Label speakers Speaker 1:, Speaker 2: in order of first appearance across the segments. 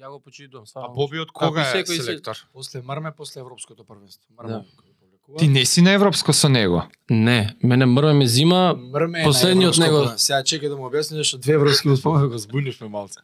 Speaker 1: Ја го почитувам
Speaker 2: А
Speaker 1: само.
Speaker 2: Боби од кога
Speaker 1: Како и
Speaker 2: е
Speaker 1: секој се-
Speaker 2: селектор?
Speaker 3: После Мрме, после Европското првенство. Мрме
Speaker 1: Да.
Speaker 3: го повлекува.
Speaker 4: Ти не си на европско со него.
Speaker 1: Не, мене мрве ме зима,
Speaker 3: Мрме е
Speaker 1: Последниот
Speaker 3: на европско
Speaker 1: него.
Speaker 3: првенство. Сега чекај да му објасниш што две европски успомени го збунивме малце.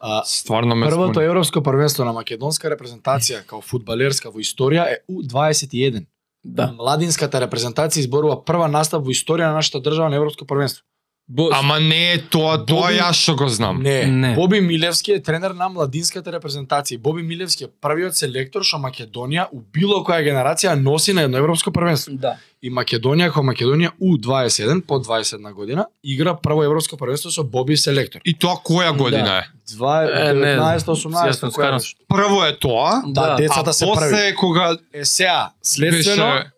Speaker 3: А,
Speaker 4: Стварно ме
Speaker 3: Првото
Speaker 4: збуни.
Speaker 3: европско првенство на македонска репрезентација као фудбалерска во историја е У21.
Speaker 1: да.
Speaker 3: Младинската репрезентација изборува прва настав во историја на нашата држава на европско првенство.
Speaker 1: Бо,
Speaker 4: Ама не е тоа, тоа
Speaker 3: Боби-
Speaker 4: јас што го знам.
Speaker 3: Не,
Speaker 1: Не.
Speaker 3: не. Боби Милевски е тренер на младинската репрезентација. Боби Милевски е првиот селектор што Македонија у било која генерација носи на едно европско првенство.
Speaker 1: да.
Speaker 3: И Македонија како Македонија У21 по 21 година игра прво европско првенство со Боби селектор.
Speaker 4: И тоа која година е?
Speaker 3: Два
Speaker 1: Е, не,
Speaker 3: 19
Speaker 1: јасно,
Speaker 3: 18 која
Speaker 1: скарам
Speaker 3: беше?
Speaker 4: Прво е тоа,
Speaker 3: Да,
Speaker 1: Да.
Speaker 3: децата
Speaker 4: а
Speaker 3: се
Speaker 4: после
Speaker 3: први.
Speaker 4: е кога
Speaker 3: Е сега, следствено
Speaker 4: беше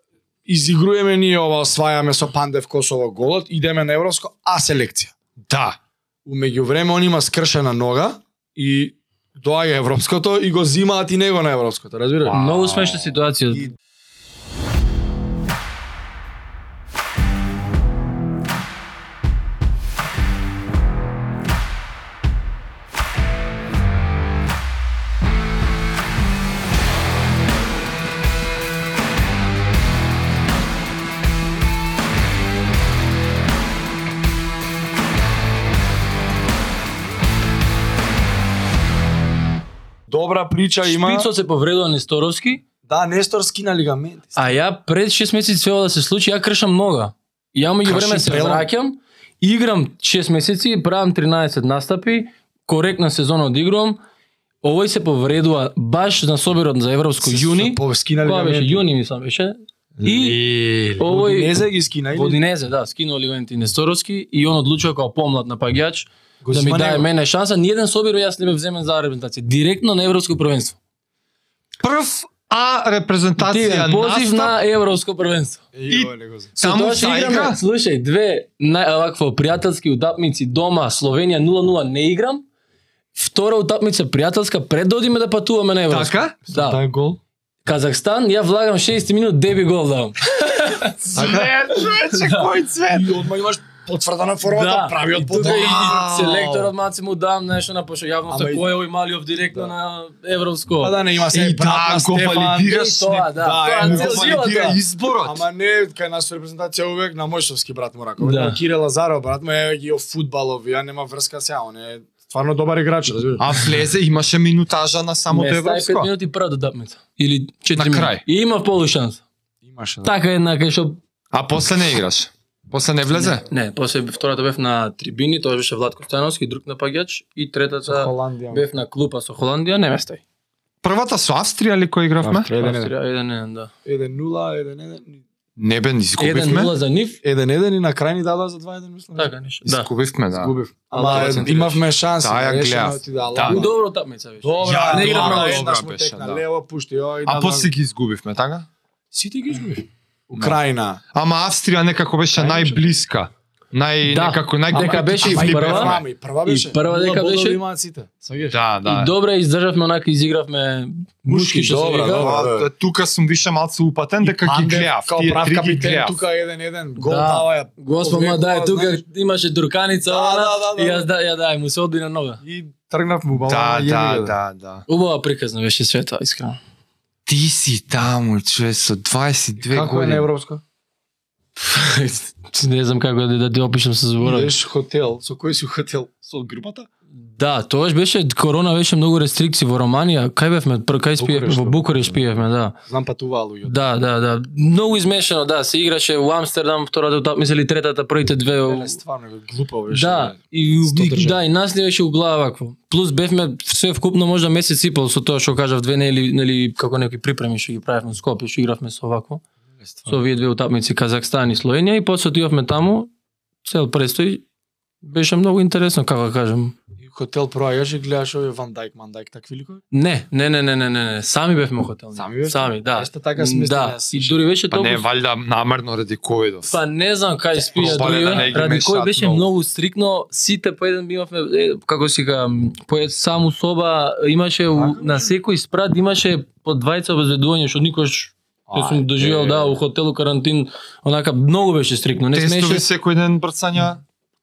Speaker 3: изигруеме ние ова освајаме со Пандев Косово голот, идеме на европско А селекција.
Speaker 4: да.
Speaker 3: У меѓувреме он има скршена нога и доаѓа европското и го зимаат и него на европското, разбираш?
Speaker 4: Вау.
Speaker 1: Многу смешна ситуација.
Speaker 3: И- Добра прича има.
Speaker 1: Шпицот се повредува Несторовски,
Speaker 3: Да, Нестор скина лигамент.
Speaker 1: а ја пред 6 месеци свела да се случи, ја кршам нога. Ја меѓу време
Speaker 3: Крши
Speaker 1: се
Speaker 3: прелом.
Speaker 1: враќам, играм 6 месеци, правам 13 настапи, коректна сезона одигрувам. Овој се повредува баш на собирот за Европско јуни.
Speaker 3: По скина
Speaker 1: Кога беше
Speaker 3: лигамент.
Speaker 1: јуни мислам беше. И
Speaker 4: И...
Speaker 1: овој
Speaker 3: Одинезе ги скина или
Speaker 1: Водинезе, да, скинува лигамент и Несторовски и он одлучува како помлад напаѓач
Speaker 3: го
Speaker 1: да ми
Speaker 3: зима
Speaker 1: даде
Speaker 3: него?
Speaker 1: мене шанса, ниеден собир јас не ме вземен за репрезентација, директно на европско првенство.
Speaker 4: Прв А репрезентација
Speaker 1: Дивен позив
Speaker 4: настап,
Speaker 1: на европско првенство.
Speaker 3: И ова не го зима.
Speaker 1: Со
Speaker 4: Таму
Speaker 1: тоа што
Speaker 4: са
Speaker 1: играме,
Speaker 4: игра?
Speaker 1: слушај, две нај овакво пријателски утапници дома Словенија 0-0 не играм. Втора утапница пријателска пред да одиме да патуваме на европско.
Speaker 4: така?
Speaker 1: Да.
Speaker 3: Тај гол.
Speaker 1: Казахстан, ја влагам 60 минут, деби гол давам.
Speaker 4: Така? Човече, кој цвет?
Speaker 3: И одма имаш потврдена формата,
Speaker 1: Да.
Speaker 3: правиот
Speaker 1: И тука
Speaker 3: потоа.
Speaker 1: и селекторот малце му дам нешто на пошо јавно
Speaker 3: Ама и- Да.
Speaker 1: кој е овој Малиов директно на европско.
Speaker 3: Па да не има се
Speaker 4: И да, го валидираш.
Speaker 1: и тоа,
Speaker 4: не-
Speaker 1: да.
Speaker 4: е,
Speaker 1: Тоа
Speaker 4: го
Speaker 1: цел живот,
Speaker 4: валидира
Speaker 1: да.
Speaker 4: изборот.
Speaker 3: Ама не, кај нашата репрезентација увек на Мојшовски брат му раков.
Speaker 1: Да.
Speaker 3: Да. Кире Лазаров брат му е ги о фудбалов, ја нема врска сега, он е стварно добар играч, разбираш.
Speaker 4: А влезе, имаше минутажа на самото
Speaker 1: Не стај 5
Speaker 4: европско.
Speaker 1: минути прва да дапмета. Или 4
Speaker 4: На
Speaker 1: минути.
Speaker 4: крај.
Speaker 1: И има полу
Speaker 3: Да.
Speaker 1: шанс.
Speaker 3: Имаше.
Speaker 1: Така една кај што
Speaker 4: А после не играш. После не влезе?
Speaker 1: не, после втората бев на трибини, тоа беше Владко Стојановски, друг напаѓач и третата
Speaker 3: Холандија.
Speaker 1: бев на клупа со Холандија, не ме стај.
Speaker 4: Првата со Австрија ли кој игравме?
Speaker 3: Австрија. Еден, еден.
Speaker 1: Австрија, еден, еден, да.
Speaker 3: 1-0, 1-1.
Speaker 4: Не бе,
Speaker 1: Еден
Speaker 4: изгубивме.
Speaker 1: нула за нив.
Speaker 3: 1-1 и на крај ни дадоа за 2-1, мислам.
Speaker 1: Така нешто. Да.
Speaker 4: Изгубивме, да.
Speaker 3: Губив.
Speaker 1: Ама,
Speaker 3: Ама е,
Speaker 1: центрираш.
Speaker 3: имавме шанси.
Speaker 4: Да, ја
Speaker 3: решено
Speaker 4: гледав.
Speaker 3: ти да,
Speaker 4: Да.
Speaker 3: ладно.
Speaker 1: Добро тапмеца беше.
Speaker 3: Добра,
Speaker 4: Ја
Speaker 3: не игра
Speaker 4: добра,
Speaker 3: многу
Speaker 4: добра
Speaker 3: еднаш му
Speaker 4: беше,
Speaker 3: текна
Speaker 4: да.
Speaker 3: лево, пушти, да, ој,
Speaker 4: А после ги изгубивме, така?
Speaker 3: сите ги изгуби. Украина.
Speaker 4: Ама Австрија некако беше најблиска. Нај
Speaker 1: Да.
Speaker 4: некако
Speaker 1: Дека
Speaker 4: најкомплицирана.
Speaker 1: беше и
Speaker 4: Ама
Speaker 1: прва.
Speaker 4: бевме.
Speaker 3: Ама и прва беше.
Speaker 1: И прва дека
Speaker 3: Нула бодови
Speaker 1: беше.
Speaker 3: имаат сите. Саѓаш.
Speaker 4: Да, да.
Speaker 1: И добре издржавме, онака изигравме мушки што се
Speaker 3: добра,
Speaker 1: вика.
Speaker 3: добра.
Speaker 4: Ова,
Speaker 3: да.
Speaker 4: Тука сум више малце упатен дека ги
Speaker 3: Пандев,
Speaker 4: гледав.
Speaker 3: Као
Speaker 4: Тие
Speaker 3: прав
Speaker 4: три ги
Speaker 3: капитен,
Speaker 4: гледав.
Speaker 3: тука 1-1 гол
Speaker 1: Да.
Speaker 3: дава ја.
Speaker 1: Господ ма дај
Speaker 3: Повлекува,
Speaker 1: тука
Speaker 3: знаеш.
Speaker 1: имаше дурканица,
Speaker 3: Да,
Speaker 1: она,
Speaker 3: да, да,
Speaker 1: и
Speaker 3: да.
Speaker 1: јас да ја дај му се одби на нога.
Speaker 3: И тргнав му бала.
Speaker 4: Да,
Speaker 3: јеби
Speaker 4: да,
Speaker 3: го.
Speaker 4: да, да.
Speaker 1: Убава приказна беше све тоа, искрено.
Speaker 4: Ти си таму, човек, со 22
Speaker 3: Како е на
Speaker 4: години.
Speaker 3: европско?
Speaker 1: не знам како да да ти опишам со зборови.
Speaker 3: Беше хотел, со кој си у хотел? Со групата?
Speaker 1: Да, тогаш беше корона беше многу рестрикции во Романија. Кај бевме? Пр, кај спиевме?
Speaker 3: Букурешт,
Speaker 1: Во Букуреш пиевме, да.
Speaker 3: Знам па патуваа луѓето.
Speaker 1: Да, да, да. Многу измешано, да, се играше во Амстердам, втората утапница или третата, првите две. во-
Speaker 3: Еле, стварно бе, глупо беше.
Speaker 1: Да,
Speaker 3: бе.
Speaker 1: и,
Speaker 3: Сто
Speaker 1: и
Speaker 3: држави.
Speaker 1: да, и нас не беше у глава вакво. Плюс бевме све вкупно можда месец и пол со тоа што кажав две нели нели како некои припреми што ги правевме во Скопје, што игравме со вакво.
Speaker 3: Еле,
Speaker 1: Со
Speaker 3: стварно.
Speaker 1: овие две утапници Казахстан и Словенија и после отидовме таму. Цел престои беше многу интересно, како да кажам.
Speaker 3: И у хотел проаѓаш и гледаш овие Ван Дајк, Ман Дајк, такви ликови?
Speaker 1: Не, не, не, не, не, не, не. Сами бевме у хотел.
Speaker 3: Сами бевте?
Speaker 1: Сами, да.
Speaker 3: Ешто така смислам
Speaker 1: Да,
Speaker 3: јас.
Speaker 1: и дури беше
Speaker 4: Па
Speaker 1: толку...
Speaker 4: не, валјда намерно ради ковидов.
Speaker 1: Па не знам кај спија
Speaker 4: Пробале
Speaker 1: дури,
Speaker 4: да не ги
Speaker 1: ради кој
Speaker 4: мешаат
Speaker 1: беше
Speaker 4: многу.
Speaker 1: многу стрикно, сите по еден имавме, е, како си га, по ед, саму соба, имаше у,
Speaker 3: Така
Speaker 1: на секој спрат, имаше по двајца обезбедување, што никош Тоа сум доживел, да, у хотелу карантин, онака многу беше стрикно, не
Speaker 4: Тестови
Speaker 1: смееше.
Speaker 4: секој ден брцања.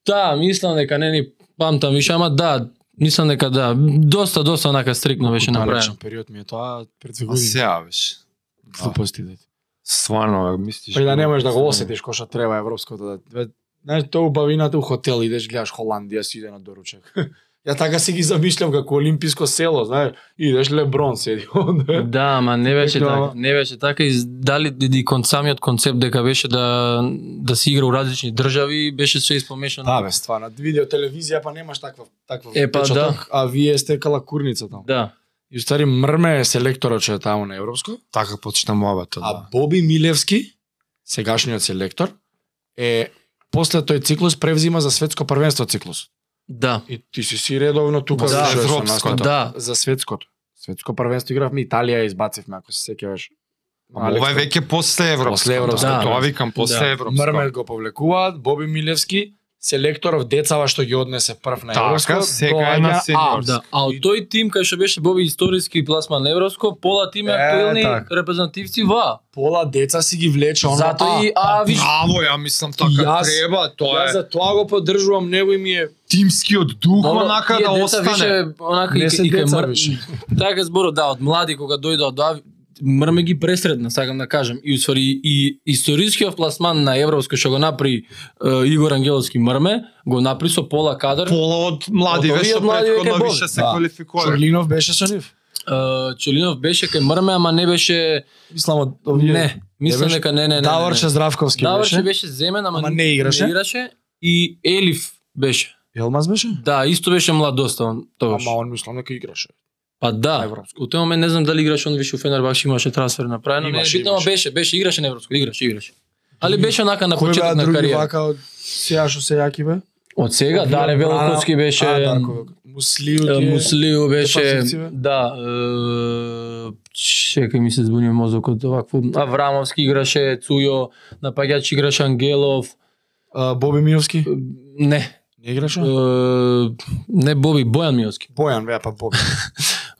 Speaker 1: Да, мислам дека не ни памтам више, ама да, Мислам дека да, доста доста онака стрикно беше направено.
Speaker 3: Далечен период ми е тоа пред две
Speaker 4: А
Speaker 3: години.
Speaker 4: сега беше. Да.
Speaker 3: Глупости да.
Speaker 4: Стварно, мислиш...
Speaker 3: Па и да не можеш да го
Speaker 4: Стварно.
Speaker 3: осетиш кој што треба европското да бе, знаеш тоа убавината у хотел идеш гледаш Холандија си иде на доручек. Ја така си ги замишлям како олимписко село, знаеш, идеш Леброн седи онде.
Speaker 1: Да, ма не беше
Speaker 3: Така,
Speaker 1: така,
Speaker 3: ама-
Speaker 1: не беше така и дали и кон самиот концепт дека беше да да се игра у различни држави, беше све испомешано.
Speaker 3: Да бе, стварно, видео телевизија па немаш таква таква
Speaker 1: Е, па,
Speaker 3: впечаток,
Speaker 1: да.
Speaker 3: а вие сте калакурница таму.
Speaker 1: Да.
Speaker 3: И устари мрме е селекторот што е таму на европско,
Speaker 4: Така почна мобата,
Speaker 3: а
Speaker 4: да.
Speaker 3: Боби Милевски, сегашниот селектор, е после тој циклус превзима за светско првенство циклус.
Speaker 1: Да.
Speaker 3: И ти си си редовно тука
Speaker 1: Да,
Speaker 3: слушаш со
Speaker 4: европското.
Speaker 3: настапа.
Speaker 1: Да.
Speaker 3: за светското. Светско првенство игравме Италија ја избацивме ако се сеќаваш.
Speaker 4: Ама ова е веќе после Европа.
Speaker 3: После европско,
Speaker 1: да.
Speaker 4: Тоа викам, после
Speaker 1: Да.
Speaker 4: Европа.
Speaker 3: Мрмет го повлекуваат, Боби Милевски, селекторов децава што ги однесе прв на
Speaker 4: Така,
Speaker 3: Европско,
Speaker 4: сега е на
Speaker 3: доаѓа
Speaker 4: сениорско.
Speaker 1: Да, а од тој тим кај што беше Боби историски пласман на Евроско, пола тим е
Speaker 3: Е,
Speaker 1: актуелни
Speaker 3: така.
Speaker 1: репрезентативци ва.
Speaker 3: пола деца си ги влече оно.
Speaker 1: Затоа и а, виж,
Speaker 4: Браво, ја мислам така
Speaker 3: Јас-
Speaker 4: треба,
Speaker 2: па,
Speaker 4: тоа
Speaker 3: Ја
Speaker 4: е
Speaker 3: за тоа го поддржувам, него и ми е
Speaker 4: тимскиот дух
Speaker 1: Добро,
Speaker 4: онака
Speaker 1: тие
Speaker 4: да
Speaker 1: деца
Speaker 4: остане.
Speaker 1: Више, онака,
Speaker 3: Не
Speaker 1: и,
Speaker 3: се
Speaker 1: и, и,
Speaker 3: деца
Speaker 1: мр...
Speaker 3: више.
Speaker 1: Така зборо, да, од млади кога дојдоа да мрме ги пресредна, сакам да кажам. И усвари и историскиот пласман на Европско што го направи е, Игор Ангеловски мрме, го направи со пола кадар. Пол...
Speaker 4: Пола од млади
Speaker 1: Од овие
Speaker 4: веќе
Speaker 1: од млади веќе
Speaker 4: претходно
Speaker 1: боли.
Speaker 4: више се
Speaker 3: Да.
Speaker 4: квалификува.
Speaker 3: Чорлинов беше со нив.
Speaker 1: Челинов беше кај мрме, ама не беше
Speaker 3: Мислам од овие-
Speaker 1: не, мислам
Speaker 3: беше?
Speaker 1: дека не, не, не, не. не.
Speaker 3: Даворче Здравковски
Speaker 1: Даворче
Speaker 3: беше.
Speaker 1: беше земен, ама,
Speaker 3: Ама не играше.
Speaker 1: Не играше и Елиф беше.
Speaker 3: Елмаз беше?
Speaker 1: Да, исто беше млад доста он тогаш.
Speaker 3: Ама он мислам дека играше.
Speaker 1: Па
Speaker 3: на
Speaker 1: да,
Speaker 3: Европско.
Speaker 1: у тој момент не знам дали играше он више у Фенербахче имаше трансфер направено, не,
Speaker 3: Имаше,
Speaker 1: битно ама
Speaker 3: имаше.
Speaker 1: беше, беше играше на Европско, играше, играше. Али беше онака на
Speaker 3: Кој беа
Speaker 1: почеток на
Speaker 3: други
Speaker 1: кариера.
Speaker 3: вака од сега што се јаки бе?
Speaker 1: Од сега
Speaker 3: Вие
Speaker 1: Даре
Speaker 3: Брана-
Speaker 1: Велковски беше
Speaker 3: А, да,
Speaker 1: м,
Speaker 3: кој- Муслију
Speaker 1: е,
Speaker 3: ти е-
Speaker 1: Муслиу беше
Speaker 3: дефанзивци, бе?
Speaker 1: да, е, чекај ми се збуни мозокот овакво. Аврамовски играше, Цујо, напаѓач играше Ангелов.
Speaker 3: А, Боби Милевски?
Speaker 1: е, Не,
Speaker 3: Не играше?
Speaker 1: е, не Боби, Бојан Милски.
Speaker 3: Бојан, веа па Боби.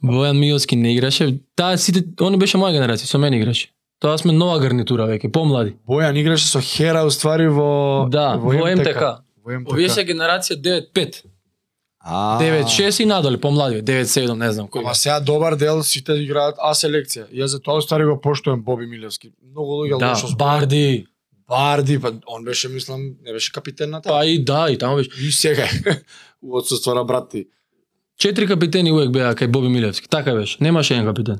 Speaker 1: Бојан Милски не играше. Таа сите они беше моја генерација, со мене играше. Тоа сме нова гарнитура веќе, помлади.
Speaker 3: Бојан играше со Хера уствари во
Speaker 1: Да, во МТК.
Speaker 3: Во МТК.
Speaker 1: Овие се генерација 9-5,
Speaker 3: А,
Speaker 1: 9-6 и надоле, помлади, 9-7, не знам кој.
Speaker 3: Ама сега добар дел сите играат А селекција. Ја за тоа стари го поштојам Боби Милевски. Многу луѓе
Speaker 1: Да,
Speaker 3: лошо зборат.
Speaker 1: Барди.
Speaker 3: Барди, па он беше мислам, не беше капитен на таа.
Speaker 1: Па и да, и таму беше.
Speaker 3: И сега е. у отсуство на брат ти.
Speaker 1: Четири капитени увек беа кај Боби Милевски, така беше. Немаше еден капитен.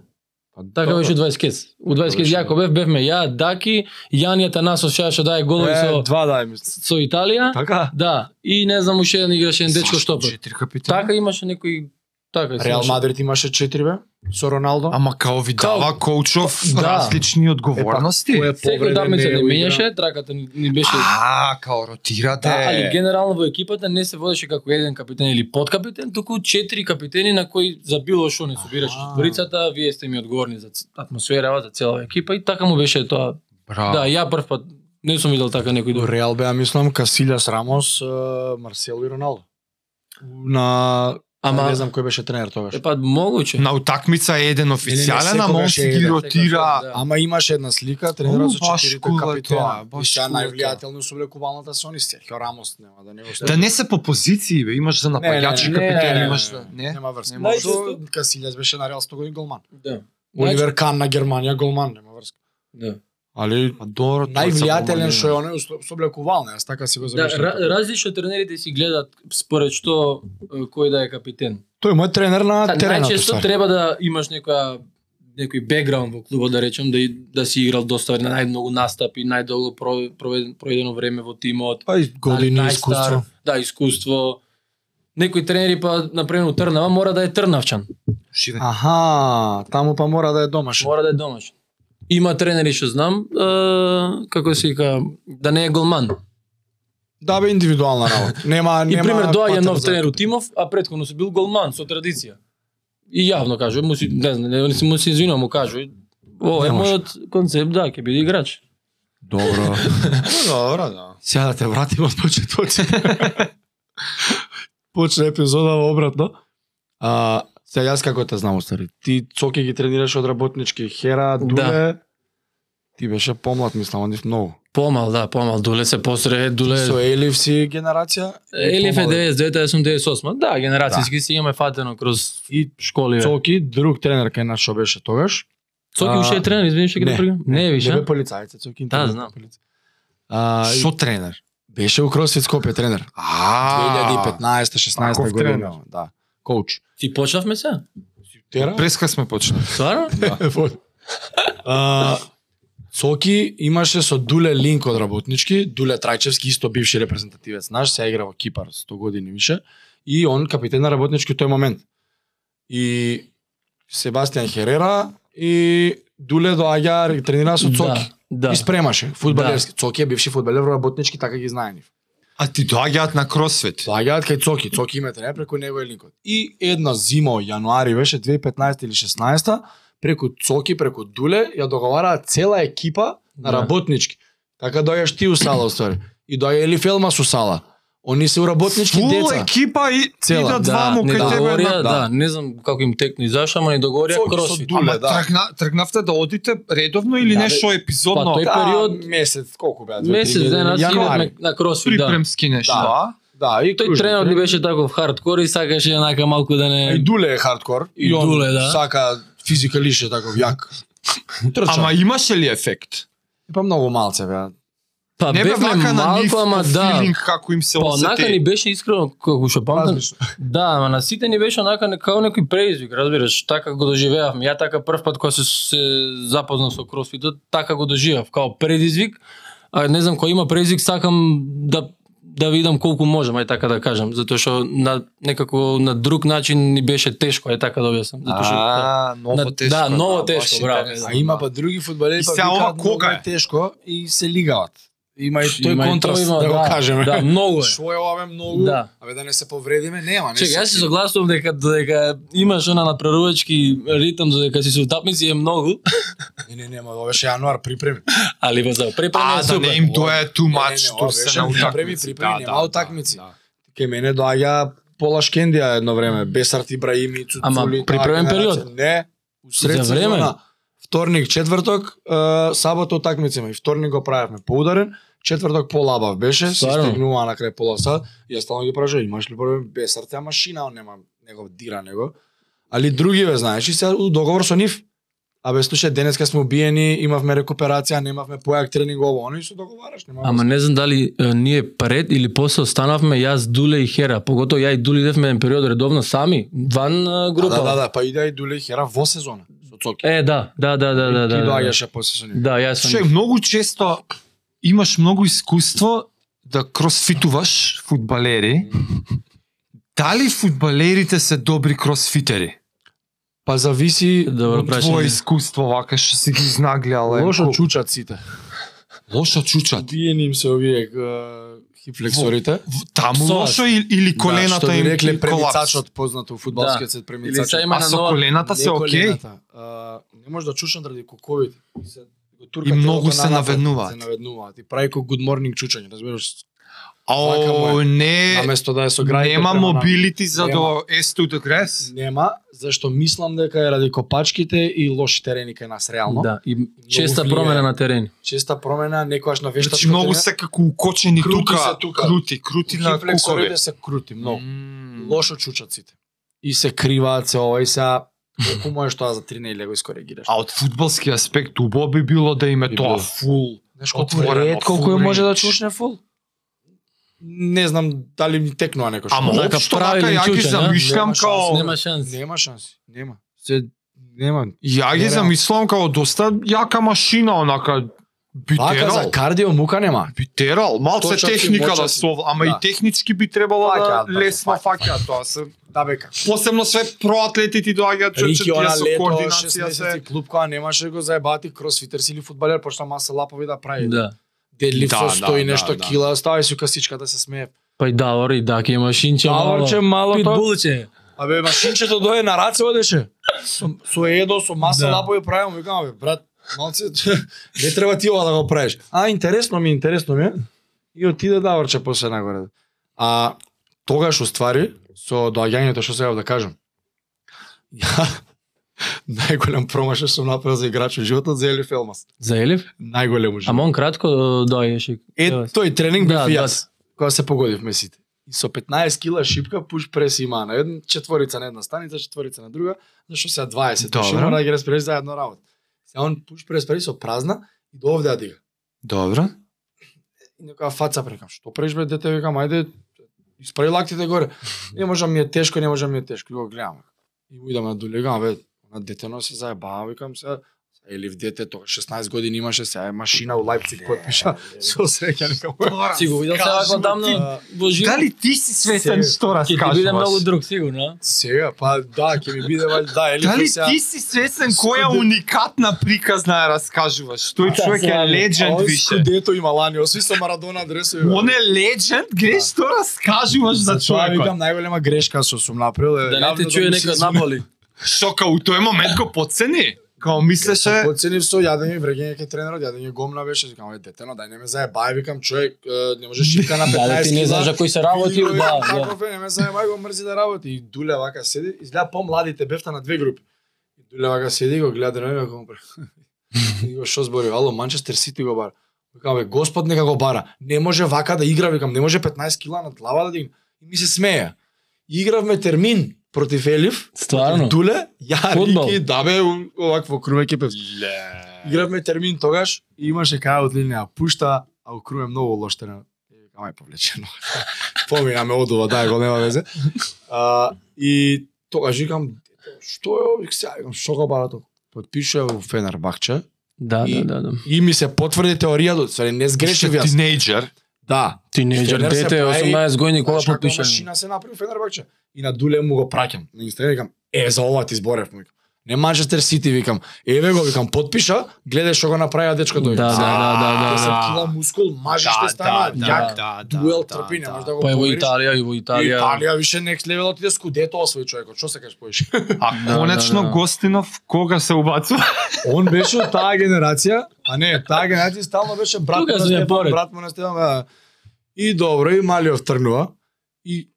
Speaker 1: Така беше у 20 кец. У 20 кец
Speaker 3: беше,
Speaker 1: јако бев, бевме ја, Даки, Јани Атанасов шеаше дај да голови
Speaker 3: Е,
Speaker 1: со
Speaker 3: два дај мислам.
Speaker 1: со Италија.
Speaker 3: Така.
Speaker 1: Да, и не знам уште еден играше еден дечко што бе.
Speaker 4: Четири капитени.
Speaker 1: Така имаше некој така
Speaker 3: Реал
Speaker 1: имаше-
Speaker 3: Мадрид имаше 4 бе со Роналдо.
Speaker 4: Ама као ви
Speaker 1: Као-
Speaker 4: дава коучов
Speaker 1: Да.
Speaker 4: различни
Speaker 3: Е,
Speaker 4: одговорности.
Speaker 3: па, кој е
Speaker 1: Секој
Speaker 3: повреден,
Speaker 1: дамица
Speaker 3: не
Speaker 1: не
Speaker 3: е уигран.
Speaker 1: менјаше, траката ни, ни беше
Speaker 4: А, као ротирате.
Speaker 1: Да, али генерално во екипата не се водеше како еден капитен или подкапитен, туку четири капитени на кои за било што не собираше
Speaker 3: Аха.
Speaker 1: зборицата, вие сте ми одговорни за ц- атмосферава, за целава екипа и така му беше тоа.
Speaker 4: Браво.
Speaker 1: Да, ја прв пат не сум видел така некој
Speaker 3: Во
Speaker 1: добар.
Speaker 3: Реал беа мислам Касилјас Рамос, е, Марсело и Роналдо. На
Speaker 1: Ама
Speaker 3: не знам кој беше тренер тогаш.
Speaker 1: е па могуче.
Speaker 4: На утакмица е еден
Speaker 3: секогаш
Speaker 4: официјален, ама
Speaker 3: е
Speaker 4: он си
Speaker 3: еден.
Speaker 4: ги
Speaker 3: Секогаш
Speaker 4: ротира.
Speaker 1: Да.
Speaker 3: Ама имаше една слика, тренерот
Speaker 4: О,
Speaker 3: со
Speaker 4: баш
Speaker 3: четирите
Speaker 4: кула е тоа,
Speaker 3: капитена. И
Speaker 4: баш
Speaker 3: сега
Speaker 4: кула е
Speaker 3: највлијателно се облекувалната со они Серхио Рамос, нема да не го
Speaker 4: Да не се по позиции, бе, имаш за напаѓачи
Speaker 1: не, не, не,
Speaker 4: капитен,
Speaker 1: не,
Speaker 4: имаш за... Не?
Speaker 3: Нема врска.
Speaker 4: Нема
Speaker 1: врска.
Speaker 3: Со Касилјас беше на Реал 100 години голман.
Speaker 1: Да.
Speaker 3: Оливер Кан на Германија голман, нема врска.
Speaker 1: Да.
Speaker 3: Али
Speaker 4: Па добро, тоа е само
Speaker 3: највлијателен
Speaker 4: мање.
Speaker 3: што е оној со со облекувална, јас така си го
Speaker 1: Значи, Да,
Speaker 3: забележам.
Speaker 1: ра, различно тренерите си гледат според што е, кој да е капитен.
Speaker 3: Тој е мој тренер на
Speaker 1: Та,
Speaker 3: теренот.
Speaker 1: најчесто
Speaker 3: устари.
Speaker 1: треба да имаш некоја некој бекграунд во клубот да речем да и- да си играл доста време, најмногу настапи, најдолго про- проведен- проведено време во тимот,
Speaker 3: Па и години
Speaker 1: најстар,
Speaker 3: искуство.
Speaker 1: Да, искуство. Некои тренери па на пример у Трнава мора да е трнавчан,
Speaker 4: Шиве.
Speaker 3: Аха, таму па мора да е домашен.
Speaker 1: мора да е домашен. Има тренери што знам, е, како се вика, да не е голман.
Speaker 3: Да бе индивидуална работа. Нема
Speaker 1: И
Speaker 3: нема.
Speaker 1: пример доаѓа
Speaker 3: патер
Speaker 1: нов
Speaker 3: за-
Speaker 1: тренер у Тимов, а претходно се бил голман со традиција. И јавно кажува, му си не знам, не, му се извинувам, му кажува. Ова е
Speaker 3: Не може.
Speaker 1: мојот концепт, да, ќе биде играч.
Speaker 3: Добро.
Speaker 4: Добро, да.
Speaker 3: Сега Па, да те вратим од почетоци. Почна епизода обратно. А, сега јас како те знам, стари. Ти цоки ги тренираш од работнички Хера, Дуле.
Speaker 1: Да.
Speaker 3: Ти беше помлад, мислам, од нив многу.
Speaker 1: Помал, да, помал. Дуле се посре, дуле...
Speaker 3: Со Елиф си генерација.
Speaker 1: Елиф е
Speaker 3: помал
Speaker 1: 99, јас сум 98. Да, генерацијски си имаме фатено кроз
Speaker 3: И
Speaker 1: школи. бе.
Speaker 3: Цоки, друг тренер кај нас што беше тогаш.
Speaker 1: Цоки
Speaker 3: А,
Speaker 1: уште е тренер, извини што ги
Speaker 3: не,
Speaker 1: допрга. Не, више. Да,
Speaker 3: Не бе полицајце, Цоки. интернет
Speaker 1: знам.
Speaker 3: полицај. А, и
Speaker 2: Шо тренер?
Speaker 3: беше у Кросфит Скопје тренер.
Speaker 2: А,
Speaker 3: 2015-16
Speaker 2: Таков тренер.
Speaker 3: година. Да. Коуч.
Speaker 1: Ти почнавме се?
Speaker 3: Тера?
Speaker 2: Преска сме почнали.
Speaker 1: Стварно?
Speaker 3: А, Цоки имаше со Дуле линк од работнички, Дуле Трајчевски, исто бивши репрезентативец наш, сега игра во Кипар 100 години више, и он капитен на работнички у тој момент. И Себастијан Херера и Дуле доаѓа и тренира со Цоки.
Speaker 1: Да.
Speaker 3: Да.
Speaker 1: да.
Speaker 3: И спремаше фудбалерски. Цоки е бивши фудбалер во работнички, така ги знае нив.
Speaker 2: А ти доаѓаат на кросфит.
Speaker 3: Доаѓаат кај Цоки, Цоки има тренер преку него е линкот. И една зима, јануари беше 2015 или 16 преку Цоки, преку Дуле, ја договараа цела екипа на
Speaker 1: Да.
Speaker 3: работнички. Така доаѓаш ти у сала, ствари. И доаѓа Ели Фелма со сала. Они се у работнички
Speaker 2: Фул
Speaker 3: деца.
Speaker 2: екипа и
Speaker 3: Цела,
Speaker 2: идат
Speaker 1: Да,
Speaker 2: дваму
Speaker 1: не
Speaker 2: кај тебе.
Speaker 1: договорија,
Speaker 2: на-
Speaker 1: да, не знам како им текни зашто, ама не договорија
Speaker 3: Цоки со
Speaker 1: кросфит.
Speaker 3: Дуле,
Speaker 2: Ама
Speaker 3: да.
Speaker 2: тргна, тргнавте да одите редовно или
Speaker 3: Да,
Speaker 2: нешто
Speaker 1: Па
Speaker 2: епизодно?
Speaker 1: тој период
Speaker 3: месец, колку беа? две, три
Speaker 1: месец
Speaker 3: недели?
Speaker 1: дена си
Speaker 3: јануари.
Speaker 1: идевме на кросфит, да.
Speaker 2: припремски нешто.
Speaker 3: Да. Да, и
Speaker 1: Тој
Speaker 3: кружи.
Speaker 1: тренер ни беше таков хардкор и сакаше онака малку да
Speaker 3: И
Speaker 1: не
Speaker 3: Дуле е хардкор.
Speaker 1: И Дуле, да.
Speaker 3: Сака физикалише таков јак. Трча.
Speaker 2: Ама имаше ли ефект?
Speaker 3: па многу малце беа.
Speaker 1: па
Speaker 2: не бе
Speaker 1: бевме
Speaker 2: вака на нив
Speaker 1: малку, ама да.
Speaker 2: филинг како им се
Speaker 1: Па онака ни
Speaker 2: осети.
Speaker 1: беше искрено како што памтам.
Speaker 3: Различно.
Speaker 1: Да, ама на сите ни беше онака не- како некој преизвик, разбираш, така го доживеавме. Ја така прв пат кога се, се запознав со кросфитот, така го доживав, као предизвик. А не знам кој има предизвик, сакам да да видам колку можам, ај така да кажам, затоа што на некако на друг начин ни беше тешко, ај така да објаснам, затоа што да.
Speaker 2: ново
Speaker 1: На- да, ново тешко,
Speaker 2: баш
Speaker 1: браво.
Speaker 2: интересно,
Speaker 3: А има
Speaker 2: да.
Speaker 3: па други фудбалери
Speaker 2: И
Speaker 3: па
Speaker 2: сега ова
Speaker 3: викаат
Speaker 2: кога
Speaker 3: кога
Speaker 2: е?
Speaker 3: е тешко и се лигаат. Има Па и
Speaker 1: Има
Speaker 3: тој
Speaker 1: и
Speaker 3: контраст,
Speaker 1: има,
Speaker 3: да го кажеме.
Speaker 1: Да, многу е.
Speaker 3: Шо е ова бе, многу?
Speaker 1: Да.
Speaker 3: Абе да не се повредиме, нема, не.
Speaker 1: Чека,
Speaker 3: се-
Speaker 1: јас се согласувам дека дека имаш она надприродачки ритм додека си со утапници е многу,
Speaker 3: Не, не, нема, ова беше јануар припреми.
Speaker 1: али во за препрема
Speaker 2: А,
Speaker 1: е
Speaker 2: да
Speaker 1: супер.
Speaker 2: не им дое ту
Speaker 3: не,
Speaker 2: мач,
Speaker 3: ова
Speaker 2: ту
Speaker 3: беше
Speaker 2: се на
Speaker 3: припреми,
Speaker 2: утакмици.
Speaker 3: припреми, нема утакмици.
Speaker 2: да.
Speaker 3: Ке мене доаѓа Пола Шкендија едно време, Бесарт Ибраими, Цуцули.
Speaker 1: Ама
Speaker 3: таа
Speaker 1: припремен
Speaker 3: генерација.
Speaker 1: период?
Speaker 3: Не, у сред
Speaker 1: За време?
Speaker 3: сезона. Вторник, четврток, е, сабота утакмицама и вторник го правевме поударен, четврток полабав беше, се
Speaker 1: Стварно?
Speaker 3: стигнува на крај пола сат, и јас стално ги прашав, имаш ли проблем без сртја машина, он нема него дира него. Али други ве знаеш, и сега у договор со нив. Абе, слушај, денеска сме убиени, имавме рекуперација, немавме појак тренинг ово, они се договараш, нема.
Speaker 1: Ама не знам дали е, ние пред или после останавме јас, Дуле и Хера. Поготово ја и Дуле идевме еден период редовно сами, ван е,
Speaker 3: да,
Speaker 1: група.
Speaker 3: да, да, да, па иде и Дуле и Хера во сезона со Цоки.
Speaker 1: Е, да, да, да, да, да,
Speaker 3: Ти
Speaker 1: да. да.
Speaker 3: доаѓаше после со нив.
Speaker 1: Да, јас сум.
Speaker 2: Ше, многу често имаш многу искуство да кросфитуваш фудбалери. Дали фудбалерите се добри кросфитери?
Speaker 3: Па зависи
Speaker 1: Добро
Speaker 2: Од
Speaker 1: прашање.
Speaker 2: твое искуство вака што си ги изнаглеал. е,
Speaker 3: лошо
Speaker 2: колку-
Speaker 3: чучат сите.
Speaker 2: лошо чучат.
Speaker 3: Биени им се овие е, хипфлексорите.
Speaker 2: В- Таму
Speaker 1: Псоас.
Speaker 2: лошо или, или колената
Speaker 3: да,
Speaker 2: им
Speaker 3: им рекле
Speaker 2: им колапс.
Speaker 3: премицачот познато у фудбалскиот сет
Speaker 1: Да. Или
Speaker 3: премицачот.
Speaker 1: се има
Speaker 2: А
Speaker 1: на
Speaker 2: со
Speaker 1: нова...
Speaker 2: колената се окей.
Speaker 3: колената. А, не може да чучам заради коковите. И се го турка
Speaker 2: И многу
Speaker 3: телото
Speaker 2: се
Speaker 3: нанапред,
Speaker 2: наведнуваат.
Speaker 3: Се наведнуваат. И прави кој good morning чучање, разбираш? Вака му
Speaker 2: Ао, не,
Speaker 3: Наместо да е со грајка.
Speaker 2: нема
Speaker 3: према на-
Speaker 2: мобилити за
Speaker 3: Нема.
Speaker 2: до S to the grass.
Speaker 3: Нема, зашто мислам дека е ради копачките и лоши терени кај нас реално.
Speaker 1: Да, и честа
Speaker 3: влијае.
Speaker 1: промена на терени.
Speaker 3: Честа промена, некојаш на вештачко
Speaker 2: Значи многу се како укочени
Speaker 3: Крути
Speaker 2: тука,
Speaker 3: се тука.
Speaker 2: крути, крути на кукове.
Speaker 3: хипфлексорите се крути многу.
Speaker 2: М.
Speaker 3: лошо чучат сите. И се криваат се ова и се колку можеш тоа за 3 недели го искоригираш.
Speaker 2: А од фудбалски аспект убо би било да име
Speaker 3: Би
Speaker 2: тоа
Speaker 3: било.
Speaker 2: фул.
Speaker 3: Знаеш
Speaker 2: отворено, full
Speaker 3: кој
Speaker 2: range.
Speaker 3: чушне да фул? Не знам дали ми текнува некој
Speaker 2: Ама
Speaker 1: Така,
Speaker 2: општо така
Speaker 1: правилен
Speaker 2: ја ги
Speaker 1: чучен, а?
Speaker 2: замишлям
Speaker 3: Нема шанс,
Speaker 2: као
Speaker 1: Нема шанс.
Speaker 3: Нема шанси, нема. Се нема.
Speaker 2: ја ги
Speaker 3: Нереално.
Speaker 2: замислам као доста јака машина онака би
Speaker 3: Вака за
Speaker 2: терал.
Speaker 3: кардио мука нема.
Speaker 2: Би терал, малце
Speaker 3: Точачки,
Speaker 2: техника да
Speaker 3: мочачки.
Speaker 2: се, ов- ама и
Speaker 3: Да.
Speaker 2: технички би требало да
Speaker 3: Фаќаат, брате,
Speaker 2: лесно
Speaker 3: фаќаат.
Speaker 2: фаќаат тоа се.
Speaker 3: Да бека.
Speaker 2: Посебно све проатлетите доаѓаат
Speaker 3: Рики
Speaker 2: чучетија
Speaker 3: она
Speaker 2: со
Speaker 3: лето,
Speaker 2: координација
Speaker 3: 16
Speaker 2: се.
Speaker 3: клуб која немаше го заебати кросфитер си или фудбалер, пошто маса лапови да прави.
Speaker 1: Да.
Speaker 3: Дедлифт
Speaker 2: Да,
Speaker 3: со 100 и
Speaker 2: да,
Speaker 3: нешто
Speaker 2: да, да.
Speaker 3: кила, ставај си касичка да се смее.
Speaker 1: Па и Давор и Даки и машинче мало.
Speaker 3: Даворче, мало тоа-
Speaker 1: Питбулче.
Speaker 3: Абе, машинчето дое на раце одеше. Со, со едо, со маса
Speaker 1: Да.
Speaker 3: да. лапови правим, му викам, абе, брат, малце, не треба ти ова да го правиш. А, интересно ми, е, интересно ми е. И отиде да врче после нагоре. А тогаш уствари, со доаѓањето што сега да кажам. Ја Најголем промашај што направил за играч во животот за Ели Фелмас.
Speaker 1: За Елив?
Speaker 3: Најголем
Speaker 1: Ама
Speaker 3: живот.
Speaker 1: он кратко э, доаѓаше.
Speaker 3: Е, тој тренинг
Speaker 1: Да,
Speaker 3: бев и
Speaker 1: да.
Speaker 3: јас, кога се погодивме сите. И со 15 кила шипка пуш прес има на една четворица на една станица, четворица на друга, зашто сега 20 души
Speaker 4: Добро.
Speaker 3: мора да ги распределиш заедно работа. Сега он пуш прес прес со празна и до овде ја дига.
Speaker 4: Добро.
Speaker 3: И некоја фаца прекам, што преш бе дете, викам, ајде, исправи лактите горе. Не можам ми е тешко, не можам ми е тешко. И го гледам. И му идам на доле, викам, бе, на детено се заебава, викам се, или в дете, тоа 16 години имаше, сега е машина у Лајпциг потпиша, со среќа некам.
Speaker 1: Си го видел сега ако тамна во живо.
Speaker 4: Дали ти си свесен
Speaker 3: Се-
Speaker 4: што
Speaker 1: Ќе
Speaker 4: раскажуваш?
Speaker 1: ти биде многу друг сигурно.
Speaker 3: Сега, па да, ќе ми биде вај, да, или
Speaker 4: Дали
Speaker 3: сега-
Speaker 4: ти си свесен која уникатна приказна ја раскажуваш? Тој
Speaker 1: Да,
Speaker 4: човек е
Speaker 1: сега,
Speaker 4: легенд
Speaker 3: Ој,
Speaker 4: више.
Speaker 3: Скудето има лани, освен со Марадона дресови. бе.
Speaker 4: Он е легенд, греш што раскажуваш Да. за
Speaker 3: Затоа
Speaker 4: човекот.
Speaker 3: викам најголема грешка што сум направил е
Speaker 1: Да не
Speaker 3: јавно
Speaker 1: те чуе
Speaker 3: ми се
Speaker 1: некој од
Speaker 3: извини.
Speaker 1: Наполи.
Speaker 4: Што као у тој момент го подцени? Као мислеше,
Speaker 3: Поценив со јадење и вреќење кај тренерот, јадење гомна беше, викам, ај детено, дај не ме заебај, викам, човек, е, не можеш шипка на 15
Speaker 1: Да, ти не
Speaker 3: кила.
Speaker 1: знаеш за кој се работи,
Speaker 3: Види го,
Speaker 1: да,
Speaker 3: викам,
Speaker 1: да.
Speaker 3: таков е, не ме заебај, го мрзи да работи. И Дуле вака седи, изгледа помладите бевта на две групи. И Дуле вака седи, го гледа на него, го И го што збори, ало, Манчестер Сити го бара. Викам, бе, Господ нека го бара. Не може вака да игра, викам, не може 15 кила на глава да дигне. И ми се смеја. Игравме термин против Елив,
Speaker 1: Стварно.
Speaker 3: Дуле, ја,
Speaker 1: Фудбал.
Speaker 3: Рики, да бе, у- овакво крумеќе пев. Игравме термин тогаш и имаше крај од линија пушта, а у круме многу лош терен. И викам, ај повлечено. Поминаме од ова, дај го нема везе. А, и тогаш викам, «Дете, што е овој сега, викам, што го бара тоа? Подпишува во Фенербахче
Speaker 1: Да,
Speaker 3: И-
Speaker 1: да, да, да.
Speaker 3: и ми се потврди теоријата, све не
Speaker 4: беше
Speaker 3: сгрешив јас.
Speaker 4: тинејџер.
Speaker 3: Да,
Speaker 1: Тинејџер
Speaker 3: Тренер се
Speaker 1: дете е
Speaker 3: прави-
Speaker 1: 18 години кога
Speaker 3: Знаеш каква
Speaker 1: потпиша.
Speaker 3: Значи, машина се направи у Фенербахче. И на Дуле му го праќам. На Инстаграм викам, е, за ова ти зборев му викам. Не Манчестер Сити викам. Еве го викам, потпиша, гледај што го направи дечко тој.
Speaker 1: Да, да, да, да, да.
Speaker 3: Се кила мускул, мажиште стана, јак,
Speaker 4: да,
Speaker 3: дуел трпи, не можеш да го
Speaker 1: Па е во
Speaker 3: повериш.
Speaker 1: Италија и во
Speaker 3: И
Speaker 1: Италија.
Speaker 3: Италија више next level отиде скудето освои човекот. Што се кажеш поише?
Speaker 4: А
Speaker 1: Да, да,
Speaker 4: конечно
Speaker 1: да.
Speaker 4: Гостинов кога се убацува?
Speaker 3: Он беше од таа генерација, а не, таа генерација стално беше брат му
Speaker 1: Тука
Speaker 3: на
Speaker 1: сме
Speaker 3: Стефан,
Speaker 1: поред.
Speaker 3: брат му на Стефан. да. И добро, и Малиов тргнува. И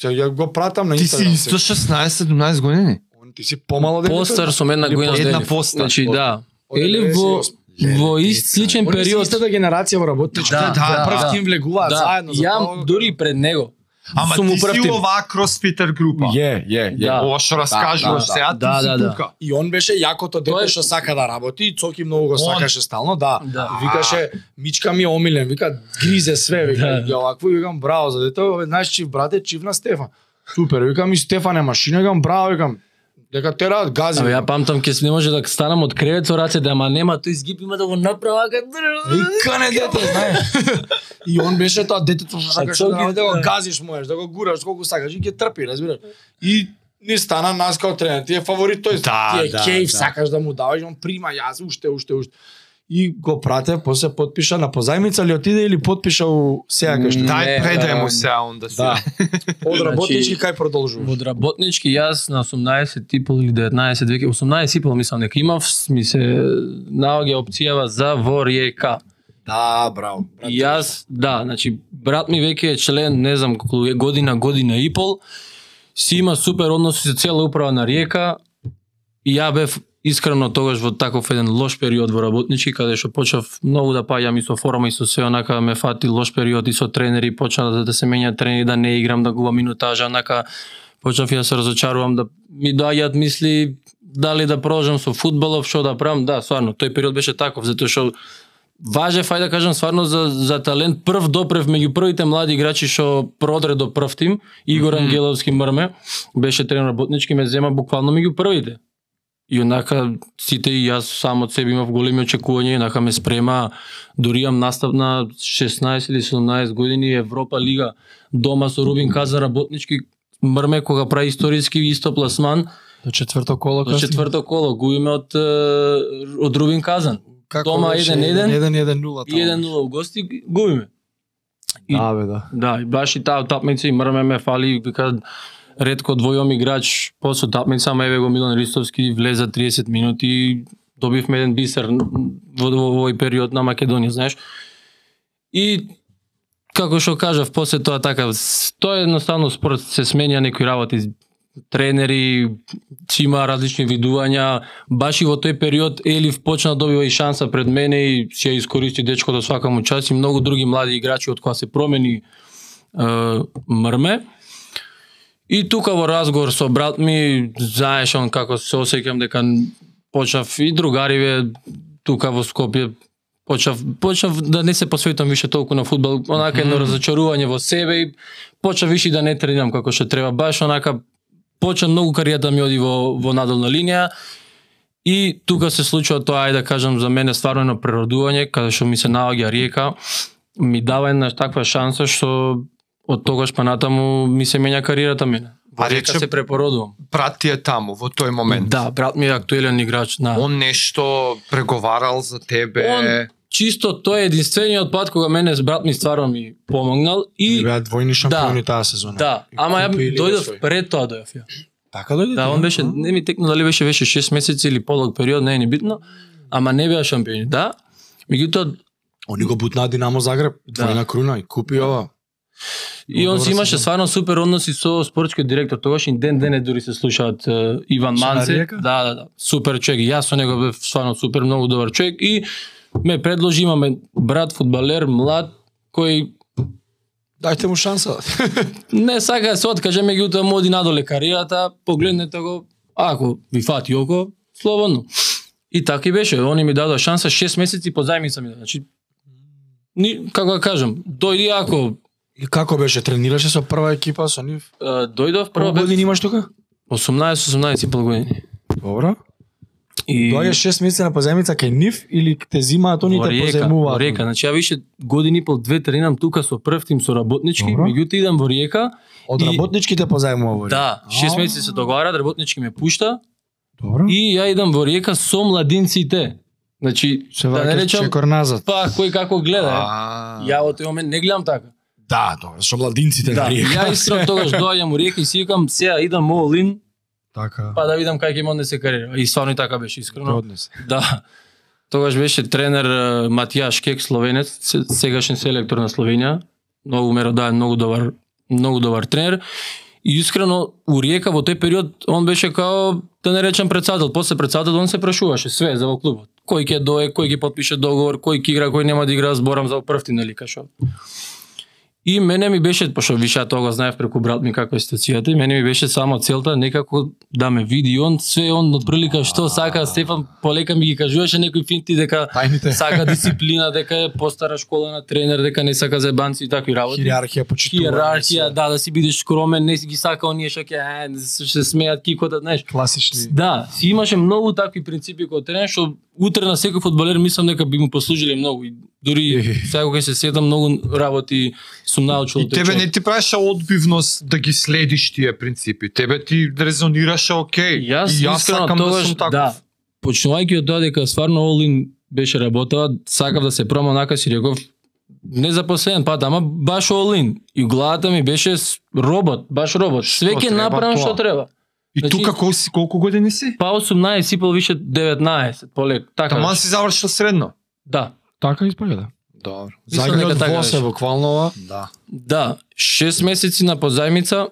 Speaker 3: сега ја го пратам на
Speaker 4: Ти
Speaker 1: да.
Speaker 4: си исто
Speaker 3: Инстаграм.
Speaker 4: 16-17 години.
Speaker 3: Он ти си да помало дете.
Speaker 1: Постар сум една
Speaker 4: Или
Speaker 1: година
Speaker 4: по една
Speaker 1: Делев.
Speaker 4: постар.
Speaker 1: Значи да. Или во
Speaker 3: 98.
Speaker 1: во ист сличен
Speaker 3: Они се
Speaker 1: период.
Speaker 3: истата генерација во работничка.
Speaker 1: Да, да,
Speaker 3: прв
Speaker 1: да.
Speaker 3: тим влегуваат
Speaker 1: Да,
Speaker 3: заедно. за тоа
Speaker 1: ја дури и пред него.
Speaker 4: Ама
Speaker 1: Сум
Speaker 4: ти
Speaker 1: управ
Speaker 4: си
Speaker 1: тим.
Speaker 4: оваа кросфитер група.
Speaker 3: Е, е,
Speaker 1: Да.
Speaker 4: Ова што раскажуваш
Speaker 3: да,
Speaker 4: сега,
Speaker 1: да,
Speaker 4: ти
Speaker 1: да,
Speaker 4: си
Speaker 1: да.
Speaker 4: тука.
Speaker 3: И он беше јакото
Speaker 1: Тоа
Speaker 3: дете
Speaker 1: е-
Speaker 3: што сака да работи, и Цоки многу го
Speaker 4: Он.
Speaker 3: сакаше стално, да.
Speaker 1: Да.
Speaker 3: Викаше, мичка ми е омилен, вика, гризе све, вика,
Speaker 1: Да.
Speaker 3: ја овакво, и викам, браво за дете, ове, знаеш, чив брат е чив на Стефан. Супер, викам, и Стефан е машина, викам, браво, викам, дека тераат гази.
Speaker 1: Абе, ја
Speaker 3: викам.
Speaker 1: памтам ке не може да станам од кревет со рацете, ама нема тој изгиб има да го направи
Speaker 3: И
Speaker 1: ака.
Speaker 3: кане дете, знаеш. И он беше тоа детето што сакаш да
Speaker 1: Цоки,
Speaker 3: направи, да го
Speaker 1: да.
Speaker 3: газиш можеш, да го гураш колку сакаш и ќе трпи, разбираш. И не стана нас као тренер, ти е фаворит тој,
Speaker 4: Да,
Speaker 3: ти е
Speaker 4: да,
Speaker 3: кејф,
Speaker 4: да.
Speaker 3: сакаш да му даваш, он прима јас уште, уште, уште. И го прате, после потпиша на позајмица ли отиде или потпиша у сега кај што.
Speaker 1: Не,
Speaker 4: Дај предај му
Speaker 1: да.
Speaker 4: сега онда си.
Speaker 3: Да. Од
Speaker 1: Значи-
Speaker 3: работнички кај продолжува.
Speaker 1: Од работнички јас на 18 и пол или 19, веќе 18 и пол мислам дека имав ми се наоѓа опцијава за во ријека.
Speaker 3: Да, браво.
Speaker 1: И јас, да, значи, брат ми веќе е член, не знам колку е година, година и пол, си има супер односи со цела управа на Риека, и ја бев искрено тогаш во таков еден лош период во работнички, каде што почав многу да паѓам и со форма и со се онака ме фати лош период и со тренери, почна да, да се менја тренери, да не играм, да губам минутажа, онака почнав ја се разочарувам да ми доаѓаат мисли дали да продолжам со фудбалов, што да правам, да, стварно, тој период беше таков, затоа што важев, ајде да кажам, сварно за, за талент прв допрев меѓу првите млади играчи што продре до прв тим, Игор Ангеловски Мрме, беше тренер работнички, ме зема буквално меѓу првите. И онака сите и јас сам од себе имав големи очекувања, и онака ме спрема, дури имам настав на 16 или 17 години Европа лига дома со Рубин Каза работнички Мрме кога прави историски исто пласман,
Speaker 3: До четврто коло
Speaker 1: на четврто коло губиме од е, од Рубин Казан.
Speaker 3: Како
Speaker 1: дома
Speaker 3: беше?
Speaker 1: 1:1?
Speaker 3: 1-1-0.
Speaker 1: И 1-0 гости губиме. И-
Speaker 3: Да, бе, да.
Speaker 1: Да, и баш и таа тапмица и мрме ме фали, вика ретко двојом играч после тапмица, ама еве го Милан Ристовски влеза 30 минути и добивме еден бисер во, во овој период на Македонија, знаеш. И како што кажав, после тоа така, с- тоа е едноставно спорт се сменја некои работи тренери, си има различни видувања. Баш и во тој период Елив почна да добива и шанса пред мене и си ја искористи дечкото свака му час и многу други млади играчи од која се промени е, мрме. И тука во разговор со брат ми, знаеш он како се осеќам дека почнав и другариве тука во Скопје почнав почнав да не се посветам више толку на фудбал, онака едно разочарување во себе и почнав више и да не тренирам како што треба, баш онака почна многу кариерата ми оди во во надолна линија. И тука се случува тоа, ајде да кажам, за мене стварно едно преродување, каде што ми се наоѓа Ријека, ми дава една таква шанса што од тогаш па натаму ми се менја кариерата мене. Во
Speaker 2: А
Speaker 1: Ријека
Speaker 2: Па рече-
Speaker 1: се препородувам.
Speaker 2: Брат ти е таму во тој момент.
Speaker 1: Да, брат ми е актуелен играч на
Speaker 2: Он нешто преговарал за тебе.
Speaker 1: Он- чисто тој е единствениот пат кога мене с брат ми стварно ми помогнал
Speaker 3: И
Speaker 1: и
Speaker 3: беа двојни шампиони таа сезона.
Speaker 1: да,
Speaker 3: И
Speaker 1: ама ја
Speaker 3: купи лига
Speaker 1: дојдов
Speaker 3: свој.
Speaker 1: пред тоа дојдов ја.
Speaker 3: Така дојде.
Speaker 1: Да, он беше не ми текно дали беше беше 6 месеци или подолг период, не е ни битно, ама не беа шампиони, да. Меѓутоа
Speaker 3: Они го бутнаа Динамо Загреб,
Speaker 1: Да.
Speaker 3: двојна круна и купи ова.
Speaker 1: и
Speaker 3: Добра
Speaker 1: он си имаше
Speaker 3: сезона.
Speaker 1: стварно супер односи со спортскиот директор, тогашни ден дене дури се слушаат е, Иван
Speaker 3: Шана
Speaker 1: Манце.
Speaker 3: Ријека?
Speaker 1: Да, да, да, супер човек. и Јас со него бев стварно супер многу добар човек и ме предложи имаме брат фудбалер млад кој
Speaker 3: Дајте му шанса.
Speaker 1: не сака да се откаже, меѓутоа му оди надоле кариерата, погледнете го, ако ви фати око, слободно. И така и беше, они ми дадоа шанса 6 месеци позајмица ми, даде. значи ни како да кажам, дојди ако
Speaker 3: И како беше? Тренираше со прва екипа со нив?
Speaker 1: е, дојдов прво
Speaker 3: Прва
Speaker 1: бев
Speaker 3: година имаш тука?
Speaker 1: 18 18 и пол години.
Speaker 3: Добро.
Speaker 1: И
Speaker 3: Доаѓаш 6 месеци на позајмица кај нив или те зимаат они и
Speaker 1: во
Speaker 3: те
Speaker 1: Ријека,
Speaker 3: позајмуваат?
Speaker 1: во Ријека, значи ја више години и пол две тренирам тука со прв тим со работнички,
Speaker 3: Добро.
Speaker 1: меѓутоа идам во Ријека,
Speaker 3: Од
Speaker 1: И-
Speaker 3: работничките позајмува во Ријека?
Speaker 1: да, 6
Speaker 3: А.
Speaker 1: месеци се договарат, работнички ме пушта,
Speaker 3: Добро.
Speaker 1: и ја идам во Ријека со младинците. Значи,
Speaker 3: се
Speaker 1: да не
Speaker 3: враќаш
Speaker 1: речам,
Speaker 3: чекор назад.
Speaker 1: па кој како гледа.
Speaker 2: А,
Speaker 1: Ја во тој момент не гледам така.
Speaker 3: Да, добро, со младинците
Speaker 1: Да,
Speaker 3: на Ријека.
Speaker 1: ја исто тогаш доаѓам у Ријека и си викам, сега идам all in,
Speaker 3: Така.
Speaker 1: па да видам како ќе ме се кариера. И стварно и така беше искрено.
Speaker 3: Однес.
Speaker 1: Да. Тогаш беше тренер е, Матијаш Кек, словенец, се- сегашен селектор на Словенија. Многу меродаен, многу добар, многу добар тренер. И искрено, у Ријека во тој период он беше као, да не речам председател, после председател он се прашуваше све за во клубот. Кој ќе дое, кој ќе подпише договор, кој ќе игра, кој нема да игра, зборам за прв тим, нели кашо. И мене ми беше, пошто више ја тоа го знаев преку брат ми каква е ситуацијата, и мене ми беше само целта некако да ме види он, све он отприлика што сака, Стефан полека ми ги кажуваше некои финти дека
Speaker 3: Тајните.
Speaker 1: сака дисциплина, дека е постара школа на тренер, дека не сака заебанци и такви работи
Speaker 3: Хиерархија почитување.
Speaker 1: хиерархија,
Speaker 3: се.
Speaker 1: да, да си бидеш скромен, не си ги сака оние што ќе е, се- се смеат кикота, знаеш.
Speaker 3: Класични.
Speaker 1: Да, си имаше многу такви принципи кој тренер што утре на секој фудбалер мислам дека би му послужили многу. И дури сега кога се седам многу работи сум научил
Speaker 2: И
Speaker 1: од тој
Speaker 2: тебе
Speaker 1: човек.
Speaker 2: не ти правеше одбивност да ги следиш тие принципи. Тебе ти резонираше окей.
Speaker 1: Јас,
Speaker 2: и јас
Speaker 1: искрено,
Speaker 2: сакам да
Speaker 1: тогаш,
Speaker 2: сум таков.
Speaker 1: Да, почнувајќи од тоа дека стварно Олин беше работела, сакав да се прома онака си реков, не за последен пат, ама баш Олин. И главата ми беше с- робот, баш робот. Све ќе
Speaker 2: треба
Speaker 1: направам
Speaker 2: тоа?
Speaker 1: што треба.
Speaker 2: И
Speaker 1: Значи-
Speaker 2: тука кол си, колку години си?
Speaker 1: Па 18, сипал више 19, полек. Така.
Speaker 2: Таман
Speaker 1: беше.
Speaker 2: си завршил средно.
Speaker 1: Да.
Speaker 3: Така испаѓа.
Speaker 2: Добро.
Speaker 1: Мислам
Speaker 3: Загребот
Speaker 1: дека така
Speaker 3: во се
Speaker 1: беше.
Speaker 3: буквално ова.
Speaker 2: Да.
Speaker 1: Да, 6 месеци на позајмица,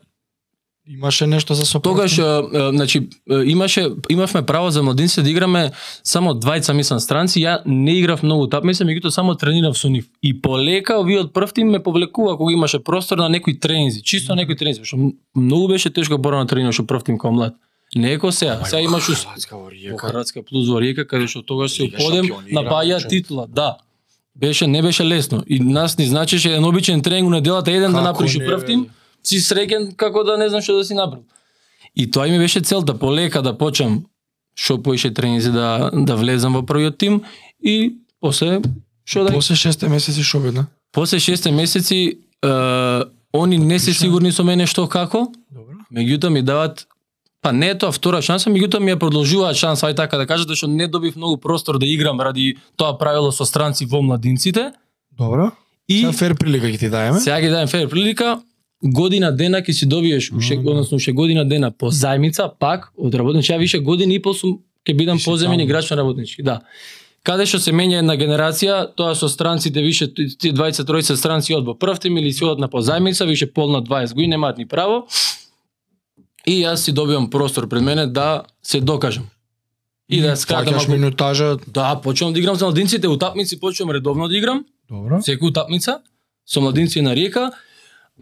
Speaker 3: Имаше нешто за сопорт.
Speaker 1: тогаш е, е, значи е, имаше имавме право за младинци да играме само двајца мислам странци, ја не играв многу тап, мислам меѓутоа само тренирав со нив. И полека овиот прв тим ме повлекува кога имаше простор на некои тренинзи, чисто некои тренинзи, што многу беше тешко бора на трениношо прв тим као млад. Не е ко сега, сега имаш ус- во Хрватска плюс во Ријека, каде што тогаш се
Speaker 3: Лига
Speaker 1: уподем
Speaker 3: шампиони игра,
Speaker 1: напаја
Speaker 3: значи.
Speaker 1: титула, да. Беше не беше лесно и нас ни значеше еден обичен тренинг у неделата еден да
Speaker 3: Како
Speaker 1: направиш
Speaker 3: не,
Speaker 1: прв тим, си среќен како да не знам што да си направил. И тоа и ми беше целта полека да почнам што поише тренинзи да да влезам во првиот тим и после што да
Speaker 3: После 6 месеци шо бедна?
Speaker 1: после 6 месеци е, они не се сигурни со мене што како,
Speaker 3: Добро.
Speaker 1: меѓутоа ми дават па не е тоа втора шанса, меѓутоа ми ја продолжуваат шанса, ај така да кажат, што не добив многу простор да играм ради тоа правило со странци во младинците
Speaker 3: Добро.
Speaker 1: и
Speaker 3: Сега фер прилика ќе ти даеме.
Speaker 1: сега ги дајам фер прилика година дена ќе си добиеш уште
Speaker 3: Мгм.
Speaker 1: односно уште година дена по зајмица пак од работнички, ја више година и пол сум ќе бидам
Speaker 3: Више
Speaker 1: поземен
Speaker 3: таму.
Speaker 1: играч на работнички, да. Каде што се менја една генерација, тоа со странците више ти- тие 20 тројца странци од во прв тим или си одат на позајмица, више полна 20 години немаат ни право. И јас си добивам простор пред мене да се докажам. И да ја скратам.
Speaker 3: Плаќаш
Speaker 1: Ако...
Speaker 3: минутажа.
Speaker 1: Да, почнувам да играм за младинците, утапници почнувам редовно да играм.
Speaker 2: Добро.
Speaker 1: Секоја утапница со младинци на Риека,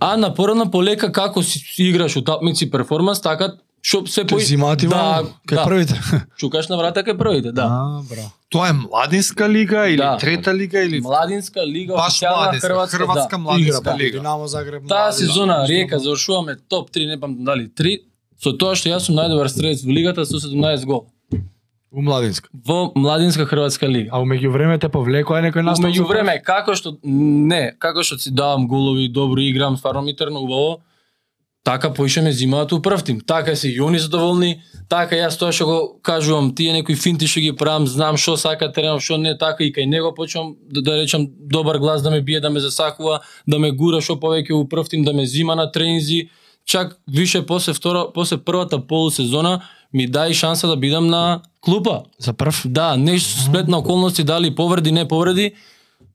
Speaker 1: а на порана полека како си си играш утапници перформанс, така што се
Speaker 3: Те
Speaker 1: пои...
Speaker 3: зимати
Speaker 1: да,
Speaker 3: вам, кај
Speaker 1: да.
Speaker 3: првите.
Speaker 1: Чукаш на врата кај првите, да.
Speaker 3: А, браво.
Speaker 2: Тоа е младинска лига или
Speaker 1: Да.
Speaker 2: трета лига или
Speaker 1: Младинска лига,
Speaker 2: баш
Speaker 1: официјална
Speaker 2: младинска,
Speaker 1: хрватска,
Speaker 2: хрватска,
Speaker 1: да.
Speaker 3: Игра,
Speaker 2: младинска
Speaker 3: па,
Speaker 2: лига.
Speaker 3: Динамо Загреб.
Speaker 1: Таа
Speaker 3: млади,
Speaker 1: сезона
Speaker 3: да.
Speaker 1: Риека завршуваме топ 3, не памтам дали 3, со тоа што јас сум најдобар стрелец во лигата со 17 гол
Speaker 3: У младинска.
Speaker 1: во младинска хрватска лига.
Speaker 3: А у меѓувреме те повлекоа некој настав.
Speaker 1: Меѓу време, како што не, како што си давам голови, добро играм, стварно ми тргна убаво, така поише ме зимаат у прв тим. Така се и они задоволни, така јас тоа што го кажувам, тие некои финти што ги правам, знам што сака тренерот, што не така и кај него почнам да, да речам добар глас да ме бие, да ме засакува, да ме гура што повеќе у прв тим, да ме зима на тренинзи. Чак више после втора, после првата полусезона ми дај шанса да бидам на клупа.
Speaker 3: За прв.
Speaker 1: Да, нешто сплетна околности, дали повреди, не повреди,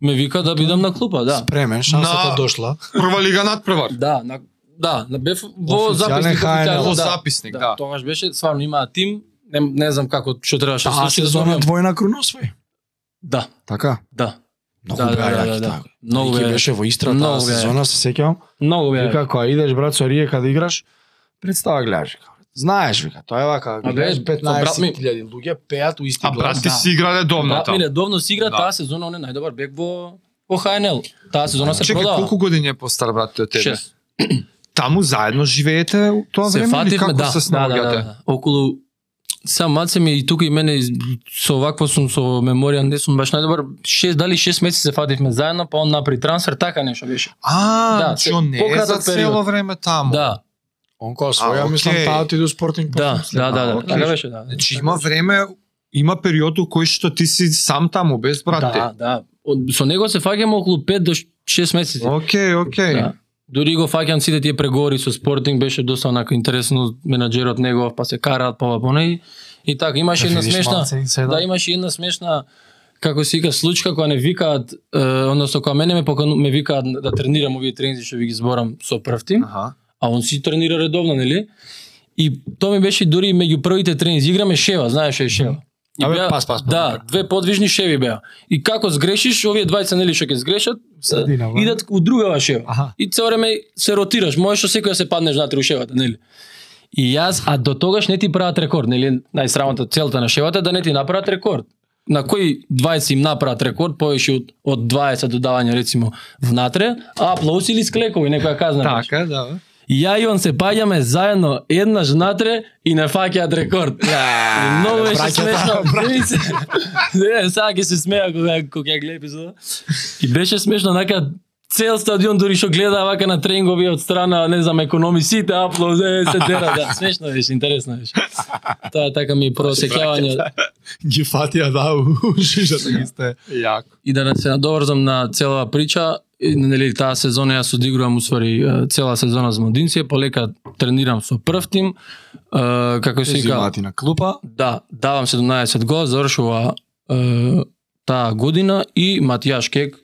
Speaker 1: ме вика да бидам на клупа, да.
Speaker 3: Спремен, шансата
Speaker 2: На-
Speaker 3: дошла.
Speaker 2: Прва лига надпревар.
Speaker 1: Да, на, да, на бев во
Speaker 3: Официјален
Speaker 1: записник
Speaker 3: ХНЛ.
Speaker 1: официјално,
Speaker 2: Во
Speaker 1: да.
Speaker 2: записник, да.
Speaker 1: да. Тогаш беше, стварно имаа тим, не, не знам како што требаше да
Speaker 3: Таа
Speaker 1: случи да
Speaker 3: сезона
Speaker 1: добијам.
Speaker 3: двојна круносвој.
Speaker 1: Да,
Speaker 3: Така.
Speaker 1: да.
Speaker 3: Многу
Speaker 1: да,
Speaker 3: беа
Speaker 1: да,
Speaker 3: јаки
Speaker 1: да, да.
Speaker 3: таа.
Speaker 1: Многу
Speaker 3: Вики
Speaker 1: бе,
Speaker 3: беше во Истра таа
Speaker 1: Многу бе.
Speaker 3: сезона, се сеќавам.
Speaker 1: многу Да, бе.
Speaker 3: Вика, кога идеш брат со Ријека да играш, представа гледаш. вика. Знаеш, вика, тоа е вака,
Speaker 1: А,
Speaker 3: гледаш
Speaker 1: бе, брат ми-
Speaker 3: 15.000 луѓе пеат у исти
Speaker 2: А брат ти
Speaker 3: глас.
Speaker 2: си играле
Speaker 1: Да,
Speaker 2: домната.
Speaker 1: ми редовно си игра
Speaker 2: Да.
Speaker 1: таа сезона, он е најдобар бек во во ХНЛ. Таа сезона се
Speaker 2: Чекай,
Speaker 1: продава.
Speaker 2: колку години е постар брат ти од тебе?
Speaker 1: Шест.
Speaker 2: Таму заедно живеете у тоа
Speaker 1: се
Speaker 2: време или
Speaker 1: фативме,
Speaker 2: како
Speaker 1: да, да, да,
Speaker 2: се
Speaker 1: да,
Speaker 2: снаоѓате?
Speaker 1: да, околу сам маце ми и тука и мене из- со вакво сум со меморија не сум баш најдобар 6 дали 6 месеци се фативме заедно па он направи трансфер така нешто беше
Speaker 2: А,
Speaker 1: Да,
Speaker 2: значи он не е
Speaker 1: пократок
Speaker 2: за цело
Speaker 1: период.
Speaker 2: време таму.
Speaker 1: да
Speaker 3: Он кога своја,
Speaker 2: А,
Speaker 3: мислам,
Speaker 2: окей.
Speaker 3: таа оти до спортинг.
Speaker 1: да да да да
Speaker 2: окей.
Speaker 1: така беше да
Speaker 2: Значи има време, има период у кој што ти си сам таму без брат ти.
Speaker 1: да да Од- со него се фаќаме околу 5 до 6 месеци
Speaker 2: Океј, океј.
Speaker 1: Да. Дури го фаќам сите тие преговори со Спортинг беше доста онака интересно, менаџерот негов па се караат па ова, па она и, и така
Speaker 2: Значи,
Speaker 1: имаше една смешна Да, имаше една смешна како се вика случка која не викаат, е, односно која мене ме покану, ме викаат да тренирам овие тренинзи што ви ги зборам со прв тим,
Speaker 2: Аха.
Speaker 1: а он си тренира редовно, нели? И тоа ми беше дури и меѓу првите тренинзи играме шева, знаеш што е шева. И
Speaker 3: Абе,
Speaker 1: беа-
Speaker 3: пас, пас, пас,
Speaker 1: да, две подвижни шеви беа. И како сгрешиш, овие двајца нели што ќе сгрешат,
Speaker 3: Средина, бе.
Speaker 1: идат у другава шева.
Speaker 3: Аха.
Speaker 1: И цело време се ротираш, можеш со секоја се паднеш внатре у шевата, нели? И јас, а до тогаш не ти прават рекорд, нели? Најсрамната целта на шевата е да не ти направат рекорд. На кои 20 им направат рекорд, повеќе од, од 20 додавања, рецимо, внатре, а аплауз или склекови, некоја казна. беше.
Speaker 2: Така, да. бе.
Speaker 1: И Ја и он се паѓаме заедно еднаш внатре и не фаќаат рекорд. И Многу беше смешно. Види се. Не, сега ќе се смеа кога кога ја гледа епизода. И беше смешно нака цел стадион дури што гледа вака на тренингови од страна, не знам, економисите, аплоз, е, се дера, да, смешно беше, интересно беше. Тоа така ми е прво сеќавање
Speaker 3: Ги фатија, да, у шишата ги сте.
Speaker 2: Јако.
Speaker 1: и да не се надоврзам на целава прича, и, нели таа сезона јас одигрувам усвари е, цела сезона за Младинци, полека тренирам со прв тим, е, како се вика,
Speaker 3: Зимати на клупа.
Speaker 1: Да, давам 17 гол, завршува е, таа година и Матијаш Кек,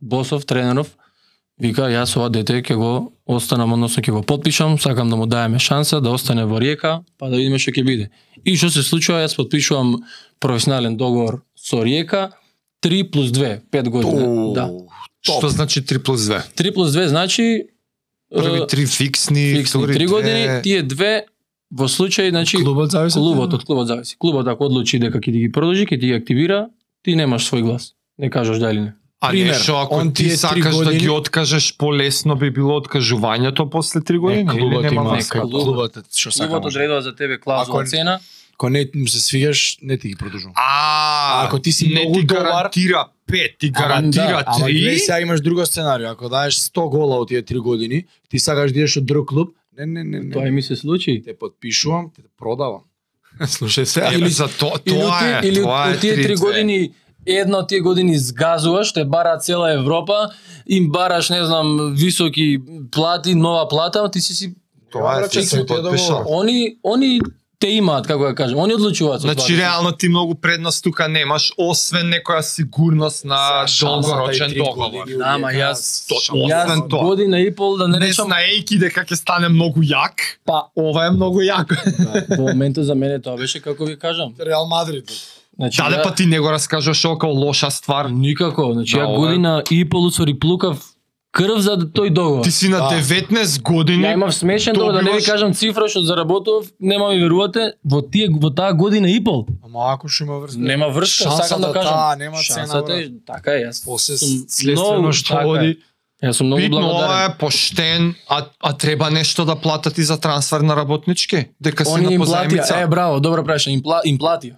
Speaker 1: босов, тренеров, вика, јас ова дете ќе го останам, односно ќе го подпишам, сакам да му даеме шанса да остане во Риека, па да видиме што ќе биде. И што се случува, јас подпишувам професионален договор со Риека, 3 плюс 2, 5 години. Да.
Speaker 2: Што значи 3 плюс 2?
Speaker 1: 3 плюс 2 значи е,
Speaker 2: Први три фиксни,
Speaker 1: фиксни 3 години, тие две во случај, значи,
Speaker 3: Клубот зависи.
Speaker 1: клубот од клубот зависи. Клубот ако одлучи дека ќе ти ги продолжи, ќе ти ги активира, ти немаш свој глас. Не кажаш да или не.
Speaker 2: А
Speaker 3: пример,
Speaker 2: нешто ако
Speaker 3: он
Speaker 2: ти
Speaker 3: тие три
Speaker 2: сакаш да
Speaker 3: години-
Speaker 2: ги откажеш полесно би било откажувањето после 3
Speaker 3: Не,
Speaker 2: години. или
Speaker 3: клубот
Speaker 2: нема
Speaker 3: има,
Speaker 2: врска?
Speaker 1: врска.
Speaker 3: кај клубот, е што сака.
Speaker 1: Клубот
Speaker 3: може.
Speaker 1: одредува за тебе клаузула
Speaker 3: Ако-
Speaker 1: цена.
Speaker 3: Кога не му се свигаш, не ти ги продолжува.
Speaker 2: А,
Speaker 3: А ако ти си
Speaker 2: не
Speaker 3: многу
Speaker 2: ти
Speaker 3: добар-
Speaker 2: гарантира 5, ти гарантира
Speaker 3: да, ама гледај
Speaker 2: 3.
Speaker 3: сега имаш друго сценарио. Ако даеш 100 гола од тие 3 години, ти сакаш да идеш од друг клуб, не, не, не,
Speaker 1: Тоа
Speaker 3: не.
Speaker 1: и ми се случи.
Speaker 3: Те подпишувам, те продавам.
Speaker 2: Слушај се,
Speaker 1: Или-
Speaker 2: или за то,
Speaker 1: Или у
Speaker 2: тоа
Speaker 1: ти-
Speaker 2: е,
Speaker 1: или у-
Speaker 2: тоа е.
Speaker 1: у тие три
Speaker 2: трите.
Speaker 1: години една од тие години згазуваш, те бара цела Европа, им бараш, не знам, високи плати, нова плата, а ти си си
Speaker 2: Тоа е,
Speaker 3: Ја, брат,
Speaker 2: ти
Speaker 3: чекај,
Speaker 2: си
Speaker 3: ти ја
Speaker 2: подпишал.
Speaker 3: договор.
Speaker 1: Они, они те имаат, како ја кажам. Они одлучуваат со
Speaker 2: Значи,
Speaker 1: това.
Speaker 2: реално ти многу предност тука немаш, освен некоја сигурност на долгорочен договор.
Speaker 1: Ама јас, јас
Speaker 2: освен тоа.
Speaker 1: година и пол да не
Speaker 2: Не
Speaker 1: речам,
Speaker 2: знаејки дека ќе стане многу јак,
Speaker 1: па
Speaker 2: ова е многу јако.
Speaker 1: во моментот за мене тоа беше како ви кажам.
Speaker 3: Реал Мадрид.
Speaker 1: Значи,
Speaker 2: Даде
Speaker 1: ја-
Speaker 2: па ти не го раскажуваш ово као лоша ствар.
Speaker 1: Никако, значи
Speaker 2: Да,
Speaker 1: ја
Speaker 2: ова е-
Speaker 1: година и пол усвари плукав крв за да тој договор.
Speaker 2: Ти си на
Speaker 3: Да.
Speaker 2: 19 години.
Speaker 1: Ја имав смешен договор, да не ви
Speaker 2: добиваш-
Speaker 1: кажам цифра што заработував, нема ми верувате, во тие во таа година и пол.
Speaker 3: Ама ако што има врска.
Speaker 1: Нема врска, сакам да
Speaker 3: Шансата
Speaker 1: кажам.
Speaker 3: таа, нема
Speaker 1: Шансата
Speaker 3: цена,
Speaker 1: е, така е, јас
Speaker 3: После
Speaker 1: сум
Speaker 3: следствено
Speaker 1: многу-
Speaker 3: што
Speaker 1: така е.
Speaker 3: оди.
Speaker 1: Јас сум многу
Speaker 2: Битно ова
Speaker 1: благодарен.
Speaker 2: е поштен, а, а треба нешто да платат и за трансфер на работнички, дека си
Speaker 1: Они
Speaker 2: на
Speaker 1: им платија, е
Speaker 2: позајмица.
Speaker 1: браво, добро прашање, им, пла, им платија.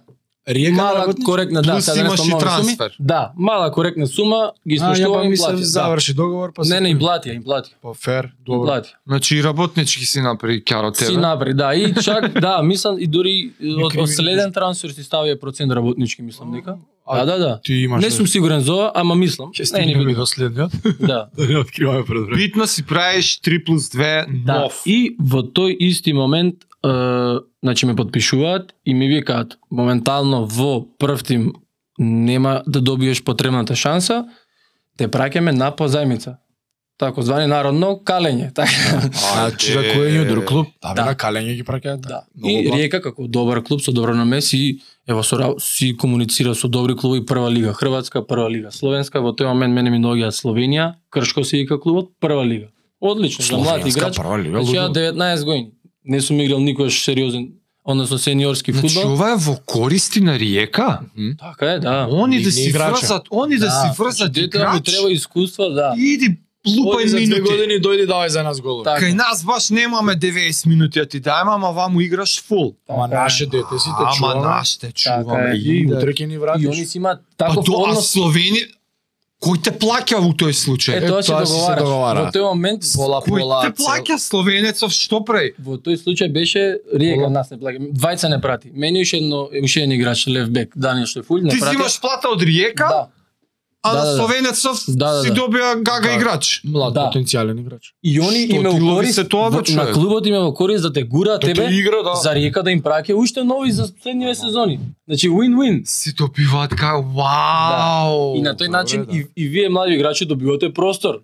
Speaker 3: Риека на
Speaker 1: Мала
Speaker 3: работници?
Speaker 1: коректна, да,
Speaker 2: плюс
Speaker 1: сега
Speaker 2: имаш
Speaker 1: не
Speaker 2: и
Speaker 1: сум нови суми.
Speaker 2: трансфер.
Speaker 1: Да, мала коректна сума, ги
Speaker 3: А, ја
Speaker 1: испоштува
Speaker 3: па
Speaker 1: им
Speaker 3: ми се
Speaker 1: платија. да.
Speaker 3: заврши договор, па
Speaker 1: Не,
Speaker 3: се...
Speaker 1: не, им платија, им платија.
Speaker 3: Па фер,
Speaker 1: Им
Speaker 3: добро.
Speaker 1: платија.
Speaker 2: Значи и работнички си направи кјаро тебе.
Speaker 1: Си напред, да. И чак, да, мислам и дури е, од, од
Speaker 3: криминалист.
Speaker 1: следен трансфер си ставија процент работнички, мислам дека.
Speaker 3: А,
Speaker 1: Да, да, да.
Speaker 3: Ти имаш...
Speaker 1: Не сум сигурен за ова, ама мислам.
Speaker 3: Ќе
Speaker 1: Не, не
Speaker 3: стигнеме
Speaker 1: би,
Speaker 3: до следниот.
Speaker 1: да.
Speaker 3: Да не откриваме пред време.
Speaker 2: Битно си правиш 3 плюс 2
Speaker 1: да.
Speaker 2: нов.
Speaker 1: И во тој исти момент, е, значи ме подпишуваат и ми викаат, моментално во прв тим нема да добиеш потребната шанса, те праќаме на позајмица. Тако звани народно калење. Така.
Speaker 3: Значи да кој е друг клуб? Да, бе,
Speaker 1: Да.
Speaker 3: на Калење ги праќаат.
Speaker 1: Да.
Speaker 3: Много
Speaker 1: И
Speaker 3: благ.
Speaker 1: Ријека како добар клуб со добро намеси, ево со ра- си комуницира со добри клубови прва лига Хрватска, прва лига Словенска, во тој момент мене ми доаѓа Словенија, Кршко се вика клубот, прва лига. Одлично, за млад
Speaker 3: Словенска
Speaker 1: играч.
Speaker 3: прва лига,
Speaker 1: Значи ја
Speaker 3: лудо.
Speaker 1: 19 години. Не сум играл никогаш сериозен, односно сениорски
Speaker 2: Значи
Speaker 1: фудбал.
Speaker 2: ова е во користи на Риека?
Speaker 1: Така е, да.
Speaker 2: Они да
Speaker 3: Ни
Speaker 2: си
Speaker 3: играча.
Speaker 2: врзат, они да си врзат
Speaker 1: дете му
Speaker 2: играч.
Speaker 1: треба искуства, да.
Speaker 2: Иди лупај
Speaker 3: за две
Speaker 2: минути.
Speaker 3: години дојде давај за нас голови.
Speaker 1: Така.
Speaker 2: Кај нас баш немаме 90 минути, а ти дајме, ама ваму играш фул.
Speaker 3: Ама
Speaker 1: Така е.
Speaker 3: наше дете си те
Speaker 2: Ама
Speaker 3: чуваме. Така
Speaker 2: наш те чуваме.
Speaker 1: е.
Speaker 3: И
Speaker 2: И-
Speaker 3: утре ќе ни
Speaker 1: така, И они
Speaker 3: вратиш.
Speaker 1: си имаат
Speaker 2: Па
Speaker 1: таков
Speaker 2: до а
Speaker 1: однос.
Speaker 2: Словени кој те плаќа во тој случај?
Speaker 1: Е,
Speaker 3: Е,
Speaker 1: тоа се
Speaker 3: тоа си се
Speaker 1: договара.
Speaker 3: договара.
Speaker 1: Во тој момент
Speaker 3: Пола
Speaker 2: Кој
Speaker 3: пола.
Speaker 2: те плаќа словенецов што прави?
Speaker 1: Во тој случај беше Риека
Speaker 2: Ола.
Speaker 1: нас не плаќа. Двајца не прати. Мене и уште едно уште еден играч левбек Данијел Штефулј не
Speaker 2: Ти си
Speaker 1: Да прати.
Speaker 2: имаш плата од Риека,
Speaker 1: Да.
Speaker 2: а
Speaker 1: Да,
Speaker 2: на
Speaker 1: да, да.
Speaker 2: словенецов
Speaker 1: Да, да,
Speaker 2: си
Speaker 1: да.
Speaker 2: добија гага
Speaker 3: Да.
Speaker 2: играч.
Speaker 3: Млад
Speaker 1: Да.
Speaker 3: потенцијален играч.
Speaker 1: И они
Speaker 2: Што
Speaker 1: име
Speaker 2: ти
Speaker 1: во
Speaker 2: лови
Speaker 1: корист.
Speaker 2: се тоа, бе,
Speaker 1: во- на
Speaker 2: човек?
Speaker 1: клубот име во корист да те гура
Speaker 3: Тоа
Speaker 1: тебе
Speaker 3: игра, да.
Speaker 1: за Риека да им праќа уште нови за следниве сезони. Значи win-win.
Speaker 2: Си добиваат кај вау.
Speaker 1: И на тој
Speaker 3: добре,
Speaker 1: начин
Speaker 3: да.
Speaker 1: и, и вие млади играчи добивате простор.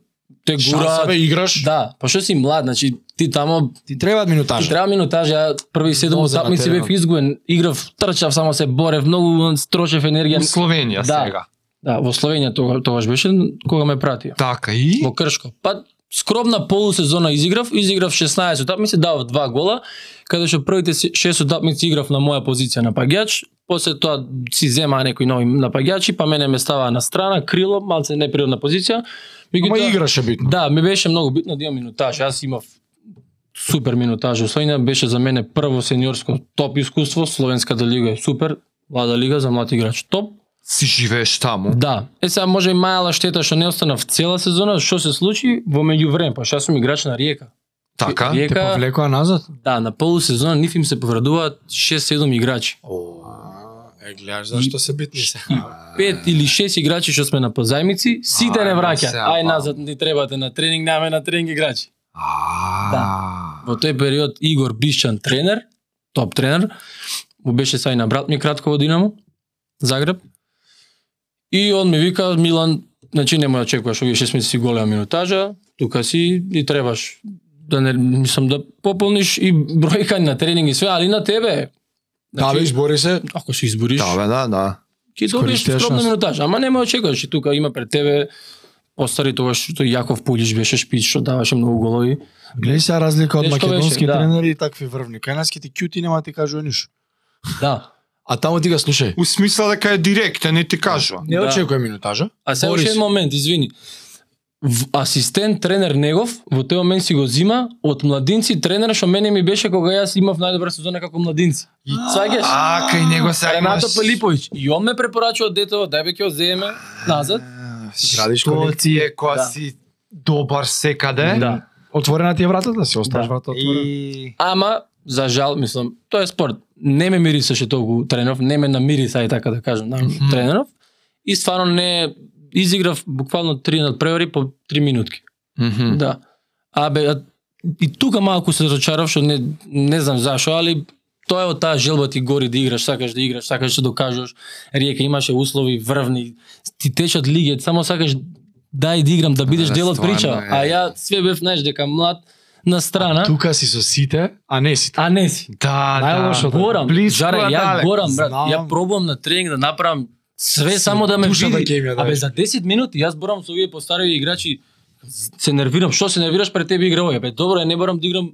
Speaker 1: Те
Speaker 3: Шанса бе
Speaker 1: гураат.
Speaker 3: играш.
Speaker 1: Да, па што си млад, значи ти тамо
Speaker 3: Ти треба минутажа.
Speaker 1: Ти треба минутажа, ја први седум
Speaker 3: Доза на
Speaker 1: утакмици
Speaker 3: теренот.
Speaker 1: бев изгоен, играв, трчав, само се борев, многу трошев енергија.
Speaker 2: Во Словенија
Speaker 1: Да.
Speaker 2: сега.
Speaker 1: Да, во Словенија тога, тогаш беше кога ме пратија.
Speaker 2: Така и
Speaker 1: Во Кршко. Па скромна полусезона изиграв, изиграв 16 утакмици, дав два гола, каде што првите се- 6 утакмици играв на моја позиција напаѓач, после тоа си земаа некои нови напаѓачи, па мене ме ставаа на страна, крило, малце неприродна позиција.
Speaker 3: Ама
Speaker 1: Меѓутоа-
Speaker 3: играше битно.
Speaker 1: Да, ми беше многу битно да имам минутаж. Јас имав супер минутаж. во Словенија беше за мене прво сениорско топ искуство. Словенската лига е супер. Млада лига за млад играч топ.
Speaker 2: си живееш таму.
Speaker 1: Да. Е сега може и мајала штета што не останав цела сезона, што се случи во меѓувреме, па што јас сум играч на Риека.
Speaker 2: Така.
Speaker 1: Вие-
Speaker 3: Те повлекоа назад.
Speaker 1: Да, на полусезона нив им се повредуваат 6-7 играчи. Да.
Speaker 3: Е, гледаш зашто се битни се.
Speaker 1: Пет или шест играчи што сме на позајмици, сите
Speaker 2: Ај,
Speaker 1: не
Speaker 2: ма
Speaker 1: враќаат.
Speaker 2: сега,
Speaker 1: Ај
Speaker 2: мам.
Speaker 1: назад ни требате на тренинг, наме на тренинг играчи.
Speaker 2: Да.
Speaker 1: Во тој период Игор Бишчан тренер, топ тренер, му беше сај на брат ми кратко во Динамо, Загреб. И он ми вика, Милан, значи нема да очекуваш овие 6 месеци голема минутажа, тука си и требаш да не мислам да пополниш и бројка на тренинг и све, али на тебе. е. Значи-
Speaker 3: Да, бе, избори се.
Speaker 1: ако се избориш,
Speaker 2: Да, бе, да, да.
Speaker 1: ќе добиеш
Speaker 3: Искористиаш
Speaker 1: скромна
Speaker 3: шанс.
Speaker 1: минутажа, ама нема да очекуваш и тука има пред тебе постари тоа што Јаков Пулиш беше шпиц што даваше многу голови.
Speaker 3: Гледај се разлика од
Speaker 1: Тешко беше,
Speaker 3: македонски
Speaker 1: да.
Speaker 3: тренери и такви врвни. Кај нас ке ти кјути нема да ти кажува ништо.
Speaker 1: Да.
Speaker 3: А таму ти га слушај.
Speaker 2: У смисла дека е директен, не ти кажува.
Speaker 3: Не
Speaker 1: Да.
Speaker 3: очекувај минутажа.
Speaker 1: А сега
Speaker 3: Борис.
Speaker 1: уште еден момент, извини. В- Асистент тренер негов во тој момент си го зима од младинци тренер што мене ми беше кога јас имав најдобра сезона како младинци. И сваѓаш?
Speaker 2: А, кај него се
Speaker 1: Ренато Пилиповиќ. И он ме препорачува дето, дај бе ќе го земеме назад.
Speaker 3: Градиш
Speaker 2: Што
Speaker 3: конект.
Speaker 2: ти е која
Speaker 1: Да.
Speaker 2: си добар секаде?
Speaker 1: Да.
Speaker 3: Отворена ти е вратата, си оставаш
Speaker 1: Да.
Speaker 3: вратата отворена.
Speaker 2: И
Speaker 1: Ама за жал, мислам, тоа е спорт. Не ме мирисеше толку тренеров, не ме намири сај така да кажам, на тренеров. И стварно не изиграв буквално три надпревари по три минутки.
Speaker 2: Мгм.
Speaker 1: Да. Абе, а- и тука малку се разочарав, што не, не знам зашо, али тоа е од таа желба ти гори да играш, сакаш да играш, сакаш да докажуваш. Ријека имаше услови врвни, ти течат лиги, само сакаш дај да играм, да бидеш
Speaker 4: Да,
Speaker 1: дел од
Speaker 4: стварно
Speaker 1: прича.
Speaker 4: е.
Speaker 1: А ја све бев, знаеш, дека млад на страна,
Speaker 3: Тука си со сите, а не сите.
Speaker 1: а не си.
Speaker 2: Да,
Speaker 3: Најлошо,
Speaker 2: да.
Speaker 1: Горам,
Speaker 2: Близко,
Speaker 1: жаре,
Speaker 2: а
Speaker 1: ја
Speaker 2: далеко.
Speaker 1: горам, брат.
Speaker 3: Знам.
Speaker 1: Ја пробувам на тренинг да направам све
Speaker 3: Си
Speaker 1: само да ме
Speaker 3: душа да ќе
Speaker 1: види.
Speaker 3: ми ја
Speaker 1: Абе
Speaker 3: дадеш.
Speaker 1: за 10 минути јас борам со овие постари играчи. Се нервирам, што се нервираш пред тебе игра овој? Бе добро е, не борам да играм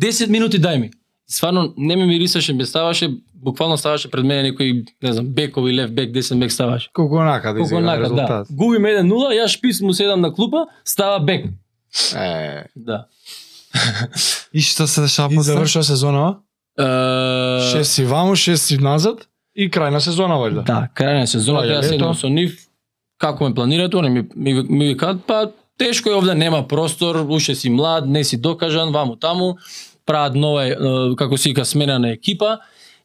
Speaker 1: 10 минути дај ми. Стварно не ме мирисаше, ме ставаше, буквално ставаше пред мене некој, не знам, бекови лев бек, десен бек ставаше.
Speaker 3: Колку онака да
Speaker 1: Колку
Speaker 3: изигра
Speaker 1: онака, да.
Speaker 3: резултат.
Speaker 1: Губим 1-0, јас шпис му седам на клупа, става бек.
Speaker 3: Е,
Speaker 1: Да.
Speaker 4: И што се дешава
Speaker 3: и
Speaker 4: после?
Speaker 3: завршува сезона,
Speaker 1: Е,
Speaker 3: 6 си ваму, 6 си назад и крај на сезона вајда.
Speaker 1: Да, крај на сезоната
Speaker 3: Тоа е
Speaker 1: јас седам
Speaker 3: лето.
Speaker 1: со нив, како ме планирате, они ми, ми, ми викаат, па тешко е овде, нема простор, уште си млад, не си докажан, ваму таму, прават нова, е, како се вика, смена на екипа.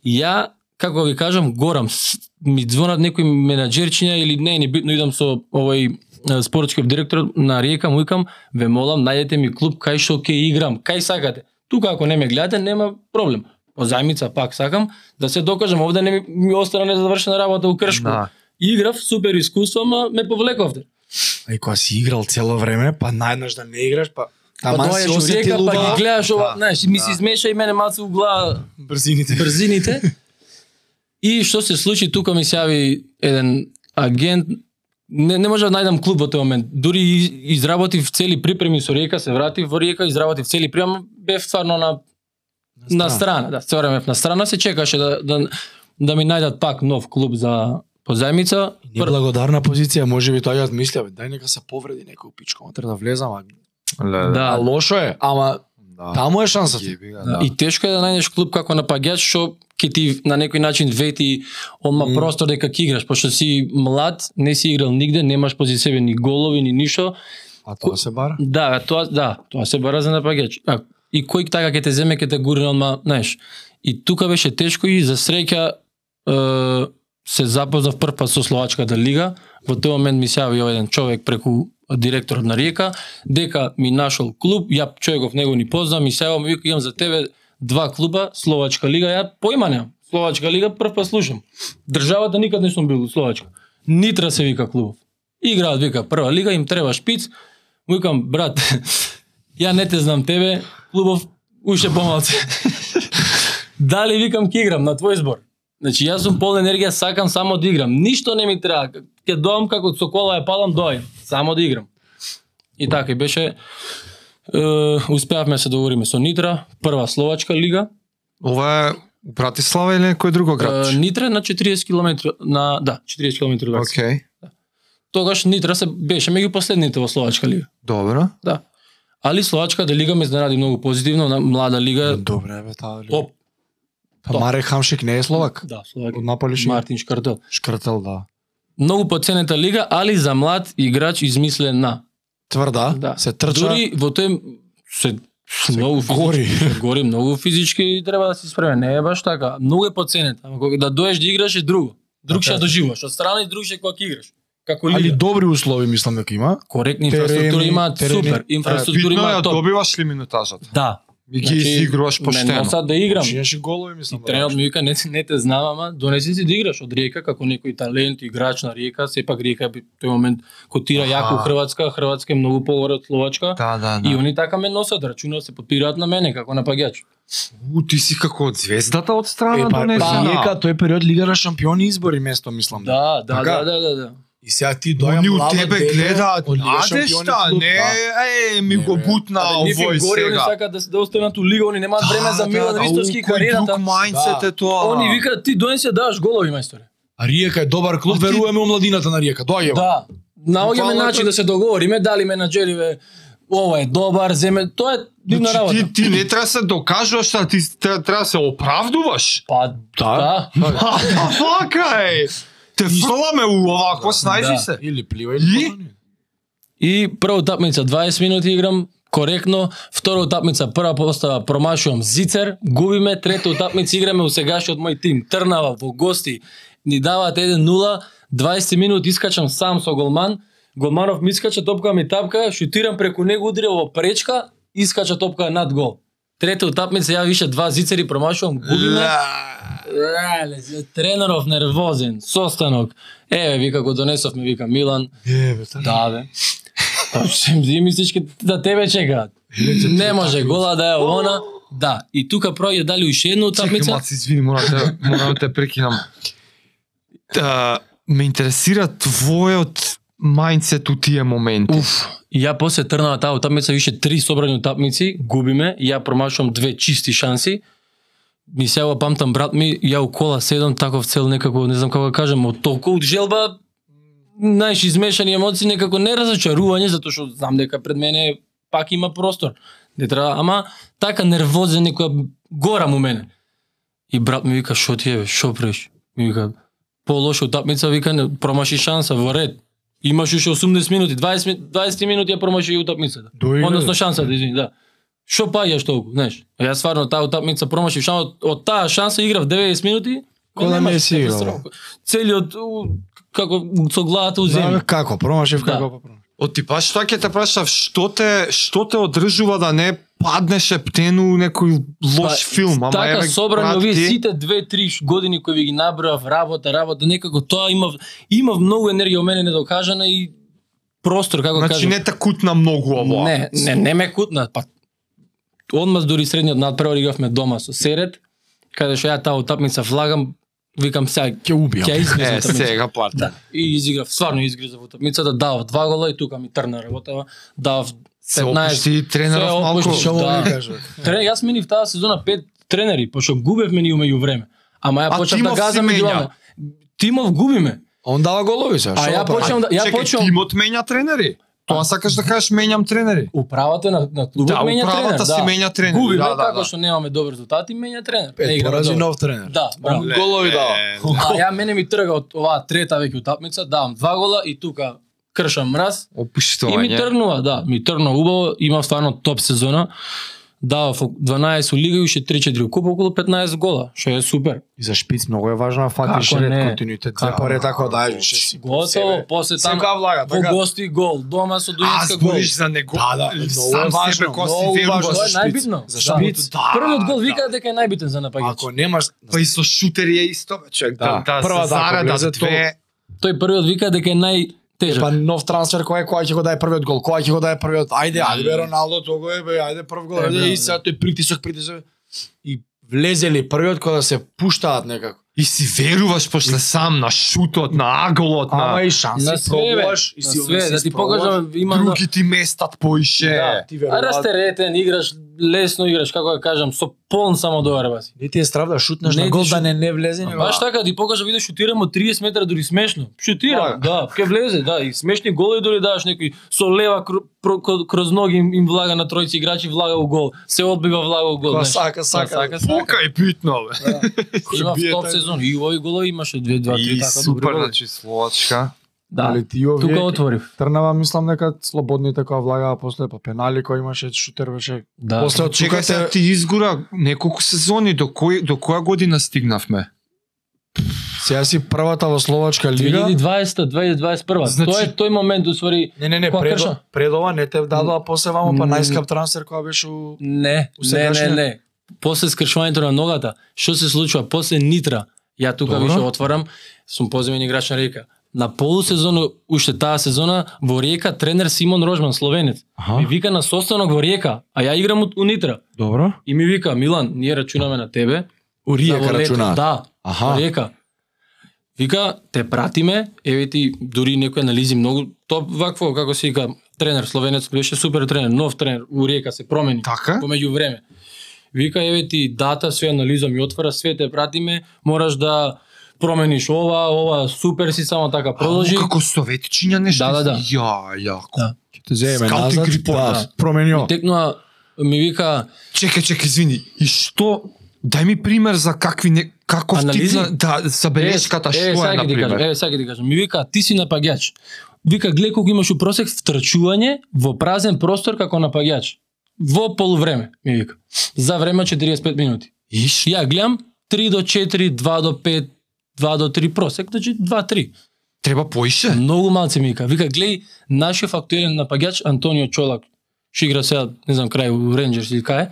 Speaker 1: Ја, како ви кажам, горам, С- ми звонат некои менаџерчиња или не, не битно, идам со овој е, спортскиот директор на Ријека, му викам, ве молам, најдете ми клуб кај што ќе играм, кај сакате. Тука ако не ме гледате, нема проблем. Позајмица пак сакам да се докажам, овде не ми, ми остана незавршена работа у Кршко.
Speaker 4: Да.
Speaker 1: Играв супер искуство, ама ме повлековте.
Speaker 3: А и кога си играл цело време, па најднаш да не играш, па
Speaker 1: Па
Speaker 3: Таман си
Speaker 1: доаѓаш у река,
Speaker 3: осетил
Speaker 1: па
Speaker 3: убаво.
Speaker 1: ги гледаш ова,
Speaker 2: Да,
Speaker 1: знаеш, ми се
Speaker 2: да.
Speaker 1: измеша и мене малце у глава
Speaker 3: брзините.
Speaker 1: брзините. И што се случи, тука ми се јави еден агент, не, не можам да најдам клуб во тој момент. Дури и- изработив цели припреми со Ријека, се вратив во Ријека, изработив цели прием, бев стварно на
Speaker 3: така.
Speaker 1: на страна, да, цело време бев на страна, се чекаше да, да, да ми најдат пак нов клуб за позајмица.
Speaker 3: И Неблагодарна позиција, може би тоа ја мисля, бе, дај нека се повреди некој пичко, утре да влезам, а,
Speaker 4: Ле,
Speaker 1: Да.
Speaker 3: а лошо е, ама
Speaker 4: да.
Speaker 3: таму е шансата.
Speaker 4: Јеби га,
Speaker 1: Да. И тешко е да најдеш клуб како напаѓач што ќе ти на некој начин вети онма
Speaker 3: Мм.
Speaker 1: mm. простор дека ќе играш, пошто си млад, не си играл нигде, немаш пози себе ни голови ни ништо.
Speaker 3: А тоа се бара.
Speaker 1: Да, тоа да, тоа се бара за напаѓач. А, и кој така ќе те земе ќе те гурне одма, знаеш. И тука беше тешко и за среќа е, се запознав прв пат со Словачката лига. Во тој момент ми се јави овој еден човек преку директорот на Ријека, дека ми нашол клуб, ја човеков него ни познам и се јава ми вика имам за тебе два клуба, Словачка лига, ја појма немам. Словачка лига прв пат слушам. Државата никад не сум бил у Словачка. Нитра се вика клубов. Играат вика прва лига, им треба шпиц. Му викам брат, ја не те знам тебе, клубов уште помалце. Дали викам ќе играм на твој збор. Значи јас сум полн енергија, сакам само да играм. Ништо не ми треба. Ќе доам како со кола ја палам, доаѓам, само да играм. И така и беше е, успеавме се договориме со Нитра, прва словачка лига.
Speaker 4: Ова е у Братислава или некој друго град?
Speaker 1: Е, Нитра е на 40 км на да, 40 км.
Speaker 4: Океј.
Speaker 1: Okay. Тогаш Нитра се беше меѓу последните во словачка лига.
Speaker 4: Добро.
Speaker 1: Да. Али Словачката лига ме изнаради многу позитивно, на млада лига,
Speaker 3: Добре, бе, таа лига.
Speaker 1: топ.
Speaker 3: Па Маре Хамшик не е словак.
Speaker 1: Да, Словакија.
Speaker 3: Од Наполи ши...
Speaker 1: Мартин Шкартел.
Speaker 3: Шкртел, да.
Speaker 1: Многу поценета лига, али за млад играч измислена.
Speaker 3: Тврда,
Speaker 1: Да.
Speaker 3: се трча,
Speaker 1: Дури во тој се, многу физички-
Speaker 3: гори.
Speaker 1: се гори многу физички и треба да се спреме. Не е баш така. Многу е поценета, ама кога да доеш да играш е друго. Друг
Speaker 3: Така
Speaker 1: ќе
Speaker 3: е.
Speaker 1: доживуваш, од страна и друг ќе кога ќе играш. Како
Speaker 3: али
Speaker 1: лига.
Speaker 3: добри услови мислам дека има.
Speaker 1: Коректни
Speaker 3: терени,
Speaker 1: инфраструктура имаат
Speaker 3: терени.
Speaker 1: супер, инфраструктура
Speaker 2: Битно е,
Speaker 1: имаат
Speaker 2: ја
Speaker 1: топ.
Speaker 2: добиваш ли минутажата?
Speaker 1: Да.
Speaker 2: Ми ги
Speaker 1: Значи,
Speaker 2: изигруваш
Speaker 1: Ме
Speaker 2: поштено.
Speaker 1: носат да играм.
Speaker 3: Чинеше голови мислам.
Speaker 1: И тренерот ми вика не, те- не те знам, ама донеси си да играш од Ријека како некој талент, играч на Ријека, сепак Ријека би- тој момент котира јако у
Speaker 4: Аха.
Speaker 1: Хрватска, Хрватска е многу погоре од Словачка.
Speaker 4: Да, да,
Speaker 1: И
Speaker 4: да.
Speaker 1: они така ме носат, рачунат се подпираат на мене како напаѓач.
Speaker 4: У, ти си како од звездата од
Speaker 3: Е,
Speaker 4: страна
Speaker 3: па,
Speaker 4: донесе.
Speaker 3: па,
Speaker 4: Да.
Speaker 3: Ријека тој период Лига на шампиони избори место, мислам.
Speaker 1: Да, да,
Speaker 2: Така?
Speaker 1: да, да, да, да.
Speaker 3: И сега ти доја
Speaker 2: Они у
Speaker 3: млада
Speaker 2: тебе
Speaker 3: дете
Speaker 2: гледаат,
Speaker 3: од Лига
Speaker 2: аде
Speaker 3: шампиони
Speaker 2: шта,
Speaker 3: клуб,
Speaker 2: не,
Speaker 3: да.
Speaker 2: е, ми
Speaker 3: Не,
Speaker 2: го
Speaker 3: бе.
Speaker 2: бутна
Speaker 1: па». Абе, нив им
Speaker 2: овој
Speaker 1: гори, они
Speaker 2: сега. Да,
Speaker 1: сакаат да, се- да останат у лига, они немаат време за Милан Ристовски и кариерата. Да.
Speaker 2: мајндсет е тоа.
Speaker 1: Они викаат ти донесе даваш голови мајсторе.
Speaker 3: А Ријека е добар клуб,
Speaker 1: А ти-
Speaker 3: веруваме у младината на Ријека. Доаѓа. бе.
Speaker 1: Да. Наоѓаме
Speaker 2: Буквално
Speaker 1: начин
Speaker 2: тоа-
Speaker 1: да се договориме, дали менаџериве ова е добар, земе, тоа е дивна
Speaker 2: Значи,
Speaker 1: работа.
Speaker 2: Ти, ти не треба се докажуваш, а ти тре- треба да се оправдуваш.
Speaker 1: Па, да.
Speaker 2: А, да, фака е! Те фрламе у овако,
Speaker 1: Да.
Speaker 2: снајди се.
Speaker 3: Или плива
Speaker 2: И?
Speaker 3: или плавање.
Speaker 1: И прва утапница 20 минути играм коректно, втора утапница прва постава промашувам Зицер, губиме, трета утапница играме у сегашниот мој тим Трнава во гости. Ни даваат 1-0, 20 минути искачам сам со голман. Голманов ми искача топка ми тапка, шутирам преку него, удрил во пречка, искача топка над гол. Трета утапница, ја више два зицери промашувам, губиме. Леле, тренеров нервозен, состанок. Еве, вика, го донесовме, вика, Милан.
Speaker 3: Е, бе, та-
Speaker 1: Да, бе. Па, шем, ти мислиш ке да тебе чекаат. Не може, гола да е она. Да, и тука пројде дали уште една
Speaker 2: Чекай,
Speaker 1: утапница.
Speaker 2: маци, извини, морам те, морам те прекинам. Та, ме интересира твојот мајндсет у тие моменти.
Speaker 1: Уф, и ја после трнава таа утапница више три собрани утапници, губиме, и ја промашувам две чисти шанси. Ми сега го памтам брат ми, ја у кола седам таков цел некако, не знам како да кажам, од толку од желба знаеш измешани емоции некако не разочарување затоа што знам дека пред мене пак има простор. Не треба, ама така нервозен некоја гора му мене. И брат ми вика, шо ти е, бе, шо преш? Ми вика, по-лоша утапница, вика, не, промаши шанса, во ред. Имаш уште 18 минути, 20, ми- 20 минути ја промаши и утапницата.
Speaker 3: Доигра,
Speaker 1: Односно
Speaker 3: бе.
Speaker 1: шансата, извини, да. Шо паѓаш толку, знаеш? А Јас стварно таа утапница промашив шанс, од, од таа шанса играв 90 минути.
Speaker 3: Кој да
Speaker 1: немаш
Speaker 3: не си играл, бе.
Speaker 1: катастрофа. Целиот у, како со главата
Speaker 2: Да,
Speaker 1: у
Speaker 3: Знам
Speaker 1: земја.
Speaker 3: како, промашив
Speaker 1: Да.
Speaker 3: како попромашив.
Speaker 2: Од ти баш тоа ќе те прашав, што те, што те одржува да не паднеш ептену у некој лош
Speaker 1: Па,
Speaker 2: филм, ама
Speaker 1: така
Speaker 2: еве,
Speaker 1: собрано
Speaker 2: брат,
Speaker 1: вие
Speaker 2: ти-
Speaker 1: сите две три ш- години кои ви ги набројав работа, работа, некако тоа има има многу енергија у мене недокажана и простор како
Speaker 2: Значи
Speaker 1: кажам.
Speaker 2: не те кутна многу ова.
Speaker 1: не, не, не ме кутна, па одмаз дури средниот надпревар игравме дома со Серет, каде што ја таа утапница влагам, викам сега
Speaker 3: Ќе убијам.
Speaker 1: ќе излезам
Speaker 2: Е,
Speaker 1: утапница.
Speaker 2: сега плата.
Speaker 1: Да. И изиграв, стварно изиграв утапницата, дав два гола и тука ми трна работава, дав
Speaker 2: Се
Speaker 1: 15
Speaker 2: опушти и тренеров
Speaker 1: се
Speaker 2: малку.
Speaker 1: опушти, шо
Speaker 3: Шо
Speaker 1: Да.
Speaker 3: да. кажа?
Speaker 1: Тре, јас менив таа сезона пет тренери, пошто губевме ни умеѓу време. Ама ја
Speaker 2: А
Speaker 1: почнав да
Speaker 2: тимов си
Speaker 1: газам
Speaker 2: мења.
Speaker 1: и главно. Тимов губиме.
Speaker 3: Он дава голови сега.
Speaker 1: А ја почнам да ја
Speaker 2: Чекай,
Speaker 1: почнам
Speaker 2: тимот менја тренери. Тоа сакаш да кажеш менјам тренери.
Speaker 1: управата на на клубот
Speaker 2: Да,
Speaker 1: менја тренер,
Speaker 2: управата си
Speaker 1: да.
Speaker 2: менја тренер.
Speaker 1: Губиме
Speaker 2: Да, да,
Speaker 1: така
Speaker 2: да.
Speaker 1: што немаме добри резултати, менја тренер. Не
Speaker 3: Е,
Speaker 1: играме
Speaker 3: порази
Speaker 1: добро.
Speaker 3: нов тренер.
Speaker 1: Да, браво.
Speaker 3: Ле, Голови дава.
Speaker 1: А
Speaker 2: да.
Speaker 1: ја мене ми трга од оваа трета веќе утапница, давам два гола и тука кршам мраз. И ми
Speaker 2: Опуштување.
Speaker 1: тргнува, да, ми тргна убаво, има стварно топ сезона. Давав ок- 12 у лига и уште 3-4 купа околу 15 гола, што е супер.
Speaker 3: И за шпиц многу е важно да фатиш
Speaker 1: Како не?
Speaker 3: ред континуитет. Две
Speaker 1: Како
Speaker 3: паре
Speaker 1: не?
Speaker 3: така дајаш ше си.
Speaker 1: Готово, после
Speaker 3: Там
Speaker 1: таму
Speaker 3: каа влага,
Speaker 1: во
Speaker 3: така.
Speaker 1: гости гол, дома со
Speaker 2: Аз
Speaker 1: Дуинска гол.
Speaker 2: бориш за него.
Speaker 3: Да, да, много е
Speaker 2: сам
Speaker 3: важно,
Speaker 2: себе кој
Speaker 3: много
Speaker 2: си верува
Speaker 3: важно.
Speaker 1: Тоа е
Speaker 3: за шпиц.
Speaker 1: најбитно.
Speaker 3: За шпиц, да,
Speaker 1: Првиот гол
Speaker 3: да.
Speaker 1: викаат дека е најбитен за напаѓач.
Speaker 3: Ако немаш
Speaker 2: Па и со шутер е исто, бе, човек. Да,
Speaker 3: Да.
Speaker 2: да,
Speaker 3: Прва
Speaker 2: Прва
Speaker 3: да, ако влезе,
Speaker 2: зарада
Speaker 3: то-
Speaker 2: две.
Speaker 1: Тој првиот вика дека е најтежок.
Speaker 3: па нов трансфер кој е кој ќе го даде првиот гол, кој ќе го даде првиот. Ајде, ајде бе, Роналдо, тоа го е бе, ајде прв гол.
Speaker 1: Е, браво,
Speaker 3: Ајде, и
Speaker 1: да.
Speaker 3: сега тој притисок, притисок. И влезели првиот кога се пуштаат некако.
Speaker 2: И си веруваш пошто сам на шутот, на аголот,
Speaker 3: Ама
Speaker 2: на
Speaker 3: и шанси
Speaker 1: На све, бе,
Speaker 3: пробуваш и
Speaker 1: на
Speaker 3: си
Speaker 1: све, да ти
Speaker 3: испробуваш.
Speaker 1: покажам, има на-
Speaker 2: други ти местат поише.
Speaker 3: Да, ти
Speaker 1: А
Speaker 3: веруваш.
Speaker 1: растеретен, играш лесно, играш, како да кажам, со полн само дојар баси.
Speaker 3: Не ти е страв да шутнеш
Speaker 1: Не
Speaker 3: на
Speaker 1: ти
Speaker 3: гол
Speaker 1: шут-
Speaker 3: да не не влезе.
Speaker 1: Ама
Speaker 3: nego-
Speaker 1: Баш така, ти покажа, видиш, шутирам од 30 метра, дури смешно. Шутирам, да, ке влезе, да, и смешни голи дури даваш некои со лева кр- про- кр- кроз ноги им, им влага на тројци играчи, влага у гол, се одбива влага у гол.
Speaker 3: Кога
Speaker 1: знаеш.
Speaker 3: сака, така, сака.
Speaker 1: сака, сака.
Speaker 2: Пука е битно, бе.
Speaker 1: Има
Speaker 3: бие
Speaker 1: топ
Speaker 3: тај-
Speaker 1: сезон, и овој голови имаше 2 2 3
Speaker 2: И
Speaker 1: така
Speaker 2: супер,
Speaker 1: добри.
Speaker 2: значи, Словачка.
Speaker 1: Да,
Speaker 3: Али ти овие
Speaker 1: тука отворив.
Speaker 3: Трнава мислам дека слободните која влагаа после па пенали кој имаше шутер беше.
Speaker 1: Да.
Speaker 3: После од тука
Speaker 2: Чекај сега
Speaker 3: се
Speaker 2: ти изгора неколку сезони до кој до која година стигнавме?
Speaker 3: сега си првата во словачка лига.
Speaker 1: 2020 2021.
Speaker 2: Значи-
Speaker 1: Тоа е тој момент усвари
Speaker 3: Не, не, не,
Speaker 1: Која
Speaker 3: пред,
Speaker 1: крша?
Speaker 3: пред ова не те дадоа после вамо па
Speaker 1: М.
Speaker 3: најскап трансфер која беше у
Speaker 1: Не,
Speaker 3: У
Speaker 1: не, не,
Speaker 3: сегашниот?
Speaker 1: не. После скршувањето на ногата, што се случува после Нитра? Ја тука
Speaker 3: Добро.
Speaker 1: више отварам, сум поземен играч на Река. На полусезону, уште таа сезона, во Река тренер Симон Рожман, словенец. Ми вика на состанок во Река, а ја играм у- у Нитра.
Speaker 3: Добро.
Speaker 1: И ми вика, Милан, ние рачунаме на тебе.
Speaker 3: Урија
Speaker 1: за во
Speaker 3: ка
Speaker 1: лето.
Speaker 3: рачунаат.
Speaker 1: Да,
Speaker 3: Аха.
Speaker 1: Река. Вика, те пратиме, еве ти дури некои анализи многу топ вакво како се вика тренер словенец беше супер тренер, нов тренер у Река се промени
Speaker 2: Така?
Speaker 1: помеѓу време. Вика, еве ти дата, све анализа ми отвора, све те пратиме, мораш да промениш ова, ова, супер си, само така продолжи.
Speaker 2: Ау, Како советчиња нешто.
Speaker 1: Да, да, да.
Speaker 2: Ја, јако.
Speaker 1: Да.
Speaker 3: Ќе те земеме
Speaker 2: Скаутинг
Speaker 3: назад.
Speaker 2: репорт,
Speaker 3: Да,
Speaker 2: да.
Speaker 3: променио.
Speaker 1: Текнува, ми вика,
Speaker 2: Чекај, чекај, извини. И што? Дај ми пример за какви не каков
Speaker 1: Анализи?
Speaker 2: тип на да забелешката
Speaker 1: е,
Speaker 2: што е
Speaker 1: сега
Speaker 2: на
Speaker 1: ќе ти кажам,
Speaker 2: пример.
Speaker 1: Е, сега ќе ти кажам. Ми вика, ти си напаѓач. Вика, гле колку имаш упросек втрчување во празен простор како напаѓач. Во полувреме, ми вика. За време од 45 минути.
Speaker 2: Иш,
Speaker 1: Ја гледам 3 до 4, 2 до 5, 2 до 3 просек, значи 2-3.
Speaker 2: треба поише.
Speaker 1: Многу малце ми вика. Вика, глеј, нашиот актуелен напаѓач Антонио Чолак, што игра сега, не знам, крај у Рейнджерс или кај, е,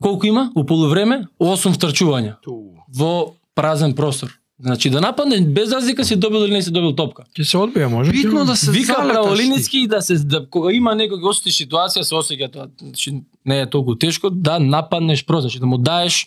Speaker 1: колку има у полувреме? 8 втрчувања во празен простор. Значи да нападне без разлика си добил или не си добил топка.
Speaker 3: Ќе се одбија, може?
Speaker 4: Битно да се
Speaker 1: Вика
Speaker 4: залеташ
Speaker 1: праволински и да се да кога има некој ги осети ситуација се осеќа тоа, значи не е толку тешко да нападнеш просто, значи да му даеш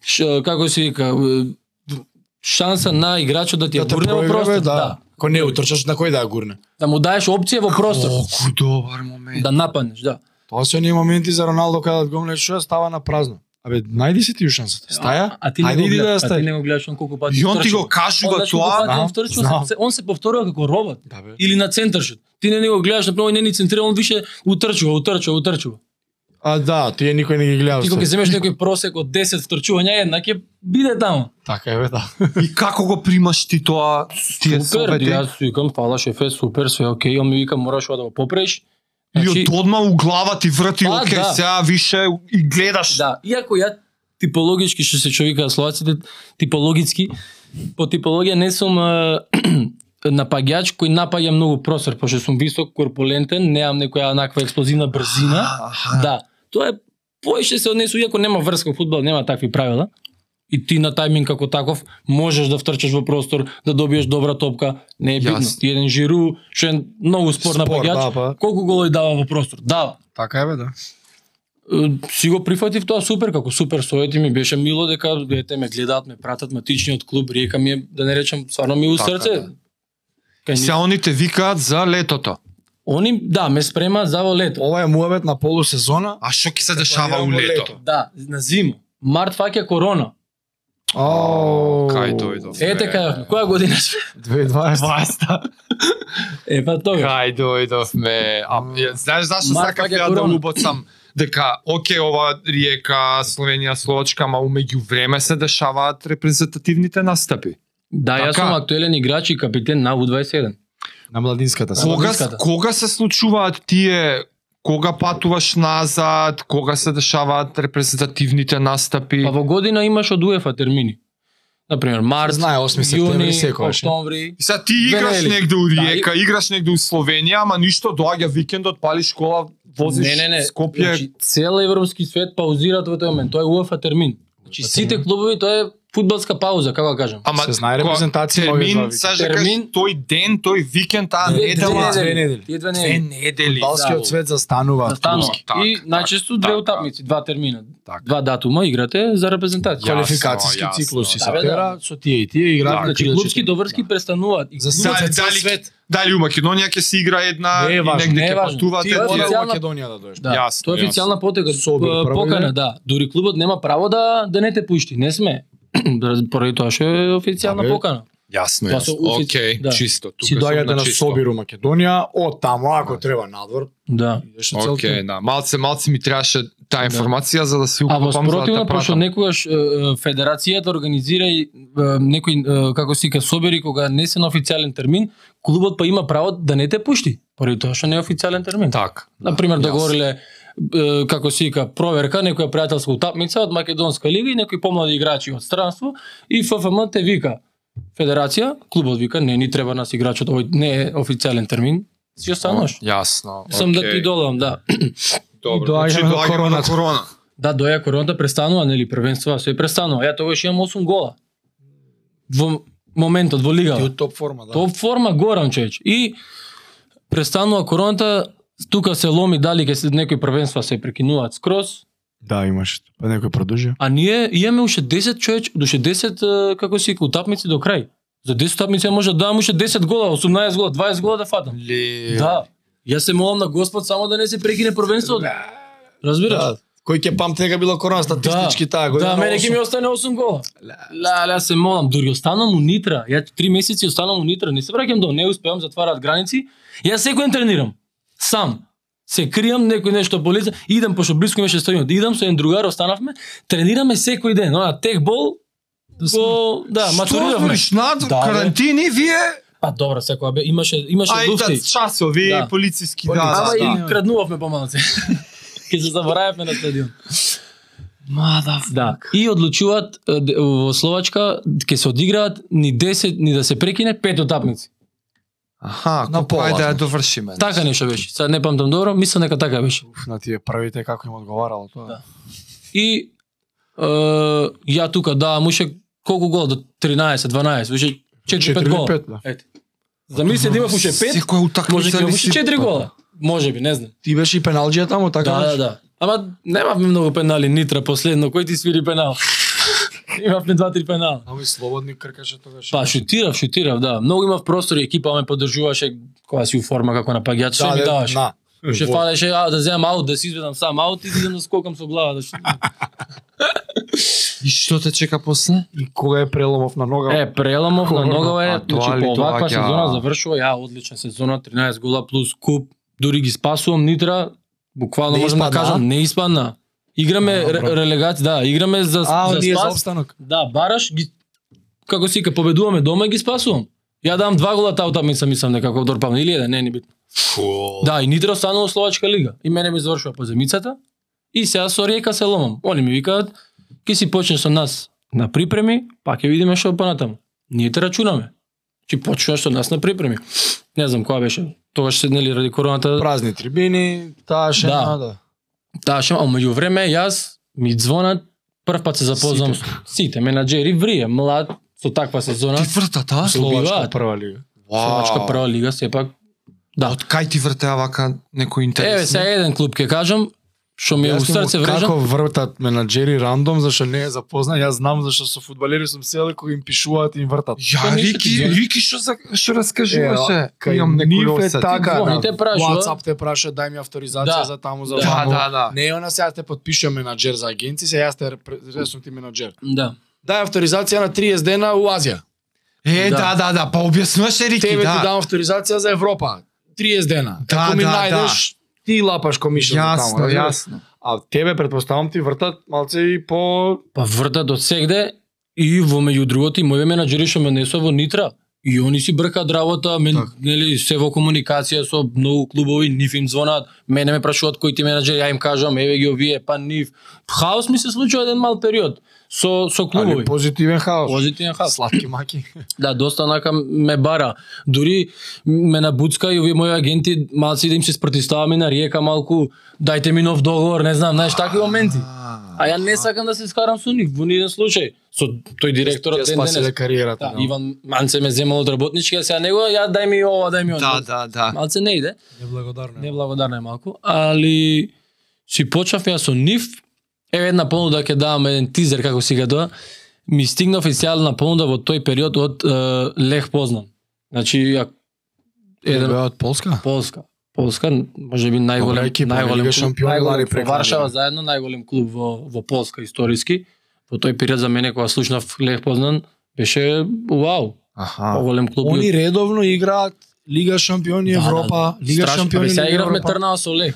Speaker 1: ш, како се вика е, шанса на играчот да ти ја
Speaker 3: да те
Speaker 1: гурне во
Speaker 3: проигра, бе,
Speaker 1: простор,
Speaker 3: да.
Speaker 1: да.
Speaker 3: Ако не утрчаш, на кој да ја гурне?
Speaker 1: Да му даеш опција во простор
Speaker 4: Колку добар момент.
Speaker 1: да нападнеш, да.
Speaker 3: Тоа се оние моменти за Роналдо кога да го млече, што става на празно. Абе, најди си ти шансата. Стаја?
Speaker 1: а ти не
Speaker 3: Ајде
Speaker 1: го
Speaker 3: иди да
Speaker 1: гледаш,
Speaker 3: ја
Speaker 1: а ти
Speaker 3: стај.
Speaker 1: не го гледаш он колку пати.
Speaker 2: И он ти
Speaker 1: втрчува.
Speaker 2: го кажува
Speaker 1: Одаш колку
Speaker 2: тоа,
Speaker 1: пати
Speaker 3: знам,
Speaker 1: он втрчува,
Speaker 3: знам.
Speaker 1: се- он се повторува како робот.
Speaker 3: Да, бе.
Speaker 1: Или на центаршот. Ти не него гледаш, направо не ни центрира, он више утрчува, утрчува, утрчува.
Speaker 3: А да, тие никој не ги гледа.
Speaker 1: Ти
Speaker 3: всед.
Speaker 1: кога ќе земеш некој просек од 10 втрчувања, една ќе биде таму.
Speaker 3: Така е, бе, да.
Speaker 2: И како го примаш ти тоа? Тие
Speaker 1: Супер,
Speaker 2: совети?
Speaker 1: јас викам, фала шефе, супер, све окей, он ми вика мораш ова да го попреш. Значи,
Speaker 2: И од одма у глава ти врти,
Speaker 1: Па,
Speaker 2: окей,
Speaker 1: да.
Speaker 2: сега више и гледаш.
Speaker 1: Да, иако ја типологички што се човика словаците, типологички, по типологија не сум е, напаѓач кој напаѓа многу просор, пошто сум висок, корпулентен, немам некоја онаква експлозивна брзина.
Speaker 2: Аха.
Speaker 1: Да, тоа е поише се однесува, иако нема врска во фудбал, нема такви правила. И ти на тајминг како таков можеш да втрчаш во простор, да добиеш добра топка, не е битно.
Speaker 4: Јасно.
Speaker 1: Ти еден Жиру, што е многу спор, напаѓач,
Speaker 3: да, па.
Speaker 1: колку голови дава во простор? Дава.
Speaker 3: Така е, бе, да.
Speaker 1: Е, си го прифатив тоа супер, како супер совети ми беше мило дека дете ме гледаат, ме пратат матичниот клуб, ријека ми е, да не речам, стварно ми е у
Speaker 2: Така,
Speaker 1: срце.
Speaker 2: да.
Speaker 1: Кај
Speaker 2: Сега
Speaker 1: нив.
Speaker 2: они те викаат за летото.
Speaker 1: Они, да, ме спрема за во лето.
Speaker 3: Ова е муабет на полусезона.
Speaker 2: А што ќе се дешава у
Speaker 3: Планирано
Speaker 2: лето?
Speaker 1: Да, на зима. Март фаќа корона.
Speaker 3: Ау.
Speaker 2: Кај дојдов.
Speaker 1: Ете кај, која година сме?
Speaker 3: 2020.
Speaker 2: Васта.
Speaker 1: Е, па тоа.
Speaker 2: Кај дојдовме. А, е, знаеш зашто
Speaker 1: Март
Speaker 2: сакав
Speaker 1: пак е
Speaker 2: ја да
Speaker 1: корона.
Speaker 2: убоцам дека оке ова Риека, Словенија, Словачка, ама умеѓу време се дешаваат репрезентативните настапи.
Speaker 1: Да, јас
Speaker 2: Така.
Speaker 1: сум актуелен играч и капитен на У21.
Speaker 3: На младинската. се.
Speaker 2: Кога
Speaker 1: Младинската.
Speaker 2: кога се случуваат тие кога патуваш назад, кога се дешаваат репрезентативните настапи?
Speaker 1: Па во година имаш од УЕФА термини. Например, март,
Speaker 3: Знае, 8 септември, секогаш.
Speaker 1: октомври.
Speaker 2: И Сега ти играш
Speaker 1: Венели.
Speaker 2: негде у
Speaker 1: Да,
Speaker 2: Риека, играш негде у Словенија, ама ништо, доаѓа викендот, палиш кола, возиш
Speaker 1: не, не, не.
Speaker 2: Скопје.
Speaker 1: Значи, цел европски свет паузираат во тој момент. Тоа е УЕФА термин. Значи сите клубови тоа е фудбалска пауза, како да кажам.
Speaker 2: ама
Speaker 3: се знае
Speaker 2: која-
Speaker 3: репрезентација овие два
Speaker 2: термин,
Speaker 3: викенда.
Speaker 2: саж да кажеш,
Speaker 1: Термин.
Speaker 2: тој ден, тој викенд, таа
Speaker 1: Две-
Speaker 2: недела,
Speaker 1: две
Speaker 3: две
Speaker 1: недели.
Speaker 3: недели.
Speaker 1: Тие две
Speaker 2: две
Speaker 1: недели.
Speaker 2: недели.
Speaker 3: Балскиот свет застанува.
Speaker 1: Застанува.
Speaker 2: клубски. Така,
Speaker 1: И
Speaker 2: така,
Speaker 1: најчесто две
Speaker 2: така.
Speaker 1: утакмици, два термина,
Speaker 2: Така.
Speaker 1: два датума играте за репрезентација.
Speaker 2: Јасно,
Speaker 3: Квалификацијски
Speaker 2: јасно,
Speaker 3: циклуси
Speaker 1: да,
Speaker 3: се
Speaker 1: бе,
Speaker 3: тера со тие и тие играат.
Speaker 1: Значи клубски доврски престануваат. И
Speaker 3: За
Speaker 1: клуб-
Speaker 3: сега
Speaker 2: Дали-
Speaker 3: за цел
Speaker 2: дали-
Speaker 3: свет.
Speaker 2: Дали у Македонија ќе се игра една,
Speaker 3: Не е
Speaker 2: и
Speaker 3: важно,
Speaker 2: негде
Speaker 1: не е
Speaker 2: ќе
Speaker 1: важно.
Speaker 2: патуваат.
Speaker 3: Ти
Speaker 1: Тоа е
Speaker 3: е
Speaker 2: тие-
Speaker 1: официјално-
Speaker 3: во Македонија да дојдеш.
Speaker 1: Да,
Speaker 2: Јасно,
Speaker 1: тоа е официјална потега,
Speaker 3: Собер,
Speaker 1: п-
Speaker 3: прво
Speaker 1: покана,
Speaker 3: не.
Speaker 1: да. Дури клубот нема право да да не те пушти, не сме. Раз- Поради тоа што е официјална
Speaker 3: Абе,
Speaker 1: покана.
Speaker 2: Јасно,
Speaker 1: Тоа се
Speaker 2: јасно.
Speaker 1: офици-
Speaker 2: Океј,
Speaker 1: да.
Speaker 2: чисто. Тука
Speaker 3: Си
Speaker 2: сум
Speaker 3: доаѓа да
Speaker 2: на
Speaker 3: на
Speaker 2: чисто.
Speaker 3: Собиру Македонија, од таму ако треба надвор.
Speaker 1: Да.
Speaker 3: идеш со цел
Speaker 2: Океј,
Speaker 3: тим.
Speaker 2: да. Малце, малце ми требаше таа информација за да се
Speaker 1: А во
Speaker 2: укопам за да
Speaker 1: спротивно,
Speaker 2: те
Speaker 1: пошто
Speaker 2: пратам.
Speaker 1: некогаш е, е, федерацијата да организира и е, некој е, како се вика собери кога не се на официјален термин, клубот па има право да не те пушти, поради тоа што не е официјален термин.
Speaker 2: Так.
Speaker 1: На пример договориле е, како се вика проверка некоја пријателска утапница од македонска лига и некои помлади играчи од странство и ФФМ те вика федерација, клубот вика не ни треба нас играчот, овој не е официјален термин, си остануваш.
Speaker 2: Јасно.
Speaker 1: Сум да
Speaker 2: океј.
Speaker 1: ти долам, да.
Speaker 2: Добро,
Speaker 3: И доаѓаме
Speaker 2: значи,
Speaker 3: на
Speaker 2: доаѓаме на
Speaker 3: короната.
Speaker 2: корона.
Speaker 1: Да, доја короната престанува, нели, првенства, се престанува. Ја тогаш имам 8 гола. Во моментот во лига.
Speaker 3: Ти од топ форма, да.
Speaker 1: Топ форма горам човече. И престанува короната, тука се ломи дали ќе се некои првенства се прекинуваат скрос,
Speaker 3: Да, имаш. Па некој продолжи.
Speaker 1: а ние имаме уште 10 човеч, уште 10 е, како се вика, утапници до крај. За 10 утапници ја може да дам уште 10 гола, 18 гола, 20 гола да фатам.
Speaker 2: Ле...
Speaker 1: Да. Јас се молам на Господ само да не се прекине првенството. Разбираш?
Speaker 3: Да, кој ќе памти дека било корона статистички таа година.
Speaker 1: Да, мене ќе ми остане 8 гола. Ла, ла, се молам, дури останам унитра. Ја 3 месеци останам унитра, не се враќам до, не успевам, затвараат граници. Ја секој ден тренирам. Сам. Се криам, некој нешто болеца, идам пошто блиску имаше стадионот. Идам со еден другар, останавме, тренираме секој ден. Она техбол го да,
Speaker 2: Што
Speaker 1: матурираме.
Speaker 2: збориш
Speaker 1: Да,
Speaker 2: над
Speaker 1: бе.
Speaker 2: карантини вие?
Speaker 1: Па добро, секоја бе, имаше имаше
Speaker 2: Ај
Speaker 1: луфти.
Speaker 2: да часови
Speaker 1: Да.
Speaker 2: полициски да.
Speaker 1: Ама
Speaker 2: да, да.
Speaker 1: и краднувавме помалце. Ке се заборавевме на стадион.
Speaker 4: Мада.
Speaker 1: Да. И одлучуваат е, де- во Словачка ќе се одиграат ни 10 ни да се прекине пет утапници.
Speaker 2: Аха,
Speaker 3: На
Speaker 2: колко ајде да ја
Speaker 3: поважно.
Speaker 2: довршиме.
Speaker 1: Така нешто беше. Сега не памтам добро, мислам дека така беше.
Speaker 3: Уф, на тие првите како им одговарало тоа.
Speaker 1: Да. И е, ја тука давам уште колку гола до 13, 12, уште 4-5
Speaker 3: или
Speaker 1: гола.
Speaker 3: пет, да.
Speaker 1: Ете. Замисли да имав уште 5,
Speaker 2: Секоја утакмица
Speaker 1: може да имав
Speaker 2: ли
Speaker 1: уште
Speaker 2: си-
Speaker 1: 4 гола. Може би, не знам.
Speaker 3: Па, Ти беше и пеналџија таму, така?
Speaker 1: Да, да, да. Ама немавме многу пенали нитра последно, кој ти свири пенал? имавме 2-3 пенала.
Speaker 3: Таму и слободни кркаше тогаш.
Speaker 1: Па шутирав, шутирав, да. Многу имав простор и екипа ме поддржуваше кога си у форма како напаѓач, да, ми
Speaker 3: де-
Speaker 1: даваше.
Speaker 3: на.
Speaker 1: Ше фалеше а да земам аут, да си изведам сам аут и да идам да скокам со глава да шут-
Speaker 2: И што те чека после?
Speaker 3: И кога е преломов на нога?
Speaker 1: Е, преломов на
Speaker 2: Корно.
Speaker 1: ногава е,
Speaker 2: А тоа
Speaker 1: значи
Speaker 2: ли
Speaker 1: по оваква
Speaker 2: доаѓа?
Speaker 1: сезона завршува ја одлична сезона, 13 гола плюс куп, дури ги спасувам Нитра, буквално
Speaker 3: Не
Speaker 1: можам да
Speaker 3: испадна?
Speaker 1: кажам, не испадна. Играме
Speaker 3: Добро.
Speaker 1: ре- релегација, да, играме за
Speaker 3: а,
Speaker 1: за
Speaker 3: оние за
Speaker 1: спас.
Speaker 3: обстанок.
Speaker 1: Да, бараш ги како си ка победуваме дома и ги спасувам. Ја дам два гола таа утамица мислам некако дорпам или еден, не е ни битно. Да, и Нитра останува во Словачка лига и мене ми завршува поземицата и сега со Ријека се ломам. Они ми викаат ќе си почнеш со нас на припреми, па ќе видиме што понатаму. Ние те рачунаме. Чи почнуваш со нас на припреми. Не знам која беше. Тогаш се нели ради короната
Speaker 3: Празни трибини, таа ше
Speaker 1: Да.
Speaker 3: да. да.
Speaker 1: Таше, а меѓу време јас ми звонат, прв пат се запознам сите, сите менаџери врие, млад со таква сезона.
Speaker 2: Ти вртат, а?
Speaker 1: Се убиваат.
Speaker 3: прва лига.
Speaker 1: Словачка прва лига сепак. Да.
Speaker 2: Од кај ти вртеа вака некој интересно?
Speaker 1: Еве сега еден клуб ќе кажам, што ми е у
Speaker 3: Јас
Speaker 1: срце
Speaker 3: му
Speaker 1: врежа.
Speaker 3: Како вртат менаџери рандом зашто не е запознат, јас знам зашто со фудбалери сум седел и кога им пишуваат им вртат.
Speaker 1: Па
Speaker 2: Ја,
Speaker 1: ништо ти
Speaker 2: Рики,
Speaker 1: знаеш.
Speaker 2: Рики што за што раскажуваше?
Speaker 3: кај
Speaker 2: Имам
Speaker 3: нив
Speaker 2: некој
Speaker 3: е
Speaker 2: осет.
Speaker 3: така,
Speaker 1: Они
Speaker 3: да.
Speaker 1: те прашува.
Speaker 3: WhatsApp те праша дај ми авторизација
Speaker 1: Да.
Speaker 3: за таму за
Speaker 1: Да.
Speaker 2: Да,
Speaker 3: таму.
Speaker 2: да, да.
Speaker 3: Не е она сега те подпишувам менаџер за агенци, сега јас те репре- јас сум ти менаџер.
Speaker 1: Да.
Speaker 3: Дај авторизација на 30 дена у Азија.
Speaker 2: Е, да, да, да, па објаснуваше Рики,
Speaker 3: Тебе ти
Speaker 2: да.
Speaker 3: дам авторизација за Европа. 30 дена.
Speaker 2: Да,
Speaker 3: Како ми
Speaker 2: да,
Speaker 3: најдеш, ти лапаш комишен
Speaker 2: Јасно,
Speaker 3: таму. разбираш?
Speaker 2: јасно.
Speaker 3: А тебе предпоставам ти вртат малце и по
Speaker 1: Па врта до сегде и во меѓу другото и моје менаџери што ме несо во Нитра и они си бркаат работа, мен
Speaker 3: Така.
Speaker 1: нели се во комуникација со многу клубови, нив им звонат, мене ме прашуваат кои ти менаџери, ја им кажам, еве ги овие, па нив. Хаос ми се случува еден мал период со со клубови.
Speaker 3: али позитивен хаос.
Speaker 1: Позитивен хаос.
Speaker 3: Сладки маки.
Speaker 1: Да, доста нака ме бара. Дури ме набуцка и овие мои агенти малци да им се спротиставам и на ријека малку, дајте ми нов договор, не знам, знаеш такви моменти. А ја не сакам да се искарам со нив во ниден случај. Со тој директорот
Speaker 3: Ја
Speaker 1: ден денес.
Speaker 3: спаси кариерата.
Speaker 1: Да,
Speaker 3: да.
Speaker 1: Иван Манце ме земал од работнички, а сега него ја дај ми ова, дај ми ова.
Speaker 2: Да, да, да.
Speaker 1: Малце не иде.
Speaker 3: Неблагодарно. е.
Speaker 1: Неблагодарна е малку, али си почнав ја со нив. Еве една понуда ќе давам еден тизер како си га тоа. Ми стигна официјална понуда во тој период од е, Лех Познан. Значи ја еден
Speaker 3: Беа од Полска?
Speaker 1: Полска. Полска, може би најголем,
Speaker 3: Добра екипа,
Speaker 1: најголем
Speaker 3: Лига
Speaker 1: клуб,
Speaker 3: шампиони,
Speaker 1: најголем,
Speaker 3: Лари
Speaker 1: во
Speaker 3: прекрасна
Speaker 1: Варшава
Speaker 3: лига.
Speaker 1: заедно, најголем клуб во, во Полска историски. Во тој период за мене, кога слушнав Лех Познан, беше вау,
Speaker 2: Аха.
Speaker 1: поголем клуб.
Speaker 3: Они редовно играат Лига шампиони
Speaker 1: Да, да.
Speaker 3: Европа, Лига
Speaker 1: Страшно,
Speaker 3: шампиони
Speaker 1: бе, Сега
Speaker 3: Лига
Speaker 1: игравме
Speaker 3: Европа.
Speaker 1: Трнава со Лех.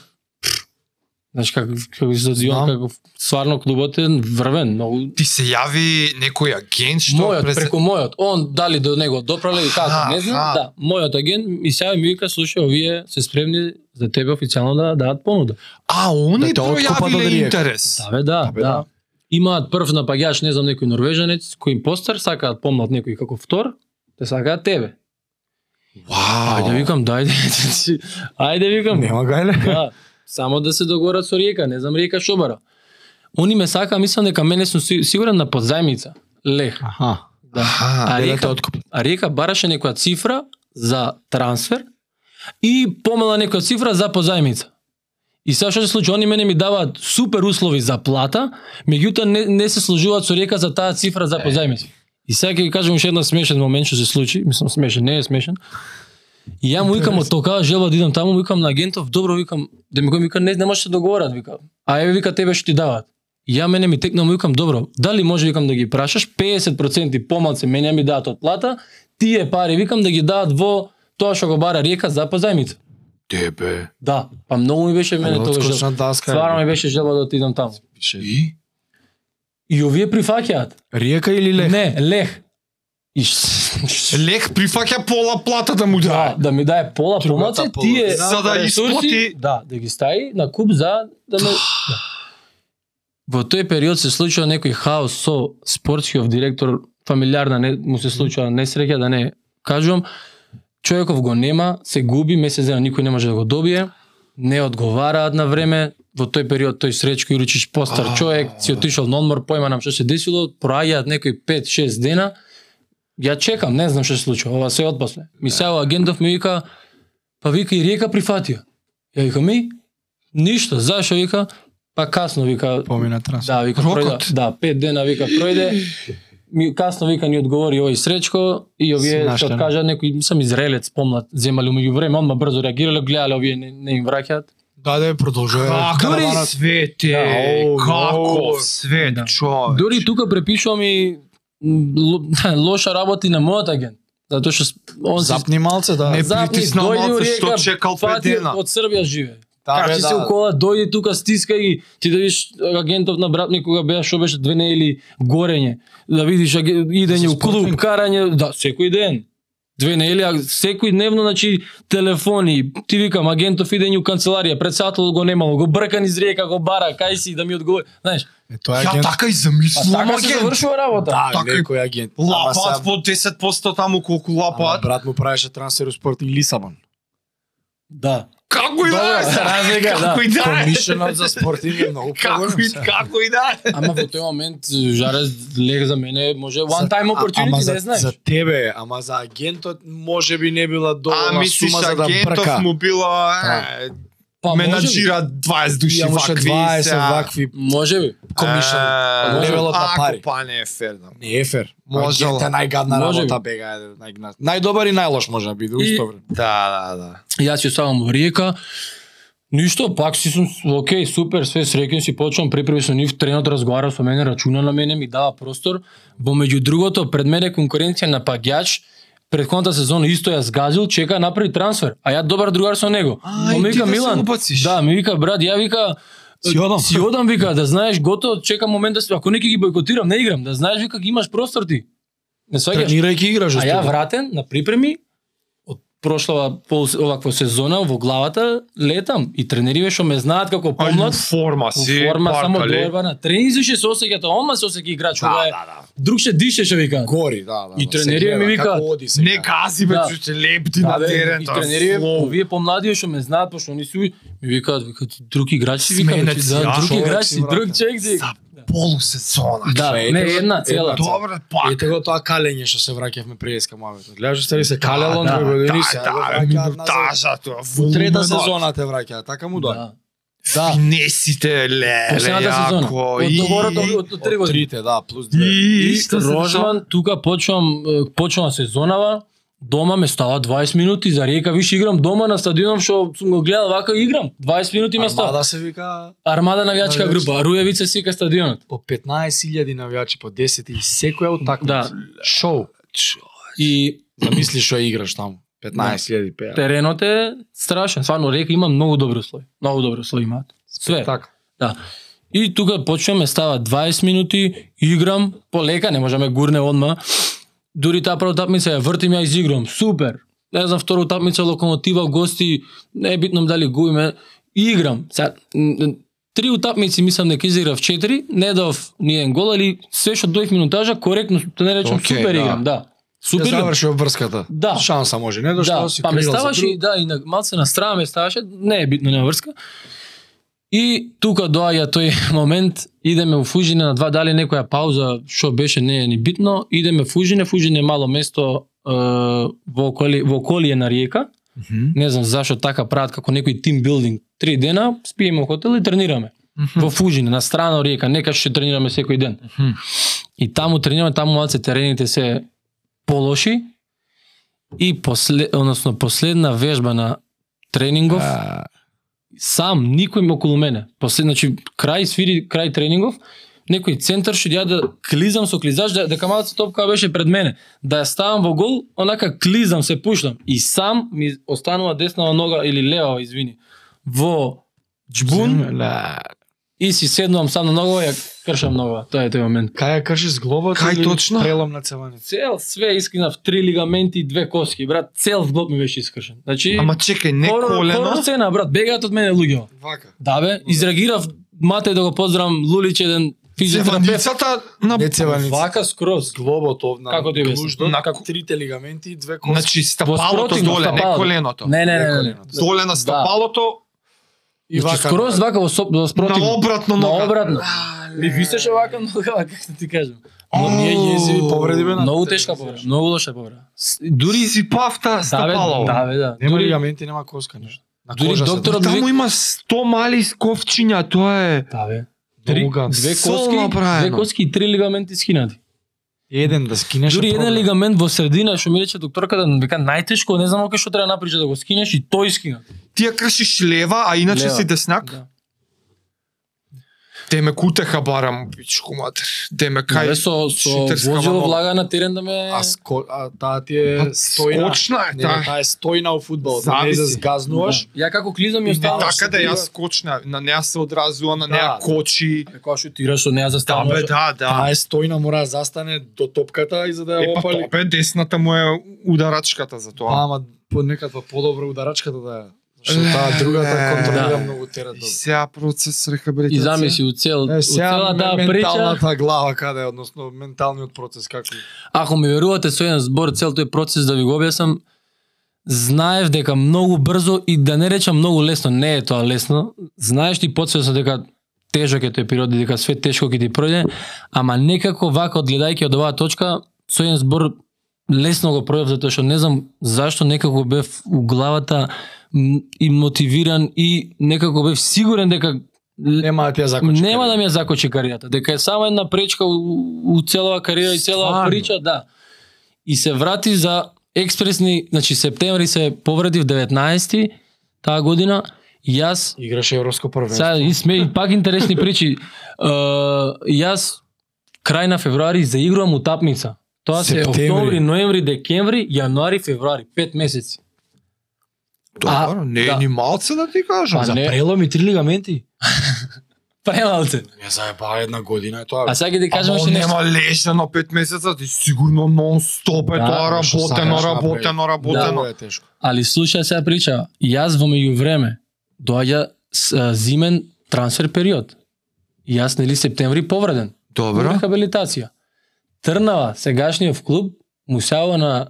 Speaker 1: Знаеш како како се
Speaker 3: Знам.
Speaker 1: зазивам како сварно клубот е врвен, многу
Speaker 2: Ти се јави некој агент што
Speaker 1: мојот
Speaker 2: презен-
Speaker 1: преку мојот. Он дали до него допрале и како,
Speaker 2: Аха,
Speaker 1: не знам,
Speaker 2: аха.
Speaker 1: да. Мојот агент и сега ми вика, слушај, овие се спремни за тебе официјално да дадат понуда.
Speaker 2: А, они
Speaker 3: Да те откупат од
Speaker 2: пројавиле
Speaker 3: Ријека.
Speaker 2: интерес.
Speaker 1: Да бе, да,
Speaker 3: Да,
Speaker 1: да,
Speaker 3: бе, да.
Speaker 1: да. Имаат прв напаѓач, не знам, некој норвежанец, кој им постар, сакаат помнат некој како втор, те сакаат тебе. Ајде
Speaker 2: Вау.
Speaker 1: викам, дајде. Ајде викам.
Speaker 3: Нема гајле.
Speaker 1: Да, само да се договорат со Ријека, не знам Ријека што бара. Они ме сака, мислам дека мене сум си- сигурен на подзајмица. Лех.
Speaker 3: Аха.
Speaker 1: Да.
Speaker 2: Аха.
Speaker 1: А
Speaker 3: Леле те
Speaker 1: Ријека,
Speaker 3: откупи.
Speaker 1: а Ријека бараше некоја цифра за трансфер и помала некоја цифра за позајмица. И сега што се случи, они мене ми даваат супер услови за плата, меѓутоа не, не се служуваат со Ријека за таа цифра за позајмица. И сега ќе ви кажам уште еден смешен момент што се случи, мислам смешен, не е смешен. И ја му викам од тока, желба да идам таму, му викам на агентов, добро викам, да ми кој ми вика не, не може да се договорат, вика. А еве вика тебе што ти даваат. И Ја мене ми текна му викам добро, дали може викам да ги прашаш 50% помалце мене ми дадат од плата, тие пари викам да ги дадат во тоа што го бара река за позајмица.
Speaker 2: Тебе.
Speaker 1: Да, па многу ми беше мене
Speaker 3: Али
Speaker 1: тоа
Speaker 3: отскочна
Speaker 1: желба.
Speaker 3: Данска.
Speaker 1: Стварно ми беше желба да отидам таму.
Speaker 2: И?
Speaker 1: И овие прифаќаат.
Speaker 3: Ријека или Лех?
Speaker 1: Не, лех. И ш- ш-
Speaker 2: Лех прифаќа пола плата да му
Speaker 1: да,
Speaker 2: дае.
Speaker 1: да ми дае пола помалце,
Speaker 3: пола.
Speaker 1: тие
Speaker 2: За да
Speaker 1: ресурси,
Speaker 2: исплати.
Speaker 1: Да, да ги стаи на куп за да не... да. Во тој период се случува некој хаос со спортскиот директор, фамилиарна не, му се случува несреќа, да не кажувам. човеков го нема, се губи, месец дена никој не може да го добие, не одговараат на време, во тој период тој Сречко Јуричич постар човек, си отишол на одмор, појма нам што се десило, проаѓаат некои 5-6 дена, ја чекам, не знам што се случува, ова се отпосле. Ми сега агентов ми вика, па вика и Риека прифатија. Ја вика ми, ништо, зашо вика, па касно вика,
Speaker 3: Помина транс.
Speaker 1: Да, вика
Speaker 2: Рокот?
Speaker 1: пројде. Да, пет дена вика пројде. Ми касно вика ни одговори овој Сречко и овие
Speaker 3: Наште,
Speaker 1: што
Speaker 3: да.
Speaker 1: кажа некој сам Израелец помнат, земали меѓу време, одма брзо реагирале, гледале овие не, не им враќаат.
Speaker 3: Да, да, продолжува.
Speaker 2: Дури
Speaker 3: Караванот.
Speaker 2: свете,
Speaker 3: Да, о,
Speaker 2: како
Speaker 3: о.
Speaker 2: свет,
Speaker 1: Да.
Speaker 2: човек.
Speaker 1: Дури тука препишувам и м, ло- лоша работа и на мојот агент. Затоа што с- он се
Speaker 3: Запни малце, да.
Speaker 2: Не
Speaker 1: запни,
Speaker 2: притисна
Speaker 1: дојде
Speaker 2: малце,
Speaker 1: у Рига,
Speaker 2: што чекал пет
Speaker 1: фати
Speaker 2: дена.
Speaker 1: Од Србија живе.
Speaker 3: Да, бе,
Speaker 1: Качи се
Speaker 3: да.
Speaker 1: у кола, дојди тука, стиска ги, ти да видиш агентов на брат ми кога беше беше две недели горење, да видиш аге- идење
Speaker 3: За
Speaker 1: у клуб,
Speaker 3: спортинг.
Speaker 1: карање, да, секој ден. Две недели, а секој дневно, значи телефони, ти викам агентов идење у канцеларија, председател го немало, го бркан из река, го бара, кај си да ми одговори, знаеш?
Speaker 3: Е, Тоа е
Speaker 2: Ја
Speaker 3: агент.
Speaker 2: така и
Speaker 1: А
Speaker 2: замислувам
Speaker 1: така се
Speaker 2: агент.
Speaker 1: завршува работа.
Speaker 3: Да,
Speaker 2: така и-
Speaker 3: некој агент. Ама сега-
Speaker 2: Лапат по 10% таму колку
Speaker 3: Ама
Speaker 2: лапат.
Speaker 3: брат му правеше трансфер у Спортинг Лисабон.
Speaker 1: Да.
Speaker 2: Како и да е,
Speaker 1: Добра, разлика, да.
Speaker 2: како и да е.
Speaker 3: Комишенот за Спортинг е многу
Speaker 2: Како и
Speaker 3: сега.
Speaker 2: како и да е.
Speaker 1: Ама во тој момент Жарес лег за мене може one time
Speaker 3: А- ама
Speaker 1: opportunity,
Speaker 3: за,
Speaker 1: не знаеш.
Speaker 3: За тебе, ама за агентот може би не била
Speaker 2: А
Speaker 3: доволна
Speaker 2: мислиш
Speaker 3: сума за да
Speaker 2: агентов
Speaker 3: брка.
Speaker 2: му било е,
Speaker 1: Па може би.
Speaker 2: менаџира 20 души
Speaker 3: Ја муше
Speaker 2: вакви
Speaker 3: 20
Speaker 2: сега.
Speaker 3: вакви
Speaker 1: Може би.
Speaker 3: комишен.
Speaker 2: Е,
Speaker 3: Може
Speaker 1: да
Speaker 3: велат на пари.
Speaker 2: Ако па не е фер да.
Speaker 3: Не е фер.
Speaker 2: Може
Speaker 3: Агент е најгадна
Speaker 1: Може
Speaker 3: работа бега. е, да, најгна- Најдобар и најлош може да биде у
Speaker 1: И-
Speaker 3: исто време.
Speaker 2: Да, да, да.
Speaker 1: Јас ја ставам во Риека. Ништо, пак си сум, окей, супер, све среќен си, почвам преправи со нив, тренот разговара со мене, рачуна на мене, ми дава простор. Во меѓу другото, пред мене конкуренција на пагјач, предходната сезона исто ја сгазил, чека да направи трансфер, а ја добар другар со него.
Speaker 2: А,
Speaker 1: Му
Speaker 2: и ти да се убациш.
Speaker 1: да, ми вика брат, ја вика
Speaker 3: Си одам.
Speaker 1: Си одам вика, да знаеш, готово, чекам момент да се, ако неки ги бойкотирам, не играм, да знаеш вика, ги имаш простор ти. Не сваѓаш.
Speaker 3: Тренирајќи играш.
Speaker 1: така. А ја
Speaker 3: студент.
Speaker 1: вратен на припреми од прошлава пол оваква сезона во главата летам и тренериве што ме знаат како
Speaker 2: Ај,
Speaker 1: помнат
Speaker 2: форма
Speaker 1: во
Speaker 2: си,
Speaker 1: форма само
Speaker 2: паркале.
Speaker 1: борба на тренинзи ше се осеќа тоа, ома се осеќа играч, да, е,
Speaker 3: да, да.
Speaker 1: друг ше дише што вика.
Speaker 3: Гори, да, да.
Speaker 1: И
Speaker 3: да,
Speaker 1: тренери
Speaker 3: се гледа
Speaker 1: ми викаат,
Speaker 3: како оди сега.
Speaker 2: Не гази бе,
Speaker 1: Да.
Speaker 2: чуќе лепти
Speaker 1: Да,
Speaker 2: на
Speaker 1: бе,
Speaker 2: терен.
Speaker 1: и
Speaker 2: тоа е
Speaker 1: тренери
Speaker 2: слово.
Speaker 1: овие помлади што ме знаат пошто они си ми викаат вика ти друг играч си вика
Speaker 2: Сменец
Speaker 1: значи,
Speaker 2: си,
Speaker 1: да,
Speaker 2: а,
Speaker 1: друг
Speaker 3: човек
Speaker 1: играч
Speaker 3: си,
Speaker 1: си, друг
Speaker 3: брате.
Speaker 1: човек си.
Speaker 2: За полусезона.
Speaker 1: Да,
Speaker 3: Тоа е,
Speaker 1: не
Speaker 3: ето,
Speaker 1: една цела.
Speaker 3: една цела.
Speaker 2: Добро, па.
Speaker 3: Ете го тоа калење што се враќавме пред ска мамето. Гледаш стари се
Speaker 2: Калело
Speaker 3: калело
Speaker 2: да,
Speaker 3: две години се.
Speaker 2: да,
Speaker 1: Така,
Speaker 2: минутажа тоа.
Speaker 3: Во трета
Speaker 2: волуменот.
Speaker 3: сезона те враќа, така му дојде.
Speaker 1: Да. Да,
Speaker 2: Финесите, леле,
Speaker 1: последната сезона.
Speaker 2: јако.
Speaker 1: Од
Speaker 2: и-
Speaker 1: договорот од- од- од три
Speaker 3: Од
Speaker 1: години.
Speaker 3: трите, да, плюс две.
Speaker 2: И,
Speaker 1: И
Speaker 2: и што се дешава?
Speaker 1: Рожман, тука почвам, е, почнува сезонава, дома ме става 20 минути за река, више играм дома на стадионом што сум го гледал вака играм. 20 минути ме става.
Speaker 3: Армада да се вика
Speaker 1: Армада навијачка
Speaker 3: Навијачка.
Speaker 1: група, Руевица сика стадионот.
Speaker 3: по 15.000 навијачи по 10 и секоја
Speaker 1: Да.
Speaker 3: утакмица. Шоу.
Speaker 1: И
Speaker 3: Замисли што играш таму. 15.000 пеа.
Speaker 1: теренот е страшен. Стварно река има многу добри услови. Многу добри услови имаат. Све.
Speaker 3: Така.
Speaker 1: Да. И тука почнеме става 20 минути, играм, полека, не можеме гурне одма. Дури таа прва утапмица ја вртим ја изиграм, супер. Не знам втора утапмица Локомотива гости, не е битно дали губиме, играм. Сега, н- н- три утапмици мислам дека изиграв четири, не дав ниен гол, али се што дојх минутажа коректно, да не речам
Speaker 2: Океј,
Speaker 1: супер
Speaker 2: да.
Speaker 1: играм, да.
Speaker 3: Ја
Speaker 1: Супер. играм.
Speaker 3: заврши врската.
Speaker 1: Да.
Speaker 3: Шанса може, не
Speaker 1: Да,
Speaker 3: дошто си
Speaker 1: па ме
Speaker 3: крило за
Speaker 1: ставаше
Speaker 3: друг.
Speaker 1: и да, и на, малце на страна ме ставаше, не е битно нема врска. И тука доаѓа тој момент, идеме во Фужине на два дали некоја пауза, што беше не е ни битно, идеме во Фужине, Фужине е мало место е, во околи, во околие на река.
Speaker 2: Мгм.
Speaker 1: Не знам зашо така прават како некој тим билдинг. Три дена спиеме во хотел и тренираме. Во Фужине, на страна од река, нека што тренираме секој ден.
Speaker 2: Мгм.
Speaker 1: И таму тренираме, таму малце терените се полоши. И после, односно последна вежба на тренингов,
Speaker 3: А,
Speaker 1: сам никој ме околу мене. После значи крај свири, крај тренингов, некој центар што ја да клизам со клизач да дека малку топка беше пред мене, да ја ставам во гол, онака клизам се пушнам и сам ми останува деснава нога или лева, извини, во џбун
Speaker 2: Ле,
Speaker 1: и си седнувам сам на ногава и ја кршам ногава. Тоа е тој момент.
Speaker 3: Кај ја крши с глобата
Speaker 2: Кај
Speaker 3: или
Speaker 2: точно?
Speaker 3: прелом на цеваница?
Speaker 1: Цел све искинав три лигаменти и две коски, брат, цел зглоб ми беше искршен. Значи
Speaker 2: Ама чекај, не
Speaker 1: хорор- хорор
Speaker 2: колено.
Speaker 1: сцена, брат, бегаат од мене луѓето.
Speaker 3: Вака.
Speaker 1: Да бе, изреагирав Мате да го поздравам Лулич еден
Speaker 3: Физиотерапевт.
Speaker 2: Цеваницата на...
Speaker 3: Не цеваница.
Speaker 1: Вака скроз.
Speaker 3: Глобот овна.
Speaker 1: Како ти обяснам?
Speaker 3: Нужда на
Speaker 2: На-
Speaker 3: како... трите лигаменти и две коски.
Speaker 2: Значи стъпалото
Speaker 1: Воспротивно,
Speaker 2: доле, не
Speaker 1: стъпалото.
Speaker 2: коленото.
Speaker 1: Не, не, не, не, не.
Speaker 2: Доле на стъпалото,
Speaker 3: и
Speaker 1: Значи,
Speaker 3: вака.
Speaker 1: скроз вака во со- во спротив.
Speaker 2: на обратно нога.
Speaker 1: На обратно. Ми висеше вака нога, вака, како да ти кажам.
Speaker 3: Но ние језиви повреди бе на.
Speaker 1: Многу тешка повреда, многу лоша повреда.
Speaker 2: С- Дури си павта
Speaker 1: Да, бе,
Speaker 2: стъпало.
Speaker 1: да, бе, да.
Speaker 3: Нема
Speaker 1: Дури,
Speaker 3: лигаменти, нема коска ништо. На
Speaker 1: дури
Speaker 3: кожа се
Speaker 1: докторот
Speaker 3: држи.
Speaker 1: ми
Speaker 2: Таму има 100 мали сковчиња, тоа е
Speaker 1: да, бе. Три,
Speaker 2: Много гадно.
Speaker 1: две
Speaker 2: Сол
Speaker 1: коски, две
Speaker 2: направено.
Speaker 1: коски и три лигаменти скинати.
Speaker 3: еден да скинеш.
Speaker 1: Дури
Speaker 3: е
Speaker 1: еден
Speaker 3: проблем.
Speaker 1: лигамент во средина, што ми рече докторката, вика најтешко, не знам оке што треба направиш да го скинеш и тој скина.
Speaker 2: Ти ја кршиш лева, а иначе
Speaker 1: Лева.
Speaker 2: си деснак.
Speaker 1: Да.
Speaker 2: Те ме кутеха барам, пичко матер. Те ме
Speaker 1: Кај
Speaker 2: кај...
Speaker 1: со со
Speaker 2: шутерска
Speaker 1: возило
Speaker 2: вагона.
Speaker 1: влага на терен да ме
Speaker 3: А, ско... а таа ти е
Speaker 2: Па,
Speaker 3: стојна.
Speaker 2: Скочна е
Speaker 3: Не, не,
Speaker 2: таа.
Speaker 1: така.
Speaker 3: таа е стојна у фудбал. Да не
Speaker 2: Зависи.
Speaker 3: зазгазнуваш.
Speaker 1: Да. Ја како клизам
Speaker 2: И
Speaker 1: ја
Speaker 2: не
Speaker 1: останувам.
Speaker 2: така да ја скочна, на неа се одразува, на неа
Speaker 3: Да.
Speaker 2: кочи.
Speaker 1: Како шутираш од неа
Speaker 2: Да,
Speaker 1: застануваш.
Speaker 2: бе, да, да.
Speaker 3: Таа е стојна, мора да застане до топката и за да ја
Speaker 2: Е, па
Speaker 3: опали.
Speaker 2: тоа бе, десната му е ударачката за
Speaker 3: Па,
Speaker 2: тоа.
Speaker 3: ама по некаква подобра ударачката да е. Што
Speaker 2: Е,
Speaker 3: таа другата
Speaker 2: да.
Speaker 3: контролира многу терет.
Speaker 2: И сега процес рехабилитација.
Speaker 1: Па, И замисли у цел у
Speaker 3: Е, сега
Speaker 1: цела таа да, прича.
Speaker 3: менталната глава каде е, односно менталниот процес како
Speaker 1: Ако ми верувате со еден збор цел тој процес да ви го објаснам, знаев дека многу брзо и да не речам многу лесно, не е тоа лесно. Знаеш ти подсвесно дека тежок е тој период и дека све тешко ќе ти пројде, ама некако вака одгледајќи од оваа точка, со еден збор лесно го пројав затоа што не знам зашто некако бев у главата м, и мотивиран и некако бев сигурен дека
Speaker 3: нема да ти ја закочи.
Speaker 1: Нема да ми ја закочи кариерата, дека е само една пречка у, у целава кариера и целава
Speaker 2: Стварно?
Speaker 1: прича, да. И се врати за експресни, значи септември се повредив 19 таа година, и јас
Speaker 3: играше европско првенство.
Speaker 1: сега и сме и пак интересни причи. Е, јас крај на февруари заигрувам утапница. Тоа се
Speaker 3: Септември.
Speaker 1: октомври, ноември, декември, јануари, февруари, пет месеци.
Speaker 2: Добро,
Speaker 1: А,
Speaker 2: не
Speaker 1: да.
Speaker 2: е ни малце да ти кажам.
Speaker 1: Па
Speaker 2: За-
Speaker 1: не.
Speaker 3: преломи три лигаменти.
Speaker 1: Премалце.
Speaker 3: Не заебава една година е тоа. бе.
Speaker 1: А сега ќе ти кажам
Speaker 2: Ама
Speaker 1: уште нешто.
Speaker 2: нема лежено пет месеца, ти сигурно нон стоп е
Speaker 1: Да,
Speaker 2: тоа
Speaker 3: ама што
Speaker 2: работено,
Speaker 3: сакаш направи?
Speaker 2: работено,
Speaker 3: Многу
Speaker 2: работено.
Speaker 3: Па, е тешко.
Speaker 1: Али слушај сега прича, јас во меѓувреме доаѓа с, а, зимен трансфер период. Јас нели септември повреден, во
Speaker 2: Добро.
Speaker 1: рехабилитација. Трнава сегашниот клуб му сјава на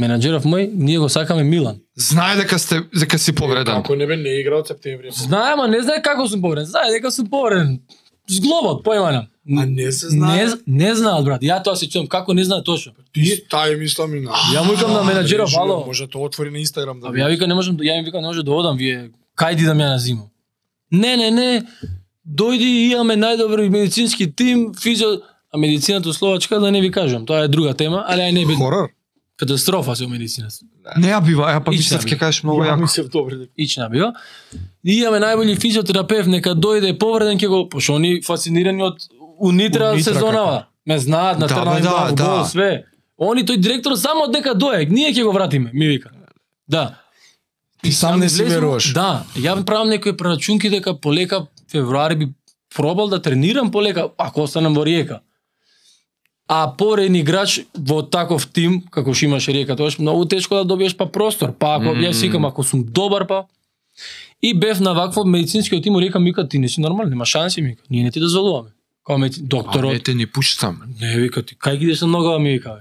Speaker 1: менаџеров мој, ние го сакаме Милан.
Speaker 2: Знае дека сте дека си повреден.
Speaker 3: Ако не бе не играл од септември.
Speaker 1: Знае, ама не знае како сум повреден. Знае дека сум повреден. Зглобот, појма нам.
Speaker 3: А не се знае.
Speaker 1: Не, не знаат, брат. Ја тоа се чудам како не знае точно.
Speaker 3: Ти тај мислам и на.
Speaker 1: Ја му викам на менаџеров,
Speaker 3: Режиот,
Speaker 1: ало.
Speaker 3: Може тоа отвори на Инстаграм да
Speaker 1: Абе, ја вика не можам, ја им викам не може да одам, вие кај ти да ме ја назимам. Не, не, не. Дојди, имаме најдобри медицински тим, физио, а медицината у Словачка да не ви кажам, тоа е друга тема, али ај не би Да.
Speaker 3: хорор.
Speaker 1: катастрофа се у медицината.
Speaker 2: Не ја бива, ја па
Speaker 1: И
Speaker 2: мислев
Speaker 1: сами.
Speaker 2: ќе кажеш многу јако.
Speaker 3: мислев добро дека.
Speaker 1: Ична био. И имаме најbolji физиотерапевт, нека дојде повреден ќе го, пошто они фасцинирани од унитра,
Speaker 2: Унитра,
Speaker 1: сезонава. Ме знаат на
Speaker 2: Да,
Speaker 1: трна
Speaker 2: бе,
Speaker 1: им
Speaker 2: да,
Speaker 1: дава
Speaker 2: да.
Speaker 1: гол, све. Они тој директор само дека дојде, ние ќе го вратиме, ми вика. Да.
Speaker 3: Ти сам не си
Speaker 1: Влезем-
Speaker 3: веруваш.
Speaker 1: Да, ја правам некои прорачунки дека полека февруари би пробал да тренирам полека ако останам во Риека. А порен играч во таков тим како што имаше Риека, тоа е многу тешко да добиеш па простор. Па ако mm. јас викам ако сум добар па и бев на вакво медицинскиот тим у Риека ми вика ти не си нормален, нема шанси ми вика. Ние не ти дозволуваме. Као медици... докторот
Speaker 2: Ете ни пуштам.
Speaker 1: не вика ти кај ги идеш на нога ми вика. бе.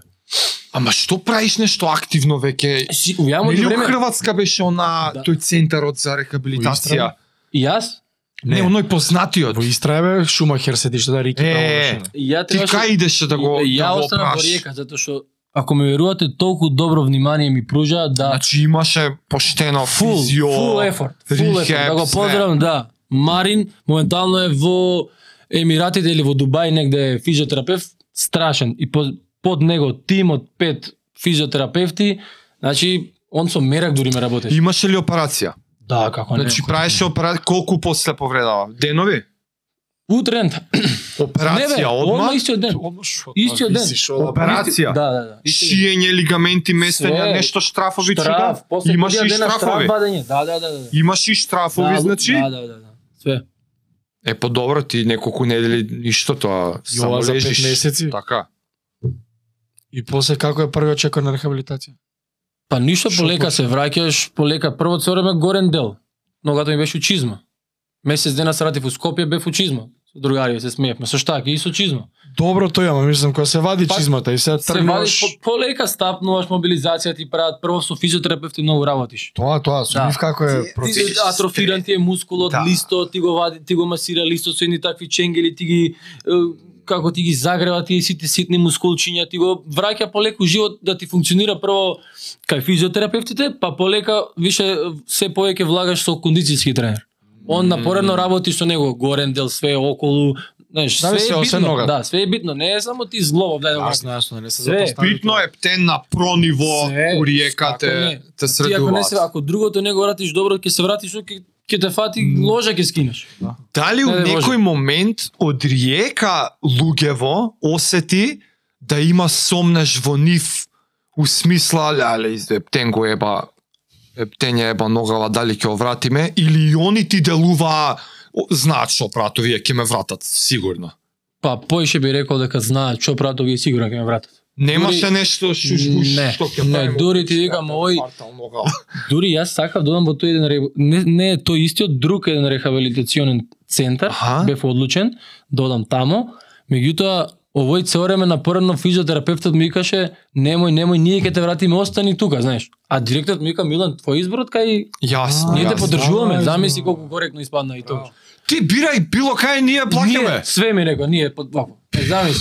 Speaker 2: Ама што правиш нешто активно веќе?
Speaker 1: Е, Си, ја му
Speaker 2: Нели у
Speaker 1: време.
Speaker 2: Хрватска беше она
Speaker 1: Да.
Speaker 2: тој центарот за рехабилитација?
Speaker 1: И јас,
Speaker 2: Не, оној познатиот.
Speaker 3: Во Истра бе Шумахер седиште да
Speaker 2: Е,
Speaker 3: Рики таму беше.
Speaker 1: и ја
Speaker 2: Ти
Speaker 1: требаше
Speaker 2: кај идеше да го
Speaker 1: И-
Speaker 2: да
Speaker 1: ја
Speaker 2: го
Speaker 1: останав во
Speaker 2: опраш?
Speaker 1: Риека затоа што ако ме верувате толку добро внимание ми пружа да
Speaker 2: Значи имаше поштено
Speaker 1: фул
Speaker 2: физио.
Speaker 1: фул ефорт, фул ефорт.
Speaker 2: рихеп,
Speaker 1: Да го
Speaker 2: све.
Speaker 1: поздравам, да. Марин моментално е во Емиратите или во Дубај негде е физиотерапевт страшен и под, под него тим од пет физиотерапевти, значи он со мерак дури ме работеше.
Speaker 2: Имаше ли операција?
Speaker 1: Да, како не.
Speaker 2: Значи правеше операција колку после повредава? Денови?
Speaker 1: Утрен. Не бе,
Speaker 2: Операција
Speaker 1: одма
Speaker 2: одма?
Speaker 1: истиот ден.
Speaker 3: Оно што?
Speaker 1: Истиот ден.
Speaker 3: Виси шо да прави.
Speaker 2: Операција.
Speaker 1: Да, да, да. Истиот ден.
Speaker 2: Шиење, лигаменти,
Speaker 1: Све.
Speaker 2: месења, нешто штрафови
Speaker 1: Штраф,
Speaker 2: чуда.
Speaker 1: после
Speaker 2: Имаше
Speaker 1: година
Speaker 2: да? и
Speaker 1: дена штраф
Speaker 2: штрафови.
Speaker 1: бадење. Да, да, да, да.
Speaker 2: Имаше и штрафови,
Speaker 1: Да,
Speaker 2: значи.
Speaker 1: Да, да, да, да. Све.
Speaker 2: Е, по добро ти неколку недели ништо тоа,
Speaker 3: И ова
Speaker 2: само
Speaker 3: за пет
Speaker 2: лежиш.
Speaker 3: месеци.
Speaker 2: Така.
Speaker 3: И после како е првиот чекор на рехабилитација?
Speaker 1: Па ништо
Speaker 3: Шо
Speaker 1: полека
Speaker 3: почна?
Speaker 1: се враќаш, полека прво цореме горен дел. Ногата ми беше у чизма. Месец дена се вратив у Скопје, бев у чизма. другари се смеевме со штак и со чизма.
Speaker 3: Добро тоа, ама мислам кога се вади
Speaker 1: Па,
Speaker 3: чизмата и се
Speaker 1: Се вади
Speaker 3: тргнуваш.
Speaker 1: по- полека стапнуваш мобилизација ти прават прво со физиотерапевти многу работиш.
Speaker 3: Тоа, тоа, со
Speaker 1: Да.
Speaker 3: нив како е
Speaker 2: Ти-
Speaker 1: Ти,
Speaker 3: процес.
Speaker 1: атрофиран ти е мускулот,
Speaker 2: Да.
Speaker 1: листот, ти го вади, ти го масира листот со едни такви ченгели, ти ги е, како ти ги загрева тие сите ситни мускулчиња, ти го враќа полеку живот да ти функционира прво кај физиотерапевтите, па полека више е, се повеќе влагаш со кондициски тренер. Он напоредно работи со него, горен дел, све околу, знаеш,
Speaker 3: Да,
Speaker 1: све
Speaker 3: бе, се,
Speaker 1: е
Speaker 3: освен
Speaker 1: битно.
Speaker 3: нога.
Speaker 1: Да, све е битно, не е само ти злобов, дај да го
Speaker 3: Јасно, јасно, не се
Speaker 1: Све.
Speaker 3: запостави.
Speaker 2: Битно е птен на прониво
Speaker 1: Се, така
Speaker 2: уриекате
Speaker 1: е.
Speaker 2: те
Speaker 1: Ти ако не
Speaker 2: средуваат.
Speaker 1: се, ако другото не го ратиш добро, ќе се вратиш, ќе ќе те фати ложа ќе скинеш.
Speaker 2: Дали у
Speaker 1: Не, не
Speaker 2: некој момент од риека Лугево осети да има сомнеж во нив у смисла леле изептен го еба ептен ја еба ногава дали ќе овратиме или и они ти делуваа о, знаат што прато вие ќе ме вратат сигурно.
Speaker 1: Па поише би рекол дека знаат што прават овие сигурно ќе ме вратат.
Speaker 2: Немаше нешто шушбуш
Speaker 1: Не,
Speaker 2: што ќе
Speaker 1: не,
Speaker 2: правиме.
Speaker 1: дури ти викам, ој.
Speaker 2: Фартал ногава.
Speaker 1: Дури јас сакав да одам во тој еден ре- не, не е тој истиот друг еден рехабилитационен центар,
Speaker 2: Аха.
Speaker 1: бев одлучен да одам тамо. Меѓутоа овој цело време напоредно физиотерапевтот ми викаше немој, немој, ние ќе те вратиме, остани тука, знаеш. А директорот ми вика Милан, твој изборот кај
Speaker 2: Јасно.
Speaker 1: ние те
Speaker 2: јасно.
Speaker 1: поддржуваме,
Speaker 3: Јасно.
Speaker 1: замисли колку коректно испадна и тоа.
Speaker 2: Ти бирај било кај ние
Speaker 1: Ние,
Speaker 2: плакаме.
Speaker 1: све ми рекол, ние под вако. Е, замисли.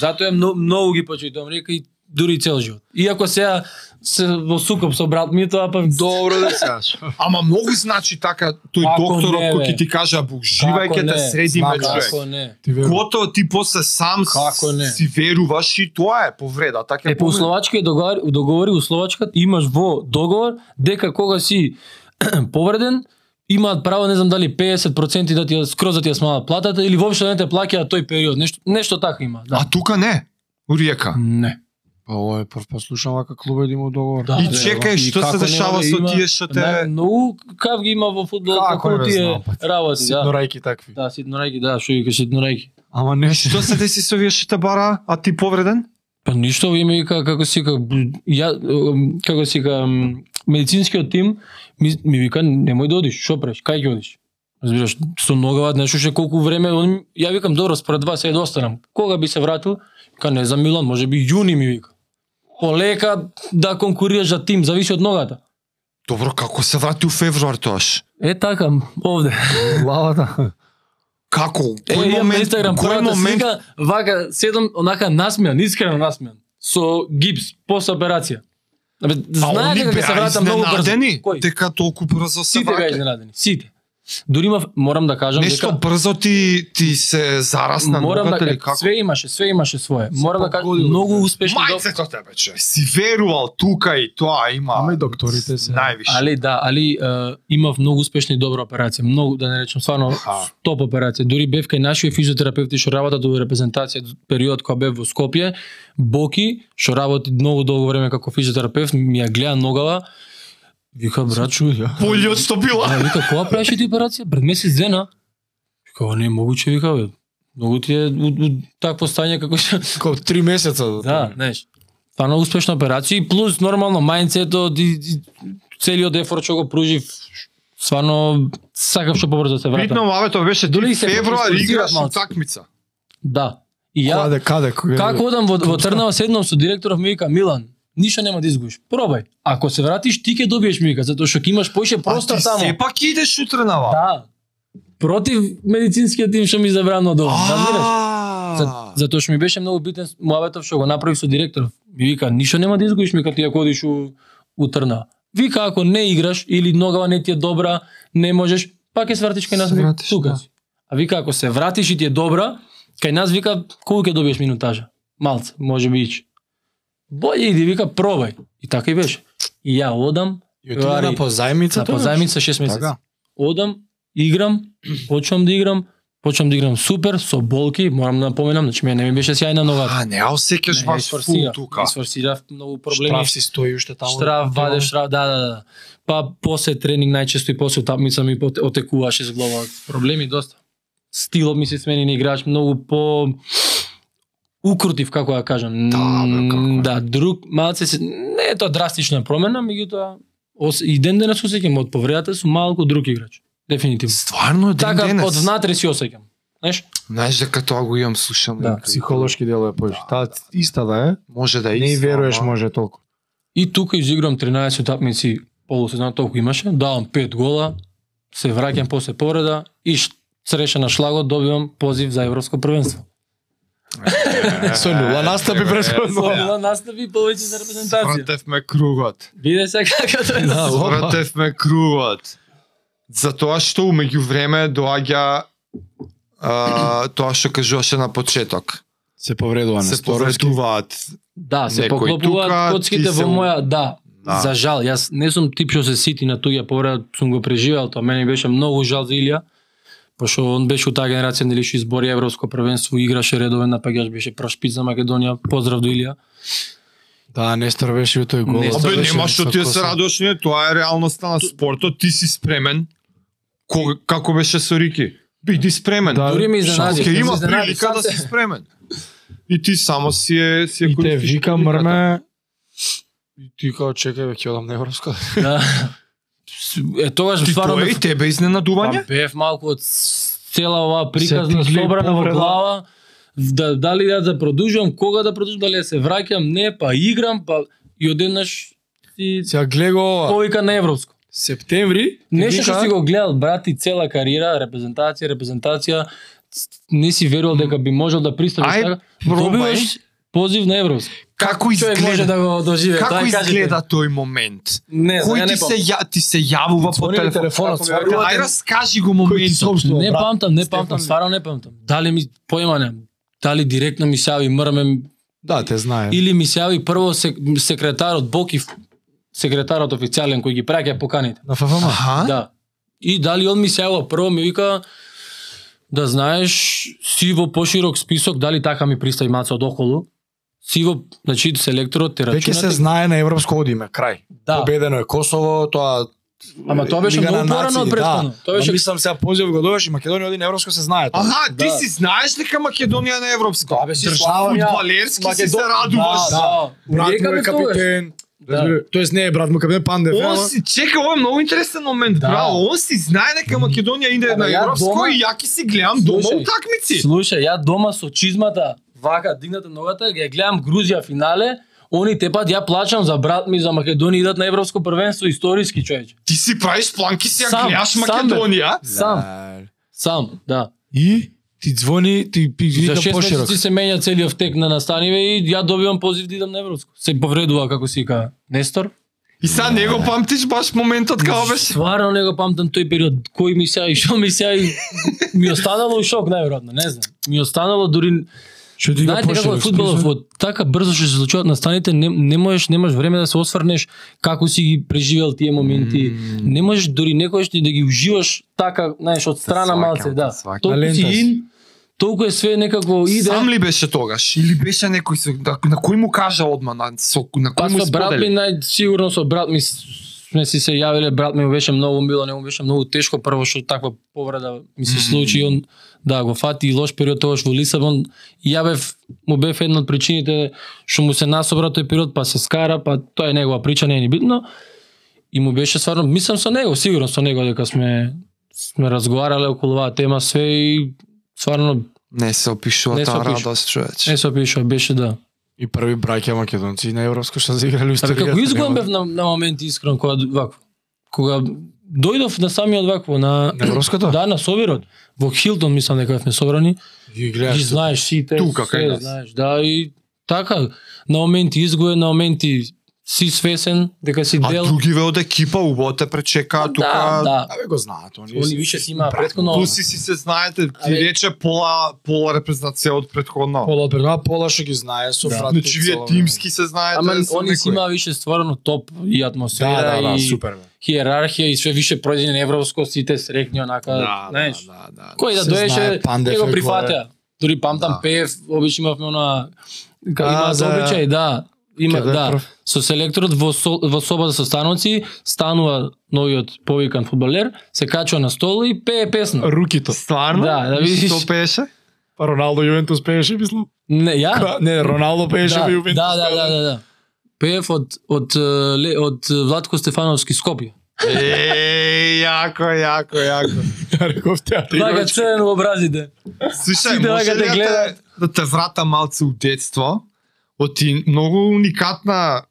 Speaker 1: Затоа многу, многу ги почитувам, река и дури и цел живот. Иако сега се во сукоп со брат ми тоа па
Speaker 3: Добро да се кажеш.
Speaker 2: Ама многу значи така тој
Speaker 1: Ако
Speaker 2: докторот
Speaker 1: не,
Speaker 2: кој
Speaker 1: бе.
Speaker 2: ќе ти каже бук живај
Speaker 1: Како
Speaker 2: ќе те
Speaker 1: не, Па
Speaker 2: средиме
Speaker 3: знам,
Speaker 2: да човек.
Speaker 1: како не.
Speaker 3: Ти веруваш.
Speaker 2: Готово ти после сам
Speaker 1: Како не?
Speaker 2: си веруваш и тоа е повреда, така
Speaker 1: Е, по Словачка договори, договори у Словачка имаш во договор дека кога си повреден, имаат право, не знам дали 50% да ти ја- скроз да ти ја смалат платата или воопшто да не те плаќаат тој период, нешто нешто така има, да.
Speaker 2: А тука не. Уриека.
Speaker 1: Не.
Speaker 3: Па ова е прв пат слушам вака клубот има договор.
Speaker 1: Да,
Speaker 2: И
Speaker 1: да,
Speaker 2: чекај
Speaker 1: и
Speaker 2: што
Speaker 1: како нема
Speaker 2: се дешава
Speaker 1: да
Speaker 2: со
Speaker 1: има-
Speaker 2: тие што
Speaker 1: Не,
Speaker 2: те
Speaker 1: многу кав ги има во фудбал,
Speaker 3: Како
Speaker 1: како
Speaker 3: не
Speaker 1: тие
Speaker 3: знам, па.
Speaker 1: работи,
Speaker 3: Ситно
Speaker 1: да.
Speaker 3: рајки такви.
Speaker 1: Да, ситнорајки, да, што ги кажа ситнорајки.
Speaker 3: Ама не
Speaker 2: Што се деси со вие што те бара, а ти повреден?
Speaker 1: Па ништо ви ми вика како си ка, ја ем, како си ка, ем, медицинскиот тим ми, ми вика немој да одиш, што правиш, кај ќе одиш? Разбираш, со ногава знаеш уште колку време, он, ја викам добро, според вас е да останам. Кога би се вратил? Ка не знам Милан, може би јуни ми вика. Полека да конкурираш за тим, зависи од ногата.
Speaker 2: Добро, како се врати у февруар тоаш?
Speaker 1: Е така, овде.
Speaker 3: главата.
Speaker 2: Како?
Speaker 1: Е,
Speaker 2: Кој
Speaker 1: имам на
Speaker 2: момент?
Speaker 1: Инстаграм
Speaker 2: Кој
Speaker 1: првата
Speaker 2: момент?
Speaker 1: слика, вака, седам, онака насмеан, искрено насмеан. Со гипс, после операција. Абе, Знае дека ќе се вратам многу брзо. Кој?
Speaker 2: Дека толку брзо се
Speaker 1: Сите беа
Speaker 2: враќа.
Speaker 1: изненадени, сите. Дури има, морам да кажам
Speaker 2: Нешто брзо ти ти се зарасна
Speaker 1: морам да
Speaker 2: ногата или
Speaker 1: кажам,
Speaker 2: како?
Speaker 1: све имаше, све имаше свое. Морам да кажам,
Speaker 3: погодило,
Speaker 1: многу
Speaker 3: бе.
Speaker 1: успешни док-
Speaker 2: Мајцето тебе, човек. Си верувал тука и тоа има.
Speaker 3: Ама и докторите се.
Speaker 2: Највише.
Speaker 1: Али да, али е, имав многу успешни и добра операција, многу да не речам сварно
Speaker 2: Аха.
Speaker 1: топ операција. Дури бев кај нашиот физиотерапевти што работат во репрезентација период кога бев во Скопје, Боки што работи многу долго време како физиотерапевт, ми ја гледа ногава. Вика брачу, ја.
Speaker 2: Полје од што била.
Speaker 1: А вика кога правеше ти операција? Пред месец дена. Вика «О, не е могуче, вика бе. Многу ти е у, у, такво стање како што
Speaker 3: Како три месеца.
Speaker 1: Да, знаеш. Стварно успешна операција и плюс нормално мајнцето и, и целиот ефор што го пружив стварно сакам што побрзо да се
Speaker 2: Битно
Speaker 1: вратам.
Speaker 2: мавето беше
Speaker 1: Дури
Speaker 2: ти
Speaker 1: се
Speaker 2: февруар
Speaker 1: фокусираат
Speaker 2: играш у
Speaker 1: малку.
Speaker 2: такмица.
Speaker 1: Да. И ја
Speaker 3: Каде, каде, кога?
Speaker 1: како одам во, во Трнава седнам со директоров ми вика Милан, ништо нема да изгубиш. Пробај. Ако се вратиш ти ќе добиеш ми вика затоа што ќе имаш поише простор
Speaker 2: а ти
Speaker 1: таму.
Speaker 2: сепак идеш утре на вака.
Speaker 1: Да. Против медицинскиот тим што ми забрано да одам. разбираш? За, затоа што ми беше многу битен муабетов што го направи со директоров. Ми вика, ништо нема да изгубиш ми кога ти ако одиш у, у Трна. Вика, ако не играш или ногава не ти е добра, не можеш, пак ќе се вратиш кај нас
Speaker 2: Се
Speaker 1: ми
Speaker 2: вратиш,
Speaker 1: тука.
Speaker 2: да.
Speaker 1: си. А вика, ако се вратиш и ти е добра, кај нас вика, колку ќе добиеш минутажа? Малце, може би ич. Боје иди, вика, пробај. И така и беше. И ја одам,
Speaker 3: И отиде
Speaker 1: Вари.
Speaker 3: на позајмица.
Speaker 1: на позајмица 6 месеци.
Speaker 3: Така.
Speaker 1: Одам, играм, почнам да играм, почнам да играм супер, со болки, морам да напоменам, значи мене не ми беше сјајна ногата.
Speaker 2: А, не ја осеќаш баш фул тука.
Speaker 1: Исфорсирав многу проблеми.
Speaker 3: Проблеми си стои уште таму.
Speaker 1: Штраф, ваде штраф, да, да, да. Па после тренинг најчесто и после утапмица ми поте- отекуваше с глава. Проблеми доста. Стилот ми се смени на играч многу по укрутив како да кажам.
Speaker 2: Да, бе, како е.
Speaker 1: да, друг малце се не е тоа драстична промена, меѓутоа ос- и ден денес осеќам од повредата сум малку друг играч. Дефинитивно.
Speaker 2: Стварно ден
Speaker 1: Така
Speaker 2: денес.
Speaker 1: од внатре си осеќам. Знаеш?
Speaker 2: Знаеш дека тоа го имам слушам.
Speaker 1: Да.
Speaker 2: лека.
Speaker 3: Психолошки дел е поише. Таа иста да е.
Speaker 2: Може да е
Speaker 3: Не и
Speaker 2: иста,
Speaker 3: веруеш
Speaker 2: ама-
Speaker 3: може толку.
Speaker 1: И тука изиграм 13 утакмици, полусезона толку имаше, давам 5 гола, се враќам после повреда и ш- среша на шлагот добивам позив за европско првенство.
Speaker 3: Со нула настапи претходно.
Speaker 1: Тоа настави повеќе за репрезентација.
Speaker 2: Свратевме кругот.
Speaker 1: Виде се како тоа е.
Speaker 3: Да, во- Опа.
Speaker 2: Свратевме кругот. Затоа што умеѓу време доаѓа а, тоа што кажуваше на почеток.
Speaker 3: Се повредува
Speaker 2: Се повредуваат.
Speaker 1: Да, се
Speaker 2: Некој тука,
Speaker 1: поклопуваат коцките
Speaker 2: ти се
Speaker 1: во
Speaker 2: у-
Speaker 1: моја, да.
Speaker 2: Да.
Speaker 1: За жал, јас не сум тип што се сити на туѓа повреда, сум го преживеал тоа. Мене ми беше многу жал за Илија, пошто он беше у таа генерација нели што избори европско првенство, играше редовен напаѓач, беше прошпиц за Македонија. Поздрав до Илија.
Speaker 3: Да, Нестор беше у тој гол.
Speaker 1: Нестор
Speaker 2: Абе,
Speaker 3: Беше
Speaker 2: нема што ти е
Speaker 3: високо
Speaker 2: се
Speaker 3: со-
Speaker 2: радош, не, тоа е реалноста на спортот, ти си спремен. Ко, како беше со Рики? Биди спремен.
Speaker 3: Да,
Speaker 1: Дури ме
Speaker 2: Шанс
Speaker 1: изненади.
Speaker 2: Ке
Speaker 1: ме
Speaker 2: има
Speaker 1: изненади,
Speaker 2: прилика
Speaker 1: сам
Speaker 2: да
Speaker 1: се-
Speaker 2: си спремен. И ти само си е си е
Speaker 3: И те
Speaker 2: користиш
Speaker 3: вика
Speaker 2: приликата.
Speaker 3: мрме. И ти као чекај бе, ќе одам на Европска.
Speaker 1: Да. Е тогаш
Speaker 2: Ти
Speaker 1: стварно
Speaker 2: тоа е
Speaker 1: бев,
Speaker 2: и тебе
Speaker 1: па,
Speaker 2: изненадување?
Speaker 1: бев малку од с- цела оваа приказна
Speaker 3: Се тигли
Speaker 1: собрана во
Speaker 3: повреда.
Speaker 1: глава. Да, дали да, да продолжувам, кога да продолжувам, дали да се враќам, не, па играм, па и одеднаш си
Speaker 3: Сега глего ова.
Speaker 1: повика на европско.
Speaker 3: Септември. ти
Speaker 1: Нешто што
Speaker 3: вика,
Speaker 1: си го гледал, брат, и цела кариера, репрезентација, репрезентација, ц- не си верувал дека би можел да пристанеш
Speaker 2: Ај,
Speaker 1: така.
Speaker 2: пробај.
Speaker 1: Добиваш позив на европско.
Speaker 2: Како
Speaker 1: Човек може
Speaker 2: изгледа?
Speaker 1: да го доживе. тоа
Speaker 2: Како
Speaker 1: ја кажете.
Speaker 2: изгледа тој момент?
Speaker 1: Не, знам,
Speaker 2: Кој
Speaker 1: ја не
Speaker 2: ти
Speaker 1: памтам.
Speaker 2: се ја- ти се јавува по
Speaker 3: Звони ми телефонот,
Speaker 2: телефонот?
Speaker 3: свака.
Speaker 2: Ај раскажи го моментот.
Speaker 3: сообщува,
Speaker 1: Не
Speaker 3: брат?
Speaker 1: памтам, не
Speaker 3: Стефан-
Speaker 1: памтам, стварно не памтам. Дали ми појма немам. Дали директно ми се јави мрме
Speaker 3: Да, те знае.
Speaker 1: или ми се јави прво сек, секретарот Бокив, секретарот официјален кој ги праќа поканите.
Speaker 3: На ФФМ.
Speaker 2: Аха.
Speaker 1: Да. И дали он ми се јавува прво ми вика да знаеш си во поширок список, дали така ми пристај маца од околу. Си во, значи селекторот те
Speaker 3: Веќе се
Speaker 1: рачунате.
Speaker 3: знае на европско одиме, крај.
Speaker 1: Да.
Speaker 3: Победено е Косово, тоа
Speaker 1: Ама тоа беше
Speaker 3: Лига на
Speaker 1: многу порано
Speaker 3: нации,
Speaker 1: од претходно.
Speaker 3: Да.
Speaker 1: Тоа беше
Speaker 3: Ама мислам сега позив го довеш и Македонија оди на европско се знае тоа.
Speaker 2: Аха, ти
Speaker 1: Да.
Speaker 2: си знаеш дека Македонија не е европска.
Speaker 3: Тоа бе, си слава, ја.
Speaker 2: Фудбалерски си се
Speaker 3: Македон-
Speaker 2: радуваш.
Speaker 1: Да, да.
Speaker 3: Брат му е
Speaker 1: Рекаме тогаш.
Speaker 3: капитен.
Speaker 1: Да.
Speaker 3: разбира- Тоест не е брат му капитен Пандев.
Speaker 2: Он
Speaker 3: ама-
Speaker 2: си чека, ова е многу интересен момент,
Speaker 1: Да.
Speaker 2: браво. Он си знае дека Македонија иде
Speaker 1: Абе,
Speaker 2: на
Speaker 1: ја
Speaker 2: европско
Speaker 1: дома-
Speaker 2: и ја ќе си гледам дома
Speaker 1: Слушај.
Speaker 2: утакмици.
Speaker 1: Слушај, ја дома со чизмата, вака дигната ногата, ја гледам Грузија финале, они тепат ја плачам за брат ми за Македонија идат на европско првенство историски човече.
Speaker 2: Ти си правиш планки си ја
Speaker 1: Сам,
Speaker 2: гледаш
Speaker 1: сам, бе.
Speaker 2: Македонија.
Speaker 1: Сам,
Speaker 3: Да.
Speaker 1: сам, да.
Speaker 3: И ти звони, ти пи
Speaker 1: За
Speaker 3: вика
Speaker 1: 6
Speaker 3: поширок.
Speaker 1: месеци се менја целиот тек на настаниве и ја добивам позив да идам на европско. Се повредува како си кажа. Нестор?
Speaker 2: И сега не го памтиш баш моментот како беше.
Speaker 1: Стварно не го памтам тој период, кој ми се и што ми се и ми останало у шок најверојатно, не знам. Ми останало дури
Speaker 3: Што ти
Speaker 1: Знаете како е фудбалов, од така брзо што се случуваат настаните, не, не можеш, немаш време да се осврнеш како си ги преживел тие моменти. Mm. Не можеш дури некојаш ни да ги уживаш така, знаеш, од страна
Speaker 4: сваќам,
Speaker 1: малце,
Speaker 4: те
Speaker 1: да.
Speaker 4: сваќам.
Speaker 1: Толку си
Speaker 3: Алентас.
Speaker 1: ин, толку е све некако иде.
Speaker 2: Сам ли беше тогаш? Или беше некој со, да, на кој му кажа одма, на, со, на кој
Speaker 1: Па
Speaker 2: му
Speaker 1: со брат ми,
Speaker 2: сподели?
Speaker 1: нај, сигурно со брат ми с- сме си се јавиле, брат ми му беше многу било, не му беше многу тешко, прво што таква повреда ми се случи, и он да го фати и лош период тогаш во Лисабон, и ја бев, му бев една од причините што му се насобра тој период, па се скара, па тоа е негова прича, не е ни битно, и му беше стварно, мислам со него, сигурно со него дека сме сме разговарале околу оваа тема све и стварно
Speaker 2: Не се опишува
Speaker 1: Не се
Speaker 2: таа
Speaker 1: опишува.
Speaker 2: радост, човече.
Speaker 1: не се опиша, беше да.
Speaker 3: И први браќа македонци на европско што заиграле у
Speaker 1: Абе
Speaker 3: Стерија.
Speaker 1: како изгоен бев на, на моменти искрен кога д- вако. Кога дојдов на самиот вакво на
Speaker 3: На европското?
Speaker 1: да на Собирот, во Хилтон мислам дека сме собрани,
Speaker 3: Ги
Speaker 1: ги
Speaker 3: гледаш.
Speaker 1: знаеш сите,
Speaker 2: тука, кај
Speaker 1: се
Speaker 2: нас.
Speaker 1: знаеш, да и така на моменти изгоен, на моменти си свесен дека си
Speaker 2: А
Speaker 1: дел
Speaker 2: други ве од екипа убаво те пречекаа тука.
Speaker 1: Да, да.
Speaker 3: Абе го знаат, они.
Speaker 1: Они више си имаа претходно ова.
Speaker 2: Плюси си се знаете, ти
Speaker 1: Абе.
Speaker 2: рече пола пола репрезентација од претходно.
Speaker 3: Пола Берна, Пола што ги знае со
Speaker 1: Да.
Speaker 3: да. брат.
Speaker 2: Значи вие тимски се знаете.
Speaker 1: Ама
Speaker 2: со
Speaker 1: они си
Speaker 2: некој.
Speaker 1: имаа више стварно топ и атмосфера
Speaker 3: Да, да, да,
Speaker 1: и
Speaker 3: супер. бе.
Speaker 1: хиерархија и све више пројдење на европско сите срекни онака,
Speaker 2: Да,
Speaker 1: знаеш.
Speaker 2: да, да, да.
Speaker 1: Кој да
Speaker 3: Се знае,
Speaker 1: доеше,
Speaker 3: Пандев
Speaker 1: ќе го
Speaker 3: е
Speaker 1: прифатеа. Дури памтам
Speaker 2: Да.
Speaker 1: пев, обично имавме она
Speaker 3: А,
Speaker 1: кај имаат
Speaker 3: за-
Speaker 1: обичај, да. Има,
Speaker 3: Кај да е
Speaker 1: да.
Speaker 3: прв.
Speaker 1: Со селекторот во, со, во собата со станоци, станува новиот повикан фудбалер, се качува на стол и пее песна.
Speaker 3: Рукито.
Speaker 2: Стварно?
Speaker 1: Да, да
Speaker 2: И
Speaker 1: видиш.
Speaker 2: Што пееше?
Speaker 3: Па Роналдо Јувентус пееше, мислам.
Speaker 1: Не, ја?
Speaker 3: Кра- Не, Роналдо пееше
Speaker 1: Да,
Speaker 3: во Јувентус.
Speaker 1: да, да, да, да, да. Пеев од, од, од, од Владко Стефановски Скопје.
Speaker 2: Ей, јако, јако, јако.
Speaker 3: Рековте, а ти
Speaker 1: Така цен образите.
Speaker 2: Слушај,
Speaker 1: Сите
Speaker 2: може
Speaker 1: вака
Speaker 2: ли
Speaker 1: те
Speaker 2: да те,
Speaker 1: гледаат.
Speaker 2: да те врата малце у детство? Оти многу уникатна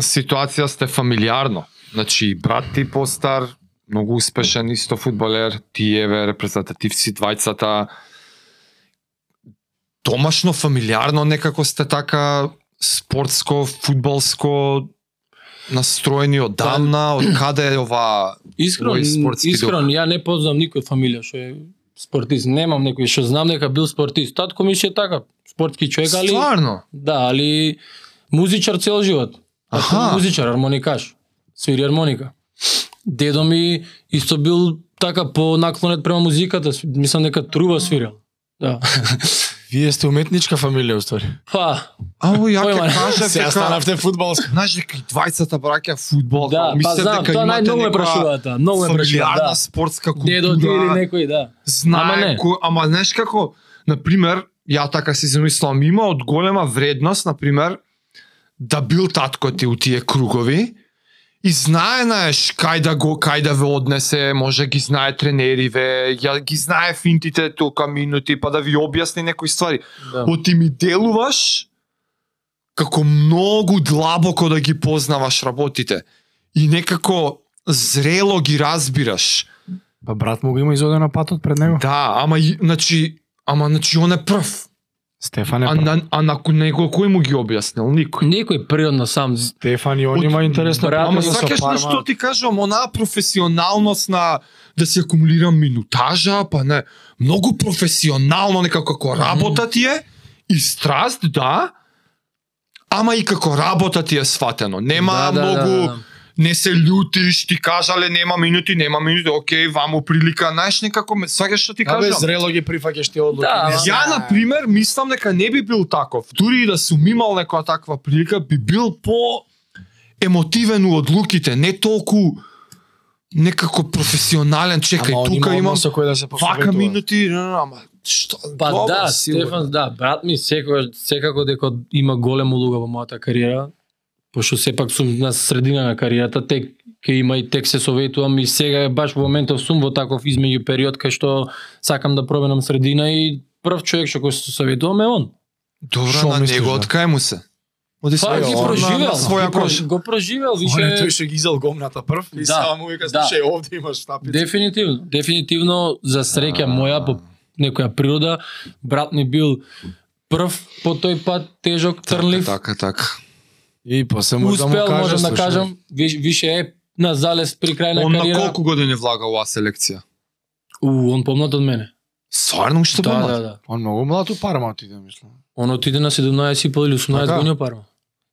Speaker 2: ситуација сте фамилиарно. Значи, брат ти постар, многу успешен исто фудбалер, ти еве репрезентативци двајцата. Домашно фамилиарно некако сте така спортско, фудбалско настроени одамна, од каде е ова
Speaker 1: Искрен,
Speaker 2: Мој спортски
Speaker 1: искрен, ја не познам никој од фамилија што е спортист. Немам некој што знам дека бил спортист. Татко ми ше така, спортски човек, али
Speaker 2: Стварно?
Speaker 1: да, али музичар цел живот. Татко
Speaker 2: Аха.
Speaker 1: ми музичар, хармоникаш, свири хармоника. Дедо ми исто бил така по наклонет према музиката, св- мислам дека труба свирел. Да.
Speaker 3: Вие сте уметничка фамилија, уствари.
Speaker 1: Па,
Speaker 2: Ау, ја
Speaker 1: Појма
Speaker 2: ќе
Speaker 1: не.
Speaker 2: кажа
Speaker 3: Сега
Speaker 2: дека...
Speaker 3: станавте футболска.
Speaker 2: Знаеш дека и двајцата браќа фудбал,
Speaker 1: да, па знам, тоа најмногу ме прашуваат, да, многу ме прашуваат,
Speaker 2: фамилиарна
Speaker 1: да.
Speaker 2: спортска култура.
Speaker 1: Дедо ти или некој, да. Ама
Speaker 2: Знае
Speaker 1: не.
Speaker 2: кој, ама знаеш како, на пример, ја така си замислам, има од голема вредност, на пример, да бил татко ти у тие кругови и знае знаеш кај да го кај да ве однесе, може ги знае тренериве, ја ги знае финтите толка минути, па да ви објасни некои ствари.
Speaker 1: да.
Speaker 2: Оти ми делуваш како многу длабоко да ги познаваш работите и некако зрело ги разбираш.
Speaker 3: Па брат му го има изоден на патот пред него.
Speaker 2: Да, ама и- значи, ама значи он е прв.
Speaker 3: Стефан е
Speaker 2: А
Speaker 3: прав.
Speaker 2: на, а на ко- него кој му ги објаснил никој.
Speaker 1: Некој природно сам
Speaker 3: Стефан и он
Speaker 2: Од-
Speaker 3: има интересно
Speaker 1: брат,
Speaker 2: Ама
Speaker 3: прашање со
Speaker 2: сакаш
Speaker 3: Парма.
Speaker 2: на што ти кажам, онаа професионалност на да се акумулира минутажа, па не, многу професионално некако како работа ти е и страст, да, ама и како работа ти е сватено. Нема
Speaker 1: да, да,
Speaker 2: многу
Speaker 1: да, да.
Speaker 2: не се лютиш, ти кажале нема минути, нема минути, окей, ваму прилика, знаеш некако, ме- сакаш што ти
Speaker 3: Абе,
Speaker 2: кажам?
Speaker 3: зрело ги прифаќаш ти одлуки.
Speaker 1: Да,
Speaker 3: не
Speaker 1: ама-
Speaker 3: знам.
Speaker 2: Ја, на пример, мислам дека не би бил таков. Дури и да сум имал некоја таква прилика, би бил по емотивен у одлуките, не толку некако професионален, чекај,
Speaker 3: Ама он
Speaker 2: тука
Speaker 3: има
Speaker 2: имам
Speaker 3: однос со кој да се
Speaker 2: вака
Speaker 3: посоветува.
Speaker 2: минути, н- н- ама што?
Speaker 1: Па
Speaker 2: добро,
Speaker 1: да,
Speaker 2: сигурно.
Speaker 1: Стефан, да, брат ми секогаш секако дека има голема улога во мојата кариера, пошто сепак сум на средина на кариерата, тек ќе има и тек се советувам и сега е баш во моментов сум во таков измеѓу период кај што сакам да променам средина и прв човек што кој се советувам е он.
Speaker 3: Шо
Speaker 2: Добра на
Speaker 3: мислиш,
Speaker 2: него,
Speaker 3: да?
Speaker 2: откај му се? Оди
Speaker 1: Па
Speaker 2: своја
Speaker 1: ги
Speaker 3: он
Speaker 2: кожа, на
Speaker 1: проживел,
Speaker 2: своја
Speaker 1: ги прож-
Speaker 2: кожа.
Speaker 1: го проживел,
Speaker 3: Више... Он е
Speaker 1: више
Speaker 3: тој што ги изел гомната прв и
Speaker 1: Да,
Speaker 3: сега му вика,
Speaker 1: да.
Speaker 3: слушај, овде имаш штапица.
Speaker 1: Дефинитивно, дефинитивно за среќа моја по некоја природа, брат ми бил прв по тој пат тежок, трнлив,
Speaker 2: Така, така.
Speaker 3: И после му да му
Speaker 1: успел,
Speaker 3: кажеш,
Speaker 1: можам да
Speaker 3: слушај,
Speaker 1: кажам, виш- више е на залез при крај на
Speaker 2: Он на
Speaker 1: кариера.
Speaker 2: колку години влага оваа селекција?
Speaker 1: У, он помнат од мене.
Speaker 2: Стварно уште
Speaker 1: да,
Speaker 2: помлад?
Speaker 1: да, да.
Speaker 3: Он многу млад у Парма отиде, мислам.
Speaker 1: Он отиде на 17 и пол или 18
Speaker 2: Така.
Speaker 1: години у Парма.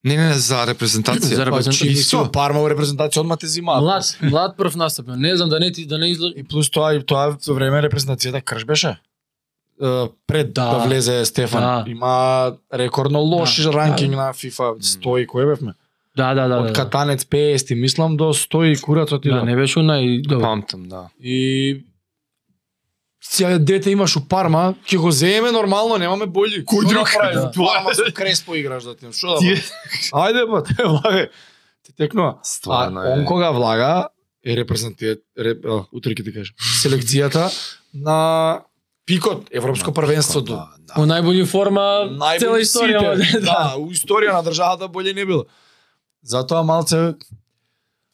Speaker 2: Не, не, не, за репрезентација.
Speaker 1: За
Speaker 3: Па,
Speaker 1: репрезентација.
Speaker 3: чим си у Парма у репрезентација, одма те зима.
Speaker 1: Млад, млад прв настап. Не знам да не ти да не изло...
Speaker 3: И плюс тоа, и тоа време репрезентацијата крш беше. Е, Пред да,
Speaker 1: Да.
Speaker 3: влезе Стефан,
Speaker 1: Да.
Speaker 3: има рекордно лош
Speaker 1: Да.
Speaker 3: ранкинг на FIFA 100 и кој бевме?
Speaker 1: Да, да, да.
Speaker 3: Од
Speaker 1: да, да.
Speaker 3: Катанец 50, мислам до 100 и курат отиде.
Speaker 1: Да, не беше нај
Speaker 2: Памтам, да.
Speaker 3: И сега дете имаш у Парма, ќе го земеме нормално, немаме бољи.
Speaker 2: Кој
Speaker 3: Што
Speaker 2: друг?
Speaker 3: да правиш?
Speaker 1: Да.
Speaker 3: Парма со Креспо играш да тим. Што да?
Speaker 2: Ти-
Speaker 3: правиш? Ајде бе, те влагај. Ти текнува. А
Speaker 2: Стварно е.
Speaker 3: он кога влага е репрезентет реп, а, утре ќе ти кажам. Селекцијата на пикот европско првенство до
Speaker 2: Да, да.
Speaker 1: во најбољи форма
Speaker 3: најболи
Speaker 1: да. цела историја.
Speaker 3: сите.
Speaker 1: да.
Speaker 3: да, у историја на државата боље не било. Затоа малце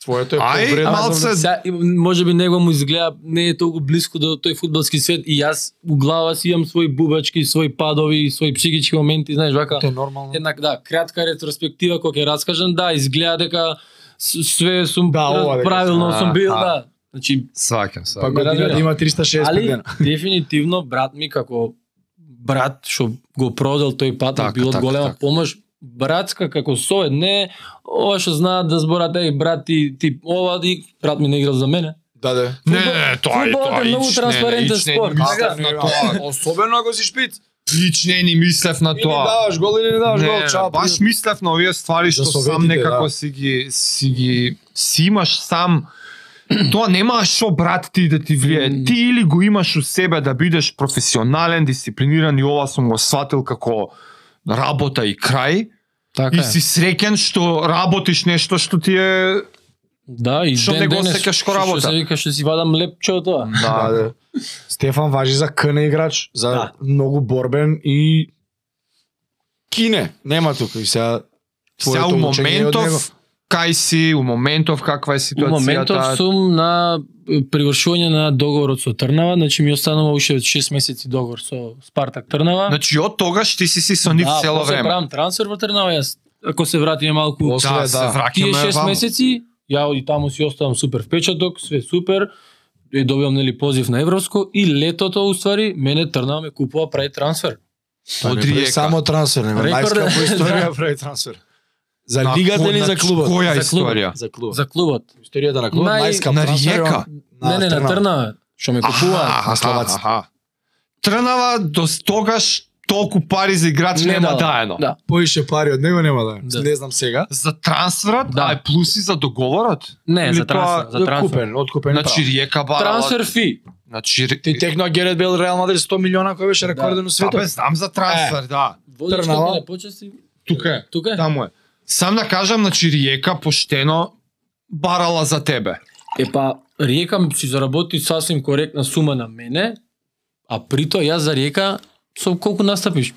Speaker 3: твоето е
Speaker 2: Ај,
Speaker 3: повредно.
Speaker 2: малце
Speaker 1: Се, и може би него му изгледа не е толку близко до тој фудбалски свет и јас у глава си имам свои бубачки, свои падови, свои психички моменти, знаеш, вака.
Speaker 3: Тоа е нормално.
Speaker 1: Една да, кратка ретроспектива кој ќе раскажам, да, изгледа дека с- све сум
Speaker 3: Да, ова дека
Speaker 1: правилно
Speaker 2: сум.
Speaker 1: сум бил,
Speaker 2: Аха.
Speaker 1: да. Значи,
Speaker 2: Сваќам, сваќам.
Speaker 3: Па
Speaker 1: Ме
Speaker 3: година
Speaker 1: разбира.
Speaker 3: има 365
Speaker 1: али
Speaker 3: дена.
Speaker 1: дефинитивно брат ми како брат што го продал тој пат
Speaker 2: Така,
Speaker 1: така, било
Speaker 2: така,
Speaker 1: така, голема
Speaker 2: така.
Speaker 1: така. помош братска како совет не ова што знаат да зборат еј брат ти, ти ова и брат ми не играл за мене
Speaker 3: Да, да.
Speaker 2: Не, не, не, тоа е
Speaker 1: Фудбалот
Speaker 2: тоа.
Speaker 1: е многу
Speaker 2: ич не, не,
Speaker 1: транспарентен
Speaker 2: ич не,
Speaker 1: спорт,
Speaker 2: ни
Speaker 1: така?
Speaker 2: мислев на тоа.
Speaker 3: Особено ако си шпиц.
Speaker 2: Ич не ни мислев на
Speaker 3: Или
Speaker 2: тоа.
Speaker 3: даваш гол или не даваш гол, чао.
Speaker 2: баш мислев на овие ствари што
Speaker 3: За
Speaker 2: сам
Speaker 3: советите,
Speaker 2: некако
Speaker 3: да.
Speaker 2: си ги си ги си имаш сам Тоа нема што брат ти да ти влие.
Speaker 1: Мм.
Speaker 2: Ти или го имаш у себе да бидеш професионален, дисциплиниран и ова сум го сватил како работа и крај
Speaker 1: така
Speaker 2: и си среќен што работиш нешто што ти е
Speaker 1: Да, и
Speaker 2: Што
Speaker 1: ден
Speaker 2: не го
Speaker 1: денес,
Speaker 2: сеќаш ко
Speaker 1: што-
Speaker 2: работа.
Speaker 1: Што се вика, што си вадам лепче од тоа.
Speaker 2: Да, да.
Speaker 3: Стефан важи за КН играч, за
Speaker 1: Да.
Speaker 3: многу борбен и кине, нема тука и сега
Speaker 2: Сега
Speaker 3: твоето
Speaker 2: у
Speaker 3: учење е од него.
Speaker 2: моментов, кај си, у моментов, каква е
Speaker 1: У
Speaker 2: ситуацијата?
Speaker 1: моментот сум на е, привршување на договорот со Трнава, значи ми останува уште 6 месеци договор со Спартак Трнава.
Speaker 2: Значи, од тогаш ти си си со нив
Speaker 1: да,
Speaker 2: цело
Speaker 1: после
Speaker 2: време.
Speaker 1: правам трансфер во Трнава, јас ако се вратиме малку
Speaker 3: После,
Speaker 2: Да,
Speaker 3: да.
Speaker 2: се
Speaker 1: тие
Speaker 2: враќаме
Speaker 1: 6
Speaker 2: ваму.
Speaker 1: месеци, ја и таму си оставам супер впечаток, све супер. И добивам нели позив на Европско и летото уствари мене Трнава ме купува прави трансфер.
Speaker 3: Па не
Speaker 2: од
Speaker 3: прави
Speaker 2: Риека.
Speaker 3: Само трансфер, нема
Speaker 1: Рекорд е-
Speaker 3: најскапа историја да прави трансфер. За лигата или за клубот?
Speaker 2: Која
Speaker 1: За клубот.
Speaker 2: историја?
Speaker 3: За клубот.
Speaker 1: За клубот.
Speaker 3: историјата на клубот,
Speaker 1: Нај-
Speaker 3: најскап
Speaker 2: На
Speaker 3: трансфер е
Speaker 2: Риека?
Speaker 3: он-
Speaker 1: не, не, на Трнава, што ме купува.
Speaker 3: на Словаци.
Speaker 2: аха. Трнава до тогаш толку пари за играч
Speaker 1: Не
Speaker 2: нема
Speaker 1: дала.
Speaker 2: даено.
Speaker 1: Да.
Speaker 3: Поише пари од него нема да.
Speaker 1: Да.
Speaker 3: Не знам сега.
Speaker 2: За трансферот,
Speaker 1: Да.
Speaker 2: да. а е плюси за договорот.
Speaker 1: Не,
Speaker 2: Или
Speaker 1: за трансфер, за трансфер.
Speaker 3: Купен, откупен.
Speaker 2: Значи Риека бара.
Speaker 1: Трансфер фи.
Speaker 2: Значи
Speaker 3: Ти текно Герет Бел Реал Мадрид 100 милиона кој беше рекорден у
Speaker 2: Абе,
Speaker 3: светот.
Speaker 2: знам за трансфер, да.
Speaker 1: Водичката
Speaker 3: Трнава.
Speaker 1: не почести.
Speaker 2: Тука е.
Speaker 1: Тука е.
Speaker 2: Таму е. Сам да кажам, значи Риека поштено барала за тебе.
Speaker 1: Е па, Риека ми си заработи сасвим коректна сума на мене, а при тоа јас за Риека со колку настапиш?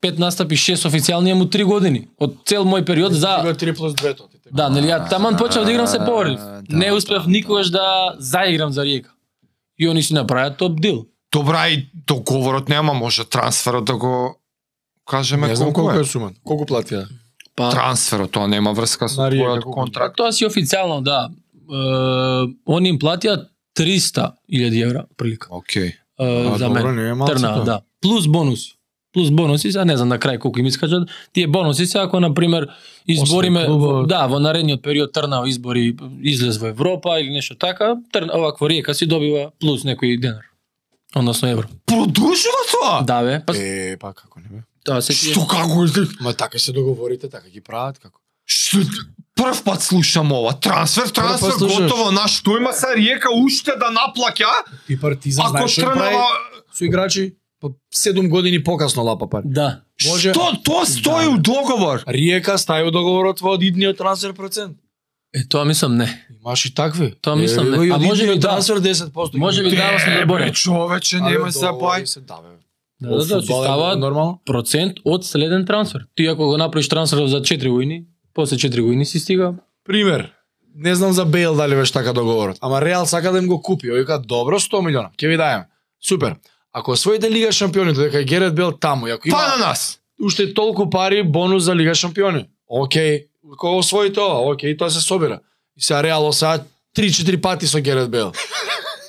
Speaker 1: Пет настапи, шест официјални му три години. Од цел мој период за...
Speaker 3: 3 плюс 2 тоа ти текно.
Speaker 1: Да, нели ја таман почнав да играм се повреди.
Speaker 4: Да,
Speaker 1: Не успев никогаш да заиграм за Риека. И они си направија топ дил.
Speaker 2: Добра и договорот нема, може трансферот да го кажеме
Speaker 3: Не знам
Speaker 2: колку
Speaker 3: колку
Speaker 2: е.
Speaker 3: е сума. Колку платија?
Speaker 1: Па,
Speaker 2: Трансферот, тоа нема врска со
Speaker 3: На Риека
Speaker 2: твојот
Speaker 3: колку?
Speaker 1: па
Speaker 2: контракт.
Speaker 1: тоа си официјално, да. Е, они им платија 300.000 евра, прилика.
Speaker 2: Океј.
Speaker 1: Е, за мен.
Speaker 3: не е
Speaker 1: Трна, да. Плюс бонуси. Плюс бонуси, сега не знам на крај колку им искажат. Тие бонуси се ако на пример избориме
Speaker 3: Освен клубот.
Speaker 1: да, во наредниот период Трнава избори излез во Европа или нешто така, Трна овакво Риека си добива плюс некој денар. Односно евро.
Speaker 2: Продолжува тоа?
Speaker 1: Да бе, па
Speaker 3: Е, па како не бе?
Speaker 1: тоа се тие.
Speaker 2: Што како?
Speaker 3: Ма така се договорите, така ги прават како.
Speaker 2: Што? Прв пат слушам ова. Трансфер, трансфер,
Speaker 3: слушаш.
Speaker 2: готово. Наш тој има са Риека уште да наплаќа,
Speaker 3: Ти партизан
Speaker 2: ако
Speaker 3: знаеш што им прави
Speaker 2: тренава...
Speaker 3: со играчи па 7 години покасно лапа пари.
Speaker 1: Да.
Speaker 3: Може- Да.
Speaker 2: Што? Тоа стои у договор.
Speaker 3: Риека стај од договорот во идниот трансфер процент.
Speaker 1: Е тоа мислам не.
Speaker 3: Имаш и такви.
Speaker 1: Тоа мислам, не.
Speaker 3: Е,
Speaker 1: А
Speaker 3: од
Speaker 1: може би
Speaker 3: идниот
Speaker 1: да.
Speaker 3: трансфер 10%.
Speaker 1: Може би да.
Speaker 3: ги има.
Speaker 1: дава сме
Speaker 2: Бре,
Speaker 1: заборе.
Speaker 2: човече,
Speaker 3: Абе,
Speaker 2: нема се
Speaker 3: договори
Speaker 2: бај.
Speaker 3: се, Да, бе.
Speaker 1: Да,
Speaker 3: Во
Speaker 1: да, да, си
Speaker 3: фудбал е
Speaker 1: става
Speaker 3: нормално.
Speaker 1: процент од следен трансфер. Ти ако го направиш трансфер за 4 години, после 4 години си стига.
Speaker 3: Пример. Не знам за Бейл дали беше така договорот. Ама Реал сака да им го купи. Ој вика, добро, 100 милиона. Ќе ви дајам. Супер. Ако освоите Лига шампиони, додека е Герет Бел таму, и ако има
Speaker 2: Па на нас.
Speaker 3: уште толку пари бонус за Лига шампиони. Океј, кога освои тоа, океј, тоа се собира. И сега реално сега 3-4 пати со Герет Бел.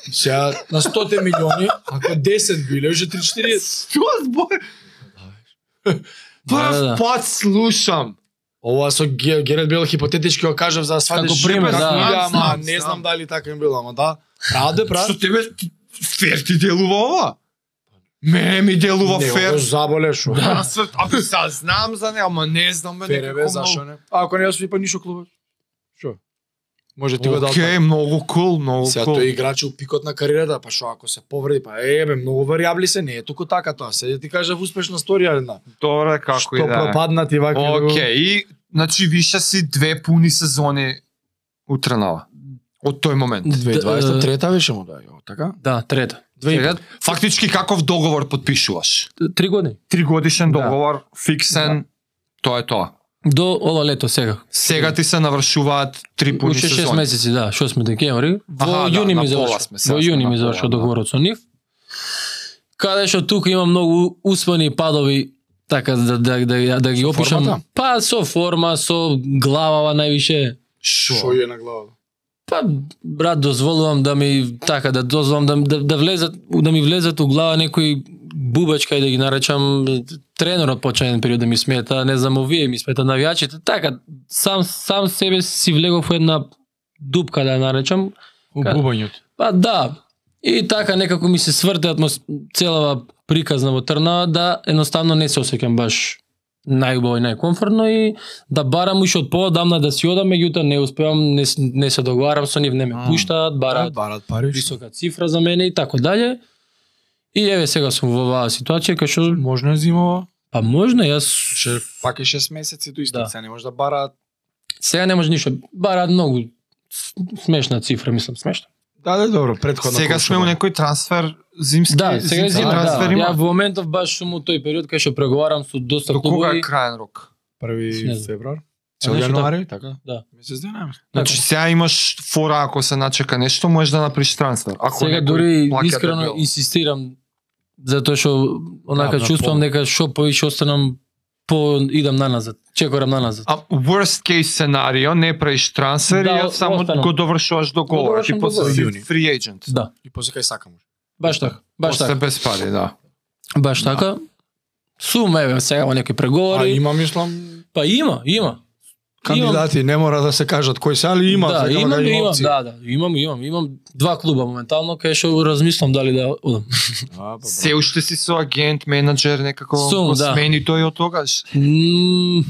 Speaker 3: И Сега на 100 милиони, ако 10 биле, уже 3-4.
Speaker 2: Што збор?
Speaker 1: Да, да, да.
Speaker 2: Прв пат слушам.
Speaker 3: Ова со Ге- Герет Бел хипотетички го кажав за да свадеш
Speaker 1: Како пример,
Speaker 3: како
Speaker 1: да.
Speaker 3: иде, ама
Speaker 2: Знам,
Speaker 3: не
Speaker 2: знам.
Speaker 3: знам дали така им било, ама да. Правда, е, правда.
Speaker 2: Што тебе фер ти делува ова? Мене ми делува
Speaker 3: Не,
Speaker 2: фер.
Speaker 3: Го заболеш. ова.
Speaker 2: Трансфер, абе сега знам за него, ама не знам бе
Speaker 3: Фер е, бе,
Speaker 2: некако
Speaker 3: зашо
Speaker 2: много.
Speaker 3: не? А ако не освои па ништо клубот. Што? Може ти го дал.
Speaker 2: Океј, многу кул, многу
Speaker 3: Сега
Speaker 2: кул.
Speaker 3: тој играч е у пикот на кариерата, па што ако се повреди, па ебе, многу варијабли се, не е туку така тоа. Се ти кажав успешна сторија една.
Speaker 2: Добре, како и
Speaker 3: што
Speaker 2: да е.
Speaker 3: пропаднати вака.
Speaker 2: Океј, и значи више си две пуни сезони у Трнава. Од тој момент.
Speaker 3: 2023-та беше му да, јо, така?
Speaker 1: Да, трета.
Speaker 2: Сега, Фактички каков договор подпишуваш?
Speaker 1: Три години.
Speaker 2: Тригодишен
Speaker 1: Да.
Speaker 2: договор, фиксен, тоа е тоа.
Speaker 1: До ова лето сега.
Speaker 2: Сега ти се навршуваат три пуни
Speaker 1: Уште 6
Speaker 2: сезони.
Speaker 1: месеци, да, 8 декември. Во
Speaker 2: Аха, да,
Speaker 1: јуни
Speaker 2: на
Speaker 1: ми
Speaker 2: пола
Speaker 1: завршува.
Speaker 2: сме, сега
Speaker 1: Во
Speaker 2: сме
Speaker 1: јуни
Speaker 2: на
Speaker 1: ми
Speaker 2: пола,
Speaker 1: завршува
Speaker 2: да.
Speaker 1: договорот со нив. Каде што тука има многу успони и падови така да да да, ја- да ги
Speaker 3: Со
Speaker 1: опишам.
Speaker 3: формата?
Speaker 1: Па со форма, со главава највише.
Speaker 3: Што
Speaker 2: Шо?
Speaker 3: е на глава?
Speaker 1: Па брат, дозволувам да ми така да дозволам да да, да влезат да ми влезат у глава некои бубачка и да ги наречам тренерот почна еден период да ми смета, не знам овие ми смета навијачите. Така сам сам себе си влегов во една дупка да ја наречам,
Speaker 3: Убубањето.
Speaker 1: Па да. И така некако ми се сврте атмос... целава приказна во Трнава да едноставно не се осеќам баш најубаво и најкомфортно и да барам уште од поодамна да си одам, меѓутоа не успевам, не, с- не се договарам со нив, не ме
Speaker 2: Ам.
Speaker 1: пуштаат, бараат
Speaker 3: барат пари.
Speaker 1: висока цифра за мене и така дале. И еве сега сум во оваа ситуација кај што
Speaker 3: Можно е зимова.
Speaker 1: па можно јас
Speaker 3: Ше пак е 6 месеци до
Speaker 1: Да.
Speaker 3: исток, сега не може да бараат.
Speaker 1: сега не може ништо, бараат многу с- смешна цифра, мислам, смешна.
Speaker 3: Да, да, добро, предходно.
Speaker 2: Сега сме у некој трансфер зимски,
Speaker 1: Да, сега е
Speaker 2: зимски
Speaker 1: зима,
Speaker 2: трансфер
Speaker 1: да.
Speaker 2: има.
Speaker 1: Ја во моментов баш сум у тој период кај што преговарам со доста
Speaker 2: До кога е
Speaker 1: клубови. Значи,
Speaker 2: краен рок?
Speaker 1: Не
Speaker 3: 1
Speaker 1: знам.
Speaker 3: февруар.
Speaker 1: А,
Speaker 3: Цел
Speaker 1: нешто
Speaker 3: јануари, така?
Speaker 1: Да.
Speaker 3: Месец дена.
Speaker 2: Значи сега имаш фора ако се начека нешто, можеш да направиш трансфер. Ако
Speaker 1: Сега
Speaker 2: некој
Speaker 1: дури
Speaker 2: плаќа да
Speaker 1: искрено
Speaker 2: дебело.
Speaker 1: инсистирам затоа што онака
Speaker 3: Да, да,
Speaker 1: чувствувам
Speaker 3: по-
Speaker 1: дека што повише останам по идам наназад, чекорам наназад.
Speaker 2: А worst case сценарио не правиш трансфер
Speaker 1: Да,
Speaker 2: да, и само
Speaker 1: останам.
Speaker 2: го довршуваш договор,
Speaker 1: довршам
Speaker 2: ти после
Speaker 1: договор.
Speaker 2: си
Speaker 3: Јуни.
Speaker 2: free agent.
Speaker 1: Да,
Speaker 3: И после кај сакам.
Speaker 1: баш така, баш
Speaker 2: после
Speaker 1: така.
Speaker 2: без пари, да.
Speaker 1: Баш така. Сум еве сега во некои
Speaker 3: А
Speaker 1: преговори.
Speaker 3: има, мислам,
Speaker 1: Па има, има.
Speaker 3: кандидати, не мора да се кажат кои се, али има,
Speaker 1: да,
Speaker 3: сега
Speaker 1: имам,
Speaker 3: има
Speaker 1: имам,
Speaker 3: опции.
Speaker 1: да, да, имам, имам, имам два клуба моментално кај што размислам дали да одам.
Speaker 3: А, па,
Speaker 2: Се уште си со агент, менаџер, некако
Speaker 1: Сум,
Speaker 2: го
Speaker 1: да.
Speaker 2: смени тој од тогаш.
Speaker 1: М,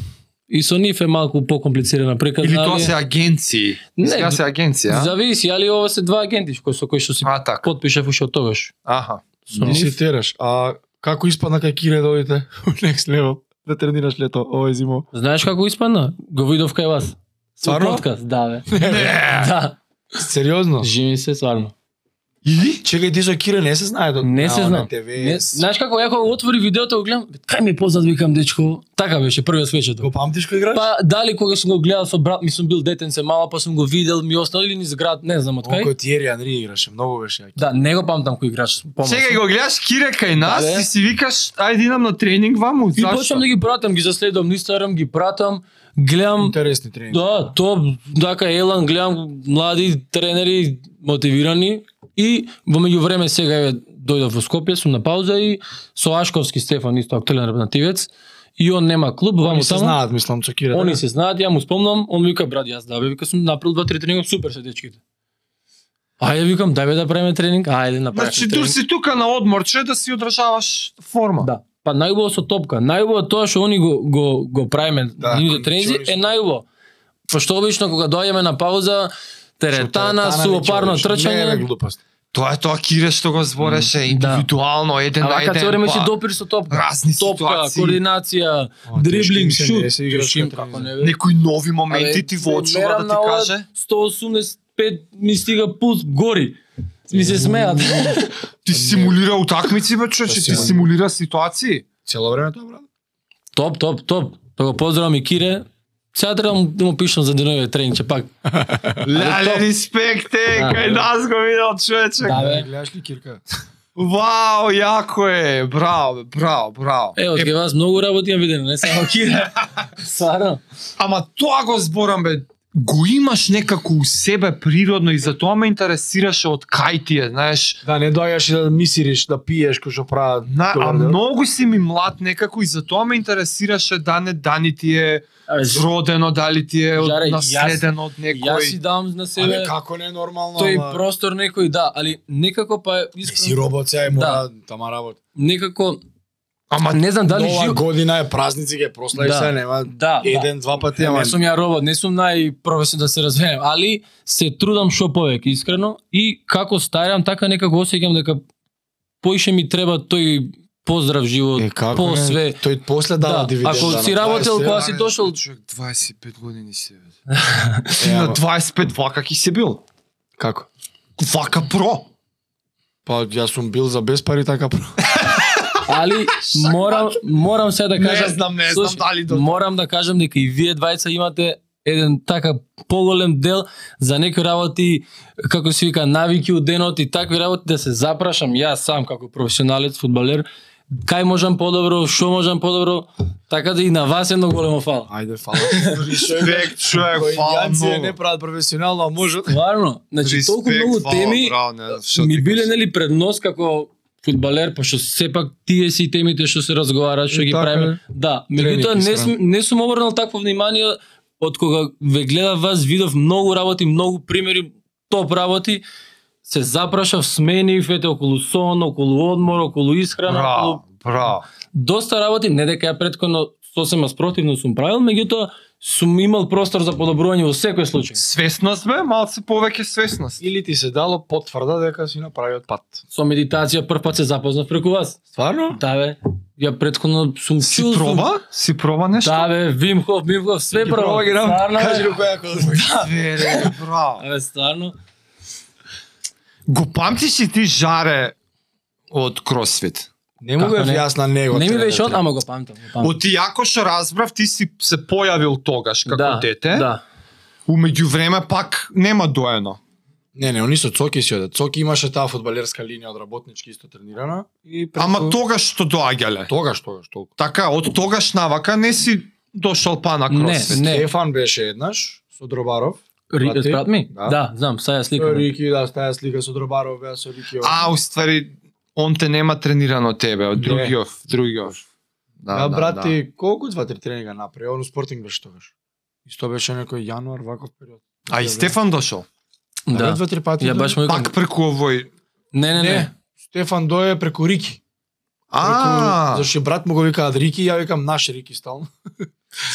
Speaker 1: И со нив е малку покомплицирана приказна.
Speaker 2: Или
Speaker 1: али-
Speaker 2: тоа се агенции.
Speaker 1: Не,
Speaker 2: Сега се агенција. а?
Speaker 1: Зависи, али ова се два агенти кои со кои што си
Speaker 2: А, така.
Speaker 1: потпишав уште од тогаш.
Speaker 2: Аха.
Speaker 1: Со
Speaker 3: Ти
Speaker 1: нив.
Speaker 3: си тераш. А како испадна кај Кире да одите у Next Level? Да тренираш лето, овој зимо.
Speaker 1: Знаеш како испадна? Го видов кај вас. Со
Speaker 3: Стварно?
Speaker 1: подкаст, да бе. Да,
Speaker 3: Сериозно?
Speaker 1: живи се стварно.
Speaker 3: И? Чекај, ти со Кире не се знае до...
Speaker 1: Не се
Speaker 3: на
Speaker 1: знам.
Speaker 3: ТВ.
Speaker 1: Не, знаеш како јако отвори видеото го гледам, кај ми е познат викам дечко. Така беше првиот свечето.
Speaker 3: Го памтиш кој играш?
Speaker 1: Па дали кога сум го гледал со брат ми сум бил детенце мала па сум го видел ми останал или низ град, не знам од кај.
Speaker 3: Кој Тиери Анри играше, многу беше јаки.
Speaker 1: Да, не го памтам кој играш. помал
Speaker 2: Сега
Speaker 1: сум.
Speaker 2: го гледаш Кире кај нас
Speaker 1: Да, бе.
Speaker 2: и си викаш, ајде идам на тренинг ваму,
Speaker 1: И почнам
Speaker 2: зашто?
Speaker 1: да ги пратам, ги заследувам, нистарам, ги пратам, гледам
Speaker 3: Интересни тренинги.
Speaker 1: Да, то, дака Елан, гледам млади тренери, мотивирани и во меѓувреме сега еве дојдов во Скопје, сум на пауза и со Ашковски Стефан исто актуелен репрезентативец и он нема клуб, ваму
Speaker 3: Они се
Speaker 1: таму.
Speaker 3: знаат, мислам, со Кире.
Speaker 1: Они
Speaker 3: да?
Speaker 1: се знаат, ја му спомнам, он вика брат, јас да бе, вика сум направил два три тренинга, супер се дечките. Ајде викам, дај бе да правиме тренинг, ајде направиме
Speaker 2: Значи,
Speaker 1: тренинг.
Speaker 2: тур си тука на одморче да си одржаваш форма.
Speaker 1: Да. Па најубаво со топка. Најубаво тоа што они го го го правиме да,
Speaker 2: Да,
Speaker 1: нивните тренинзи е најубаво. Па што обично кога доаѓаме на пауза теретана, сувопарно
Speaker 3: Не,
Speaker 1: трчање.
Speaker 3: глупост.
Speaker 2: Тоа е тоа Кире што го збореше
Speaker 1: да.
Speaker 2: индивидуално, еден
Speaker 1: Ама
Speaker 2: на
Speaker 1: кај
Speaker 2: еден.
Speaker 1: се време си
Speaker 2: па,
Speaker 1: допир со топка.
Speaker 2: разни
Speaker 1: Топка,
Speaker 2: ситуации,
Speaker 1: координација,
Speaker 3: О,
Speaker 1: дриблинг,
Speaker 3: тешки им се не
Speaker 1: шут.
Speaker 3: се играш
Speaker 1: Тешки им,
Speaker 3: кај
Speaker 1: како
Speaker 3: тренинзи.
Speaker 1: не бе.
Speaker 2: некои нови моменти
Speaker 1: Абе,
Speaker 2: ти во очува
Speaker 1: мерам
Speaker 2: да
Speaker 1: на
Speaker 2: ти
Speaker 1: ова
Speaker 2: каже.
Speaker 1: 185 ми стига пулс гори. Ми се смеат.
Speaker 2: Ти симулира утакмици, бе, човече,
Speaker 1: Да,
Speaker 2: ти
Speaker 3: сигурно.
Speaker 2: симулира ситуации.
Speaker 3: Цело време тоа, брат.
Speaker 1: топ, топ, топ. Па го поздравам и Кире. Сега требам да му пишам за деновиот тренинг, че пак.
Speaker 2: Леле, респект е,
Speaker 1: Да,
Speaker 2: кај
Speaker 1: бе.
Speaker 2: нас го видел, човече.
Speaker 3: Така.
Speaker 1: Да, бе.
Speaker 3: Гледаш ли Кирка?
Speaker 2: Вау, јако е, браво, бе, браво, браво.
Speaker 1: Е, од кај вас многу работи ја видено, не само Кира. Сварно.
Speaker 2: Ама тоа го зборам, бе, го имаш некако у себе природно и за тоа ме интересираше од кај ти е, знаеш,
Speaker 3: Да, не доаѓаш и да мисириш, да пиеш, кој што прават.
Speaker 2: На, а
Speaker 3: Добар дел.
Speaker 2: многу си ми млад некако и затоа ме интересираше да не дани ти е
Speaker 1: Абе,
Speaker 2: зродено, дали ти е од,
Speaker 1: Жаре,
Speaker 2: наследено од
Speaker 1: Јас си
Speaker 2: некој.
Speaker 1: дам на
Speaker 3: Абе,
Speaker 1: себе
Speaker 3: како не е нормално,
Speaker 1: тој
Speaker 3: ама-
Speaker 1: простор некој, да, али некако па е
Speaker 3: Не си
Speaker 1: искрено,
Speaker 3: робот, сега е мора, тама работа.
Speaker 1: некако
Speaker 2: Ама
Speaker 1: не знам Да. дали
Speaker 3: Нова
Speaker 1: жив.
Speaker 3: година е празници, ќе прослави
Speaker 1: Да.
Speaker 3: се, нема
Speaker 1: Да, да.
Speaker 3: еден, два пати, ама
Speaker 1: Не сум ја робот, не сум најпрофесионален да се развеем, али се трудам што повеќе искрено и како старам така некако осеќам дека поише ми треба тој поздрав живот,
Speaker 3: Е, како
Speaker 1: по
Speaker 3: не?
Speaker 1: све.
Speaker 3: Тој после дава
Speaker 1: Да,
Speaker 3: дивиденда.
Speaker 1: ако
Speaker 3: на
Speaker 1: си работел
Speaker 3: 20,
Speaker 1: кога си дошол,
Speaker 4: Човек 25 години си. бе.
Speaker 2: ти
Speaker 3: е,
Speaker 2: на
Speaker 3: ама-
Speaker 2: 25 вака ки си бил?
Speaker 3: Како?
Speaker 2: Вака про.
Speaker 3: Па јас сум бил за без пари така.
Speaker 1: али морам морам се да кажам,
Speaker 2: знам, не
Speaker 1: слушай,
Speaker 2: знам дали до-
Speaker 1: морам да кажам дека и вие двајца имате еден така поголем дел за некои работи, како се вика, навики од денот и такви работи да се запрашам јас сам како професионалец фудбалер, кај можам подобро, што можам подобро, така да и на вас едно големо фала.
Speaker 3: Ајде, фала.
Speaker 2: Респект, човек,
Speaker 3: Кој
Speaker 2: фала
Speaker 3: јанци не
Speaker 2: многу.
Speaker 3: прават професионално, а можат.
Speaker 1: Стварно, значи толку многу
Speaker 2: фала,
Speaker 1: теми
Speaker 2: браво, не, шо
Speaker 1: ми
Speaker 2: ти
Speaker 1: биле
Speaker 2: кажеш.
Speaker 1: нели пред нос како фудбалер, па што сепак тие си темите што се разговараат, што
Speaker 3: И
Speaker 1: ги
Speaker 3: така
Speaker 1: правиме.
Speaker 3: е.
Speaker 1: Да, меѓутоа не сум, не сум обрнал такво внимание од кога ве гледав вас, видов многу работи, многу примери, топ работи. Се запрашав, сменив, ете, околу сон, околу одмор, околу исхрана, околу
Speaker 2: Браво, браво.
Speaker 1: доста работи, не дека ја предходно сосема спротивно сум правил, меѓутоа сум имал простор за подобрување во секој случај.
Speaker 2: Свесност бе, малце повеќе свесност.
Speaker 3: Или ти се дало потврда дека си направиот пат.
Speaker 1: Со медитација прв пат се запознав преку вас.
Speaker 3: Стварно?
Speaker 1: Да бе, ја претходно сум
Speaker 2: Си
Speaker 1: чул. сум-
Speaker 2: проба? Си проба нешто?
Speaker 1: Да бе, Вимхов, Вимхов, све
Speaker 3: Ги
Speaker 1: проба.
Speaker 3: проба ги нам,
Speaker 1: Стварно, бе.
Speaker 3: кажи го која кој.
Speaker 2: Вере, браво.
Speaker 1: Абе, стварно.
Speaker 2: Го памтиш ли ти жаре од кросфит?
Speaker 3: Не му
Speaker 1: Како
Speaker 3: бев
Speaker 1: не?
Speaker 3: јас на него.
Speaker 1: Не ми
Speaker 3: тренер,
Speaker 1: беше од,
Speaker 3: тренер.
Speaker 1: ама го памтам. го памтам.
Speaker 2: Оти јако што разбрав, ти си се појавил тогаш како
Speaker 1: да,
Speaker 2: дете.
Speaker 1: Да.
Speaker 2: Умеѓу време пак нема доено.
Speaker 3: Не, не, они со Цоки си одат. Цоки имаше таа фудбалерска линија од работнички исто тренирана и преку-
Speaker 2: Ама тогаш што доаѓале.
Speaker 3: тогаш тогаш толку.
Speaker 2: Така, од тогаш навака не си дошол па на
Speaker 1: Не,
Speaker 2: кросфит.
Speaker 1: не.
Speaker 3: Стефан беше еднаш со Дробаров.
Speaker 1: Ри,
Speaker 3: Прати?
Speaker 1: спрат ми?
Speaker 3: Да.
Speaker 1: Да, знам, сега ја сликам.
Speaker 3: Рики, да, стаја слика со Дробаров, беа со Рики.
Speaker 2: А, уствари, он те нема трениран од тебе, од
Speaker 3: Не.
Speaker 2: другиов, другиов.
Speaker 3: Да, брати, колку два-три тренинга направи, он у Спортинг беше тогаш. Исто беше некој јануар ваков период.
Speaker 2: А и Стефан дошол.
Speaker 1: Да.
Speaker 3: два-три пати.
Speaker 1: Ја
Speaker 3: дојде.
Speaker 1: баш му викам.
Speaker 2: Пак преку овој...
Speaker 1: Не, не, не.
Speaker 3: Не, Стефан дое преку Рики.
Speaker 2: А,
Speaker 3: Преку- Зашто и брат му го викаат Рики, ја викам наш Рики стално.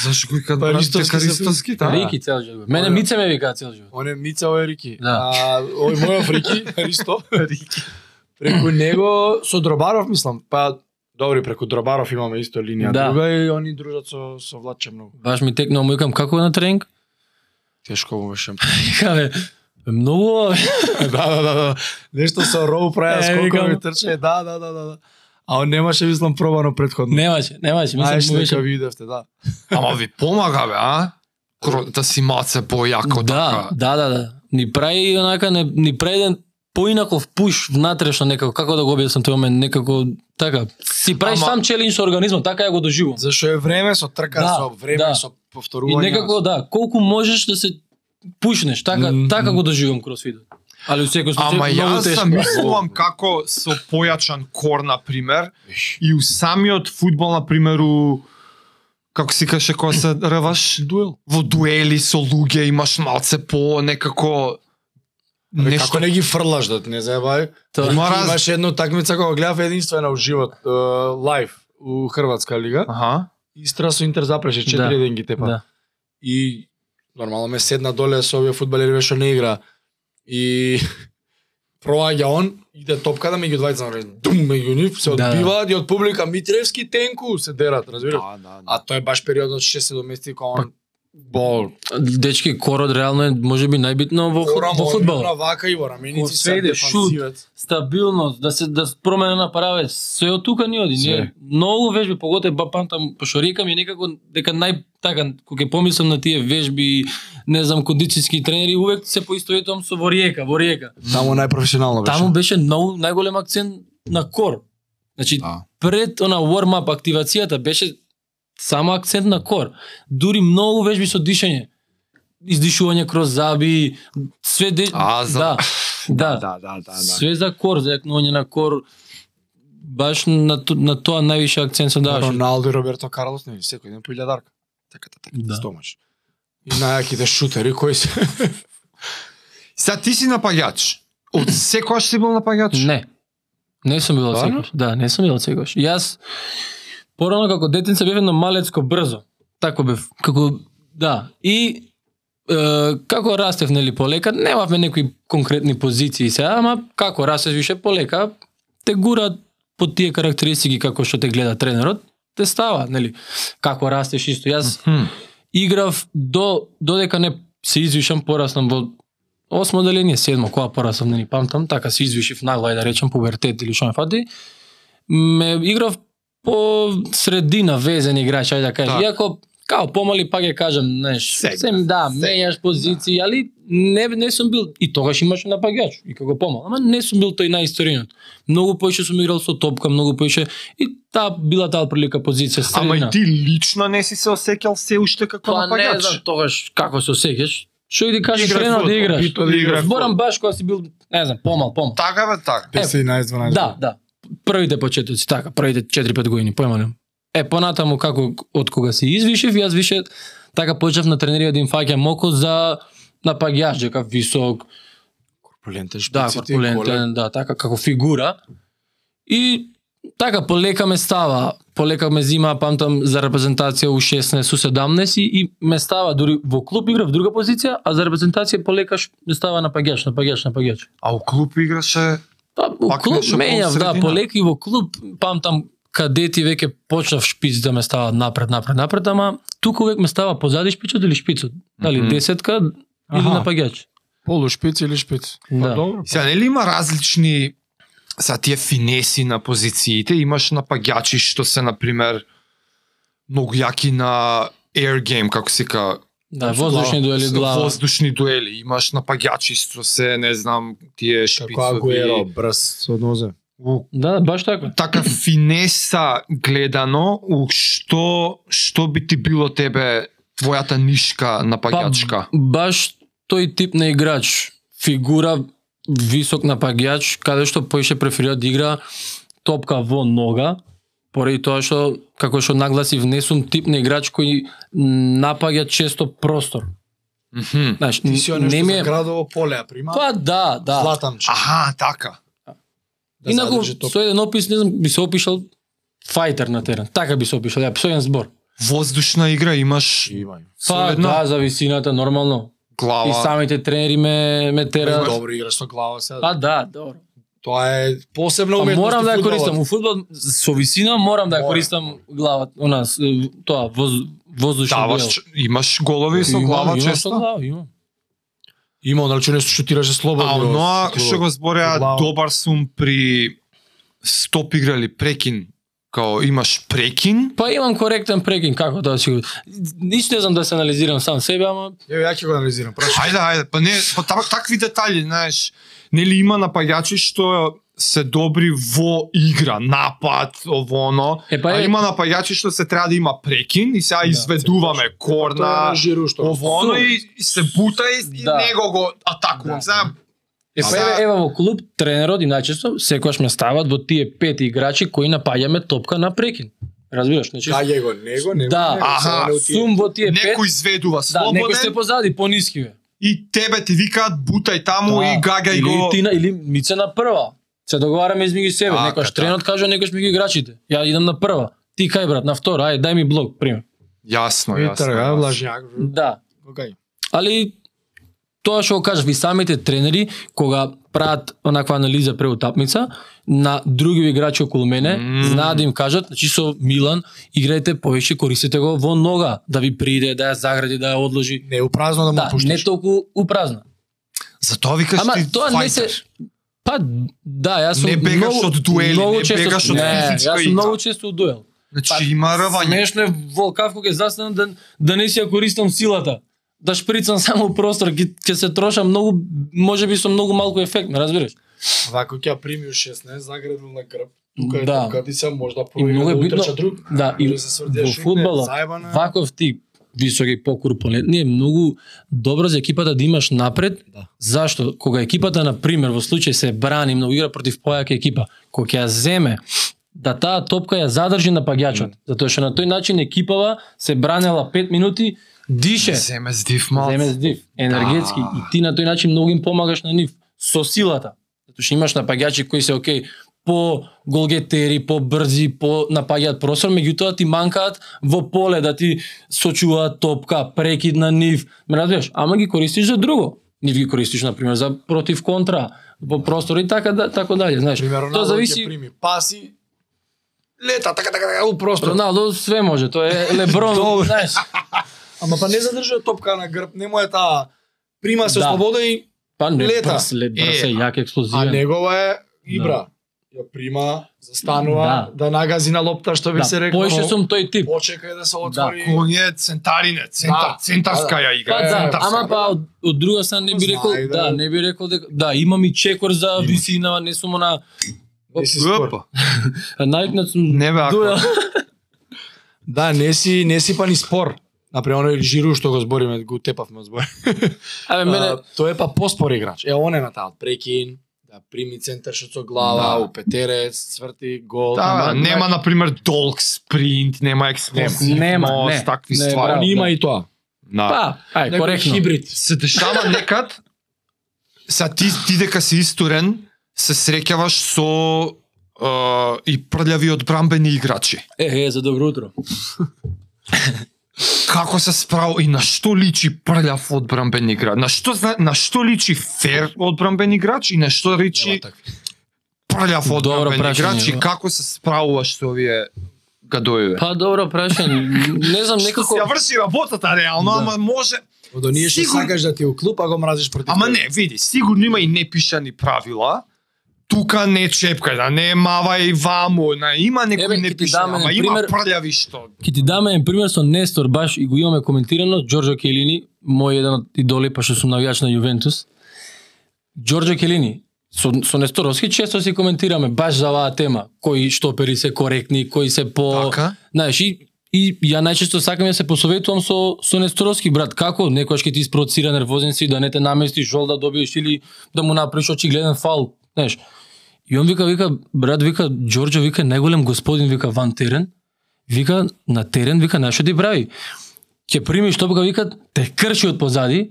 Speaker 2: зашто го
Speaker 3: Па,
Speaker 2: кад брат
Speaker 3: ристовски
Speaker 2: дека
Speaker 3: се-
Speaker 2: ристовски? да.
Speaker 1: Рики цел живот. Мене
Speaker 3: Оја.
Speaker 1: Мице ме вика цел живот.
Speaker 3: Он е Мица, овој е Рики.
Speaker 1: Да.
Speaker 3: А, овој мојов Рики, Ристо. Рики. Преку него, со Дробаров, мислам, па Добри, преку Дробаров имаме исто линија
Speaker 1: Да.
Speaker 3: друга и они дружат со, со Владче многу.
Speaker 1: Баш ми текнува му викам како е на тренинг?
Speaker 3: Тешко му беше.
Speaker 1: Вика бе, бе, многу бе.
Speaker 3: да, да, да, да. Нешто со роу праја,
Speaker 1: Е,
Speaker 3: скоко
Speaker 1: викам.
Speaker 3: ми трче, да, да, да, да. да. А он немаше, мислам, пробано предходно.
Speaker 1: немаше, немаше,
Speaker 3: Знаеш,
Speaker 1: мислам му
Speaker 3: нека
Speaker 1: беше.
Speaker 3: ви идевте, да.
Speaker 2: Ама ви помага, бе, а? Кро- Да си маце појако
Speaker 1: Да,
Speaker 2: така.
Speaker 1: да, да, да. Ни прави онака не ни прави еден поинаков пуш внатрешно некако како да го објаснам тој момент некако така си правиш
Speaker 2: Ама-
Speaker 1: сам челенџ со организмот така ја го доживувам.
Speaker 3: Зашто е време со трка,
Speaker 1: Да,
Speaker 3: со време,
Speaker 1: да.
Speaker 3: со
Speaker 1: И
Speaker 3: повторување.
Speaker 1: некако да, колку можеш да се пушнеш, така
Speaker 3: Мгм.
Speaker 1: така го доживувам кросфитот. Али у секој случај
Speaker 2: Ама
Speaker 1: многу
Speaker 2: јас
Speaker 1: тешко.
Speaker 2: сам мислувам како со појачан кор, на пример, и у самиот фудбал на пример, у... како си каше кога се рваш?
Speaker 3: дуел.
Speaker 2: Во дуели со луѓе имаш малце по некако...
Speaker 3: Абе,
Speaker 2: Нешто
Speaker 3: Како не ги фрлаш да те не заебај.
Speaker 1: Тоа-
Speaker 2: Има
Speaker 3: Ма
Speaker 2: раз-
Speaker 3: Имаше една такмица кога гледав единствена во живот, е, лайв у Хрватска лига.
Speaker 2: Аха.
Speaker 3: Истра со Интер запреше
Speaker 1: Да.
Speaker 3: 4-1 ги тепа.
Speaker 1: Да.
Speaker 3: И нормално ме седна доле со овие фудбалери што не игра. И проаѓа он, иде да топката меѓу двајца на ред. Дум меѓу нив се
Speaker 1: Да, да.
Speaker 3: одбиваат и од публика Митревски тенку се дерат, разбираш?
Speaker 2: да,
Speaker 3: А тоа е баш период од 6-7 месеци кога он бол.
Speaker 1: Дечки корот реално е можеби најбитно во,
Speaker 3: Корам,
Speaker 1: во
Speaker 3: он
Speaker 1: фудбал.
Speaker 3: игра Вака и во раменици
Speaker 1: Кога се иде, шут. стабилност, да се да се промена направе, се од тука ни оди. Ние
Speaker 3: Се.
Speaker 1: многу вежби, поготоа ба памтам, па што рекам и некако дека нај така кога ќе помислам на тие вежби, не знам кондициски тренери, увек се поистоветувам со Вориека, Вориека.
Speaker 3: Таму најпрофесионално беше.
Speaker 1: Таму беше многу најголем акцент на кор. Значи
Speaker 3: Да.
Speaker 1: пред она warm up активацијата беше само акцент на кор. Дури многу вежби со дишење. Издишување кроз заби, све де...
Speaker 2: А, за-
Speaker 1: да. Да,
Speaker 2: да, да, да.
Speaker 1: Све за кор, за јакнување на кор, баш на, ту- на тоа највише акцент се даваше.
Speaker 3: Роналдо Па и Роберто Карлос, не, секој ден по илјадарка. Така, така,
Speaker 1: Да.
Speaker 3: така, стомаш. И најаките шутери кои се.
Speaker 2: Сега ти си напаѓач. Од секојаш си бил напаѓач?
Speaker 1: Не. Не сум бил
Speaker 3: Стварно?
Speaker 1: секојаш. Да, не сум бил секојаш. Јас порано како детенце бев едно малецко брзо. Тако бев. Како да. И е, како растев нели полека, немавме некои конкретни позиции сега, ама како растеш више полека, те гурат по тие карактеристики како што те гледа тренерот, те става, нели? Како растеш исто. Јас
Speaker 2: Хм.
Speaker 1: играв до додека не се извишам пораснам во осмо деление, седмо, кога пораснам, не ни памтам, така се извишив нагла, ајде да речем, пубертет или што ме фати. Ме играв по средина везен играч, ајде да кажам.
Speaker 2: Да.
Speaker 1: Иако као помали па ќе кажам, знаеш,
Speaker 2: Сега, да.
Speaker 1: сем да, мејаш позиции, али не не сум бил и тогаш имаше напаѓач и како помал, ама не сум бил тој најисториниот. Многу поише сум играл со топка, многу поише и таа била таа прилика позиција средина.
Speaker 2: Ама и ти лично не си се осеќал се уште како
Speaker 1: Па не знам
Speaker 2: напаѓач.
Speaker 1: тогаш како се осеќаш. Што и да кажеш
Speaker 2: Играш
Speaker 1: тренал да
Speaker 2: фудбал,
Speaker 1: играш.
Speaker 2: битно да играш
Speaker 1: Зборам баш кога си бил, не знам, помал, помал.
Speaker 2: Така бе, така.
Speaker 3: 11-12.
Speaker 1: Да, да. Првите почетоци, така, првите 4-5 години, појма немам. Е, понатаму како од кога се извишев, јас више така почнав на тренерија да им фаќам моко за напаѓач, дека висок,
Speaker 3: Корпулентен
Speaker 1: да,
Speaker 2: Значи,
Speaker 3: шпиците, голем.
Speaker 1: корпулентен, да, така како фигура. И така полека ме става, полека ме зима, памтам за репрезентација у 16, у 17 и, и ме става дури во клуб игра в друга позиција, а за репрезентација полека ш- ме става напаѓач, напаѓач, напаѓач.
Speaker 2: А у клуб играше
Speaker 1: Па, у
Speaker 2: Пак
Speaker 1: клуб
Speaker 2: беше
Speaker 1: менјав, да,
Speaker 2: полусредина.
Speaker 1: полека и во клуб, памтам каде ти веќе почнав шпиц да ме става напред, напред, напред, ама тука увек ме става позади шпицот или шпицот. Дали
Speaker 2: Мгм.
Speaker 1: десетка или
Speaker 3: Аха.
Speaker 1: напаѓач.
Speaker 3: Полушпиц или шпиц? Па,
Speaker 1: Да.
Speaker 3: Добро.
Speaker 2: Сега, нели има различни са тие финеси на позициите? Имаш напаѓачи што се, например, многу јаки на air game, како се ка...
Speaker 1: Да,
Speaker 2: Значи,
Speaker 1: воздушни дуели
Speaker 2: Со
Speaker 1: глава.
Speaker 2: Воздушни дуели. Имаш напаѓачи што се, не знам, тие
Speaker 3: Како Агуеро,
Speaker 2: шпицови.
Speaker 3: брз со нозе.
Speaker 2: У
Speaker 1: Да, баш така.
Speaker 2: така финеса гледано, у што, што би ти било тебе твојата нишка напаѓачка?
Speaker 1: баш тој тип на играч, фигура висок напаѓач, каде што поише преферира да игра топка во нога, поради тоа што како што нагласив не сум тип на играч кој напаѓа често простор.
Speaker 2: Мгм.
Speaker 1: Знаеш,
Speaker 3: Ти си оне
Speaker 1: не
Speaker 3: што
Speaker 1: ми
Speaker 3: за
Speaker 1: е
Speaker 3: градово поле ја прима.
Speaker 1: Па да, да.
Speaker 3: Златан. што
Speaker 2: Аха, така.
Speaker 3: да
Speaker 1: Инаку
Speaker 3: задржи топка.
Speaker 1: со еден опис не знам би се опишал фајтер на терен. Така би се опишал, ја со еден збор.
Speaker 2: Воздушна игра имаш
Speaker 3: Има.
Speaker 1: Па
Speaker 2: Солидно.
Speaker 1: да, за висината нормално.
Speaker 2: глава.
Speaker 1: И самите тренери ме ме
Speaker 3: Тера...
Speaker 1: терат.
Speaker 3: Па, Добро играш со глава сега.
Speaker 1: Па да, добро.
Speaker 3: Тоа е посебна
Speaker 1: Па
Speaker 3: уметност.
Speaker 1: морам
Speaker 3: у
Speaker 1: да ја
Speaker 3: фудбалот.
Speaker 1: користам. У фудбал со висина морам да ја
Speaker 3: Мора.
Speaker 1: користам главата, она с- е, тоа воз, воздушен дуел.
Speaker 2: Даваш, имаш голови со
Speaker 1: Имам,
Speaker 2: глава
Speaker 1: имам со
Speaker 2: често.
Speaker 1: глава, имам.
Speaker 3: Има, нали што нешто шутираше слободно.
Speaker 2: А оноа што го збореа
Speaker 3: Глава.
Speaker 2: добар сум при стоп играли прекин. Као имаш прекин,
Speaker 1: Па имам коректен прекин како да си го. Ништо не знам да се анализирам сам себе, ама
Speaker 3: Еве ја ќе го анализирам, прашај.
Speaker 2: Ајде, ајде, па не, па так, такви детали, знаеш, нели има напаѓачи што се добри во игра, напад, ово оно,
Speaker 1: е па
Speaker 2: а
Speaker 1: е,
Speaker 2: има напаѓачи што се треба да има прекин и сега
Speaker 3: Да,
Speaker 2: изведуваме
Speaker 3: Тоа да е
Speaker 2: корна,
Speaker 3: на жиру што.
Speaker 2: ово оно и и се бута и, и
Speaker 1: Да.
Speaker 2: него го атакувам.
Speaker 3: Да.
Speaker 2: Сега
Speaker 1: е
Speaker 2: а,
Speaker 1: па еве
Speaker 2: да.
Speaker 1: ева во клуб тренерот и најчесто секогаш ме стават во тие пет играчи кои напаѓаме топка на прекин. Разбираш, значи
Speaker 3: Кај го него, него.
Speaker 1: Да.
Speaker 3: него,
Speaker 2: Аха,
Speaker 3: сега не отиде.
Speaker 1: сум во тие пет.
Speaker 2: некој изведува
Speaker 1: Да, некој сте
Speaker 2: слободен
Speaker 1: позади, пониски бе.
Speaker 2: и тебе ти викаат бутај таму
Speaker 1: Да.
Speaker 2: и гагај
Speaker 1: или
Speaker 2: го.
Speaker 1: ти на, или мице на прва. Се договараме измеѓу себе,
Speaker 2: Така,
Speaker 1: некојаш
Speaker 2: така.
Speaker 1: тренот кажа, некојаш меѓу играчите. Ја идам на прва. Ти кај брат, на втора, ај дај ми блок, пример.
Speaker 2: Јасно,
Speaker 3: И
Speaker 2: јасно.
Speaker 3: трга,
Speaker 2: јасно.
Speaker 3: влажњак.
Speaker 1: Да.
Speaker 3: Окај.
Speaker 1: Али тоа што го кажав и самите тренери кога прават онаква анализа пред утапница на други играчи околу мене,
Speaker 2: Мм.
Speaker 1: знаат да им кажат, значи со Милан играјте повеќе, користете го во нога, да ви приде, да ја загради, да ја одложи.
Speaker 3: Не е упразно да му
Speaker 1: Да, не
Speaker 3: пуштиш.
Speaker 1: толку упразна.
Speaker 2: Затоа викаш
Speaker 1: Ама
Speaker 2: ти
Speaker 1: тоа не се
Speaker 2: фајтер.
Speaker 1: Па да, јас сум
Speaker 2: Не бегаш
Speaker 1: многу,
Speaker 2: од дуели,
Speaker 1: многу
Speaker 2: не
Speaker 1: често,
Speaker 2: бегаш од
Speaker 1: не,
Speaker 2: физичка
Speaker 1: јас сум
Speaker 2: игра.
Speaker 1: многу често у дуел. па,
Speaker 2: Значи има рвање.
Speaker 1: Смешно е волкав кога ќе застанам да, да не си ја користам силата. Да шприцам само простор, ќе ќе се троша многу, може би со многу малку ефект, ме разбираш?
Speaker 3: Вако ќе ја примиу 16, заградил на грб. Тука е
Speaker 1: Да.
Speaker 3: тука ти се може да
Speaker 1: И
Speaker 3: поиде
Speaker 1: многу е
Speaker 3: да
Speaker 1: битно-
Speaker 3: утрча друг.
Speaker 1: Да, и
Speaker 3: може да се сврдеш,
Speaker 1: во
Speaker 3: шутне,
Speaker 1: фудбала,
Speaker 3: заебана е.
Speaker 1: ваков тип високи покурпонетни е многу добро за екипата да имаш напред.
Speaker 3: Да.
Speaker 1: Зашто? Кога екипата на пример во случај се брани многу игра против појака екипа, кога ќе ја земе да таа топка ја задржи напаѓачот, затоа што на тој начин екипава се бранела 5 минути, дише,
Speaker 2: Земе здив малце.
Speaker 1: земе здив, енергетски
Speaker 2: Да.
Speaker 1: и ти на тој начин многу им помагаш на нив со силата. Затоа што имаш напаѓачи кои се окей, по голгетери, по брзи, по напаѓаат просор, меѓутоа ти манкаат во поле да ти сочуваат топка, прекид на нив, ме разбираш, ама ги користиш за друго. Нив ги користиш на пример за против контра, во простор и така да така дале, знаеш.
Speaker 3: Пример,
Speaker 1: тоа
Speaker 3: Роналдо ќе
Speaker 1: зависи
Speaker 3: прими паси, лета, така, така, така, у простор.
Speaker 1: Роналдо све може, тоа е Леброн, знаеш.
Speaker 3: Ама па не задржува топка на грб, не му е таа прима се
Speaker 1: Да.
Speaker 3: слобода и
Speaker 1: Па не
Speaker 3: Лета.
Speaker 1: брс, ле, брс е
Speaker 2: Е,
Speaker 1: јак
Speaker 3: а
Speaker 1: експлозивен.
Speaker 3: негова
Speaker 1: Да.
Speaker 3: е Ибра. Ја прима, застанува, да, нагази на лопта што би
Speaker 1: Да,
Speaker 3: се рекол.
Speaker 1: поише сум тој тип.
Speaker 3: Почекај да се отвори.
Speaker 2: Кој е центарине, центар,
Speaker 3: Да.
Speaker 2: центарска ја игра.
Speaker 1: Па да, ама па од, од друга страна не би
Speaker 3: Знае
Speaker 1: рекол,
Speaker 3: да.
Speaker 1: да, не би рекол дека да, имам и чекор за висина, не сум на
Speaker 3: Не си спор.
Speaker 2: Опа.
Speaker 1: навикнат сум
Speaker 2: Не бе, ако-
Speaker 1: дуел.
Speaker 3: Да, не си, не си па ни спор. Например, оној Жиру што го збориме, го тепавме збор.
Speaker 1: Абе мене
Speaker 3: А, Тој е па поспор играч. Е, он е на таа прекин, да прими центар шот со глава,
Speaker 2: Да.
Speaker 3: у петерец, цврти, гол.
Speaker 2: Да,
Speaker 3: таман.
Speaker 2: нема на пример долг спринт, нема експлозивност,
Speaker 1: Нема, не.
Speaker 2: такви
Speaker 1: Не,
Speaker 2: ствари.
Speaker 1: браво.
Speaker 3: Он има и тоа.
Speaker 2: Да.
Speaker 1: па, ај,
Speaker 3: Некој
Speaker 1: коректно.
Speaker 3: Хибрид.
Speaker 2: Се дешава некад са ти, ти дека си исторен, се среќаваш со е, и прљави одбрамбени играчи.
Speaker 1: Е, е, за добро утро.
Speaker 2: Како се справо и на што личи прљав одбрамбен играч? На што зна- на што личи фер одбрамбен играч и на што личи
Speaker 3: Нема такви.
Speaker 2: прљав одбранбен
Speaker 1: Добро прашање,
Speaker 2: играч и
Speaker 1: да.
Speaker 2: како се справуваш со овие гадојове?
Speaker 1: Па добро прашање. Не знам
Speaker 2: Некако
Speaker 1: Па, некако
Speaker 2: ја врши работата реално,
Speaker 3: Да.
Speaker 2: ама може
Speaker 3: Од оние што
Speaker 2: Сигурно-
Speaker 3: сакаш да ти е у клуб, а го мразиш против.
Speaker 2: Ама
Speaker 3: тебе.
Speaker 2: не, види, сигурно има и непишани правила. Тука не чепкај, да не мавај ваму, на има
Speaker 1: Еве,
Speaker 2: некои
Speaker 1: ќе ти дам
Speaker 2: непишани,
Speaker 1: еден
Speaker 2: ама има
Speaker 1: пример.
Speaker 2: прљави што.
Speaker 1: Ки ти даме еден пример со Нестор, баш и го имаме коментирано, Джорджо Келини, мој еден од идоли, па што сум навијач на Јувентус. Джорджо Келини, со, со Несторовски често си коментираме баш за оваа тема, кои штопери се коректни, кои се по...
Speaker 4: Така.
Speaker 1: Знаеш, и, и ја најчесто сакам да се посоветувам со, со Несторовски, брат, како некојаш ќе ти испровоцира нервозен си, да не те наместиш, жол да добиеш или да му направиш очигледен фал, знаеш. И он вика, вика, брат, вика, Джорджо, вика, најголем господин, вика, ван терен, вика, на терен, вика, знаеш што ти прави? Ќе примиш топка, вика, те крши од позади,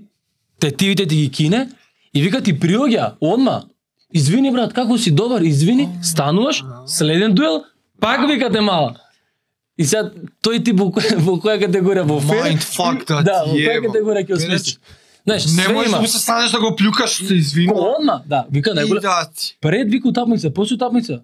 Speaker 1: те тивите ти ги кине, и вика ти приоѓа, одма, извини брат, како си добар, извини, стануваш, следен дуел, пак вика те мала. И сега тој ти во, која- во која категорија во фер?
Speaker 2: Mindfuck да
Speaker 1: да, во
Speaker 2: ти е,
Speaker 1: која
Speaker 2: ма.
Speaker 1: категорија ќе осмислиш? Знаеш,
Speaker 2: Не
Speaker 1: све
Speaker 2: можеш да
Speaker 1: има.
Speaker 2: му се станеш да го плюкаш, што се извинува.
Speaker 1: Одма, да, вика
Speaker 2: И
Speaker 1: најголем.
Speaker 2: да ти.
Speaker 1: Пред вика утапница, после утапница.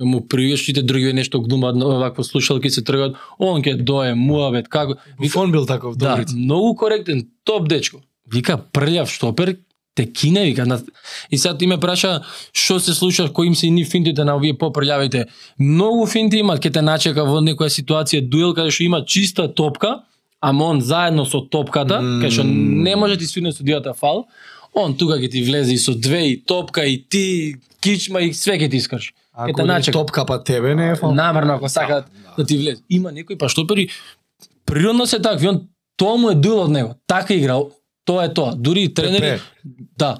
Speaker 1: Кај му привеш сите други нешто глумат, овакво слушалки се тргаат, он ќе дое, муавет, како.
Speaker 3: Буфон бил таков,
Speaker 1: Да,
Speaker 3: добри.
Speaker 1: многу коректен, топ дечко. Вика прљав штопер, те кине, вика. На... И сега ти ме праша што се случува, кои им се ни финтите на овие попрљавите. Многу финти имат, ќе те начека во некоја ситуација дуел каде што има чиста топка, ама он заедно со топката,
Speaker 3: Мм.
Speaker 1: mm. кај што не може ти свине судијата фал, он тука ќе ти влезе и со две и топка и ти и кичма и све ќе ти искрши. Ќе те
Speaker 3: Ако не
Speaker 1: начека.
Speaker 3: топка па тебе не е фал.
Speaker 1: Намерно ако сакаат да ти влезе. Има некои па штопери природно се такви, он тоа му е дел од него. Така игра, тоа е тоа. Дури и тренери,
Speaker 3: Пепе.
Speaker 1: да.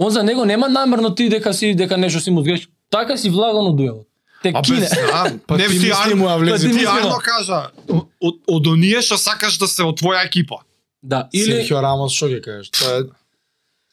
Speaker 1: Он за него нема намерно ти дека си дека нешто си му згрешил. Така си влагано дуелот. Те
Speaker 2: А
Speaker 1: кине.
Speaker 2: без, знам.
Speaker 3: Па
Speaker 2: не
Speaker 3: ти
Speaker 2: ти
Speaker 3: мисли
Speaker 2: арно,
Speaker 3: му ја
Speaker 1: влезе.
Speaker 2: влезе.
Speaker 1: Па ти
Speaker 2: Ти
Speaker 1: мисли му.
Speaker 2: арно кажа, о- од од оние што сакаш да се од твоја екипа.
Speaker 1: Да, или
Speaker 3: Серхио Рамос што ќе кажеш? Тоа е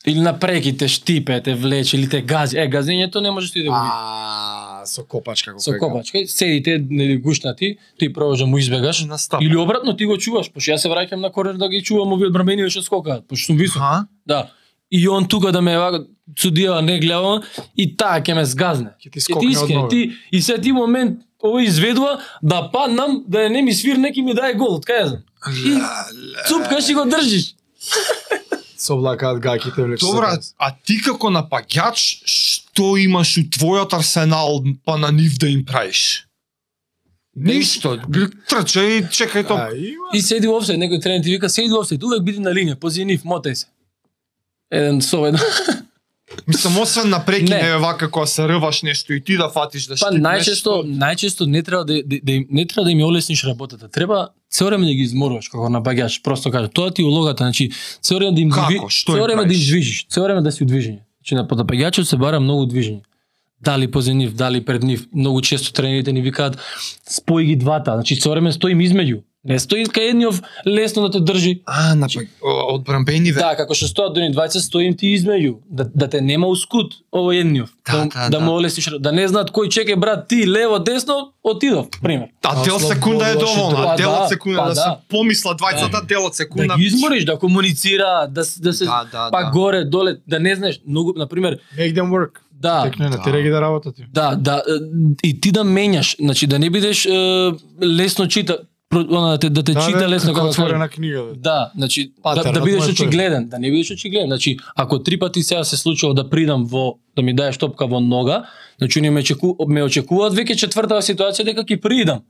Speaker 1: или на преки те штипе, те влече или те гази. Е, газењето не можеш ти да го видиш.
Speaker 3: а со копачка го
Speaker 1: Со
Speaker 3: пега.
Speaker 1: копачка, седите нели гушнати, ти прво да му избегаш.
Speaker 2: Настап.
Speaker 1: Или обратно ти го чуваш, пошто јас се враќам на корнер да ги чувам овие одбранбени што скокаат, пошто сум висок.
Speaker 2: Аха.
Speaker 1: Да. И он тука да ме вака судијава не гледам и таа ќе ме згазне.
Speaker 3: Ќе ти
Speaker 1: Ќе ти
Speaker 3: скокне
Speaker 1: искрен,
Speaker 3: однове.
Speaker 1: ти и се ти момент ово изведува да паднам, да не ми свир неки ми дае гол, од кај ја знам. И цупкаш и го држиш.
Speaker 3: Со облакаат гаките влече.
Speaker 2: Добра, а ти како напаѓач, што имаш у твојот арсенал па на нив да им правиш? Ништо, трча и чекај тоа.
Speaker 3: А, има.
Speaker 1: И седи офсайд, некој тренер ти вика седи офсайд, увек биди на линија, пози нив, мотај се. Еден со еден.
Speaker 2: Мислам, освен на
Speaker 1: Не.
Speaker 2: прекине, вака кога се рваш нешто и ти да фатиш да
Speaker 1: Па
Speaker 2: штипнеш.
Speaker 1: најчесто најчесто не треба да, да, да им- не треба да им ја олесниш работата. Треба цело време да ги изморуваш како набаѓаш, просто кажа, тоа ти е улогата, значи цело време да им
Speaker 2: Како?
Speaker 1: дви-
Speaker 2: Што им
Speaker 1: цело време да им
Speaker 2: правиш?
Speaker 1: движиш, цело време да си у движење. Значи на подапаѓачот се бара многу движење. Дали позад нив, дали пред нив, многу често тренерите ни викаат спој ги двата, значи цело време стоим измеѓу. Не стои кај едниот лесно да те држи.
Speaker 2: А, на од брамбени ве.
Speaker 1: Да, како што стоат дуни 20, стоим ти измеѓу, да, да те нема ускут овој едниот. Да, да, да, му олесниш, да не знаат кој чекај брат ти лево десно, отидов, пример.
Speaker 2: А дел
Speaker 3: Аслан
Speaker 2: Да, секунда е
Speaker 3: Богдаш и
Speaker 2: доволна,
Speaker 1: Дра-
Speaker 2: дел
Speaker 1: Па
Speaker 2: од
Speaker 1: да,
Speaker 2: секунда
Speaker 1: па
Speaker 2: да се
Speaker 1: да.
Speaker 2: помисла двајцата, дел од секунда.
Speaker 1: да ги измориш, да комуницира, да, с- да се да,
Speaker 2: Да, да,
Speaker 1: па
Speaker 2: да.
Speaker 1: горе, доле, да не знаеш, многу, на пример,
Speaker 3: Make them work.
Speaker 1: да,
Speaker 3: Текне на тера ги да работат. ти.
Speaker 1: да, да, е, и ти да менјаш, значи да не бидеш е, лесно чита, про- она, да те, да те
Speaker 3: Да,
Speaker 1: чита
Speaker 3: бе,
Speaker 1: лесно
Speaker 3: како
Speaker 1: како
Speaker 3: отворена книга. бе.
Speaker 1: Да, значи да,
Speaker 3: Патернот
Speaker 1: да
Speaker 3: му
Speaker 1: бидеш
Speaker 3: е тој.
Speaker 1: очигледен, да не бидеш очигледен. Значи, ако три пати сега се случило да придам во да ми даеш топка во нога, значи они ме чеку, ме очекуваат веќе четвртава ситуација дека ќе придам.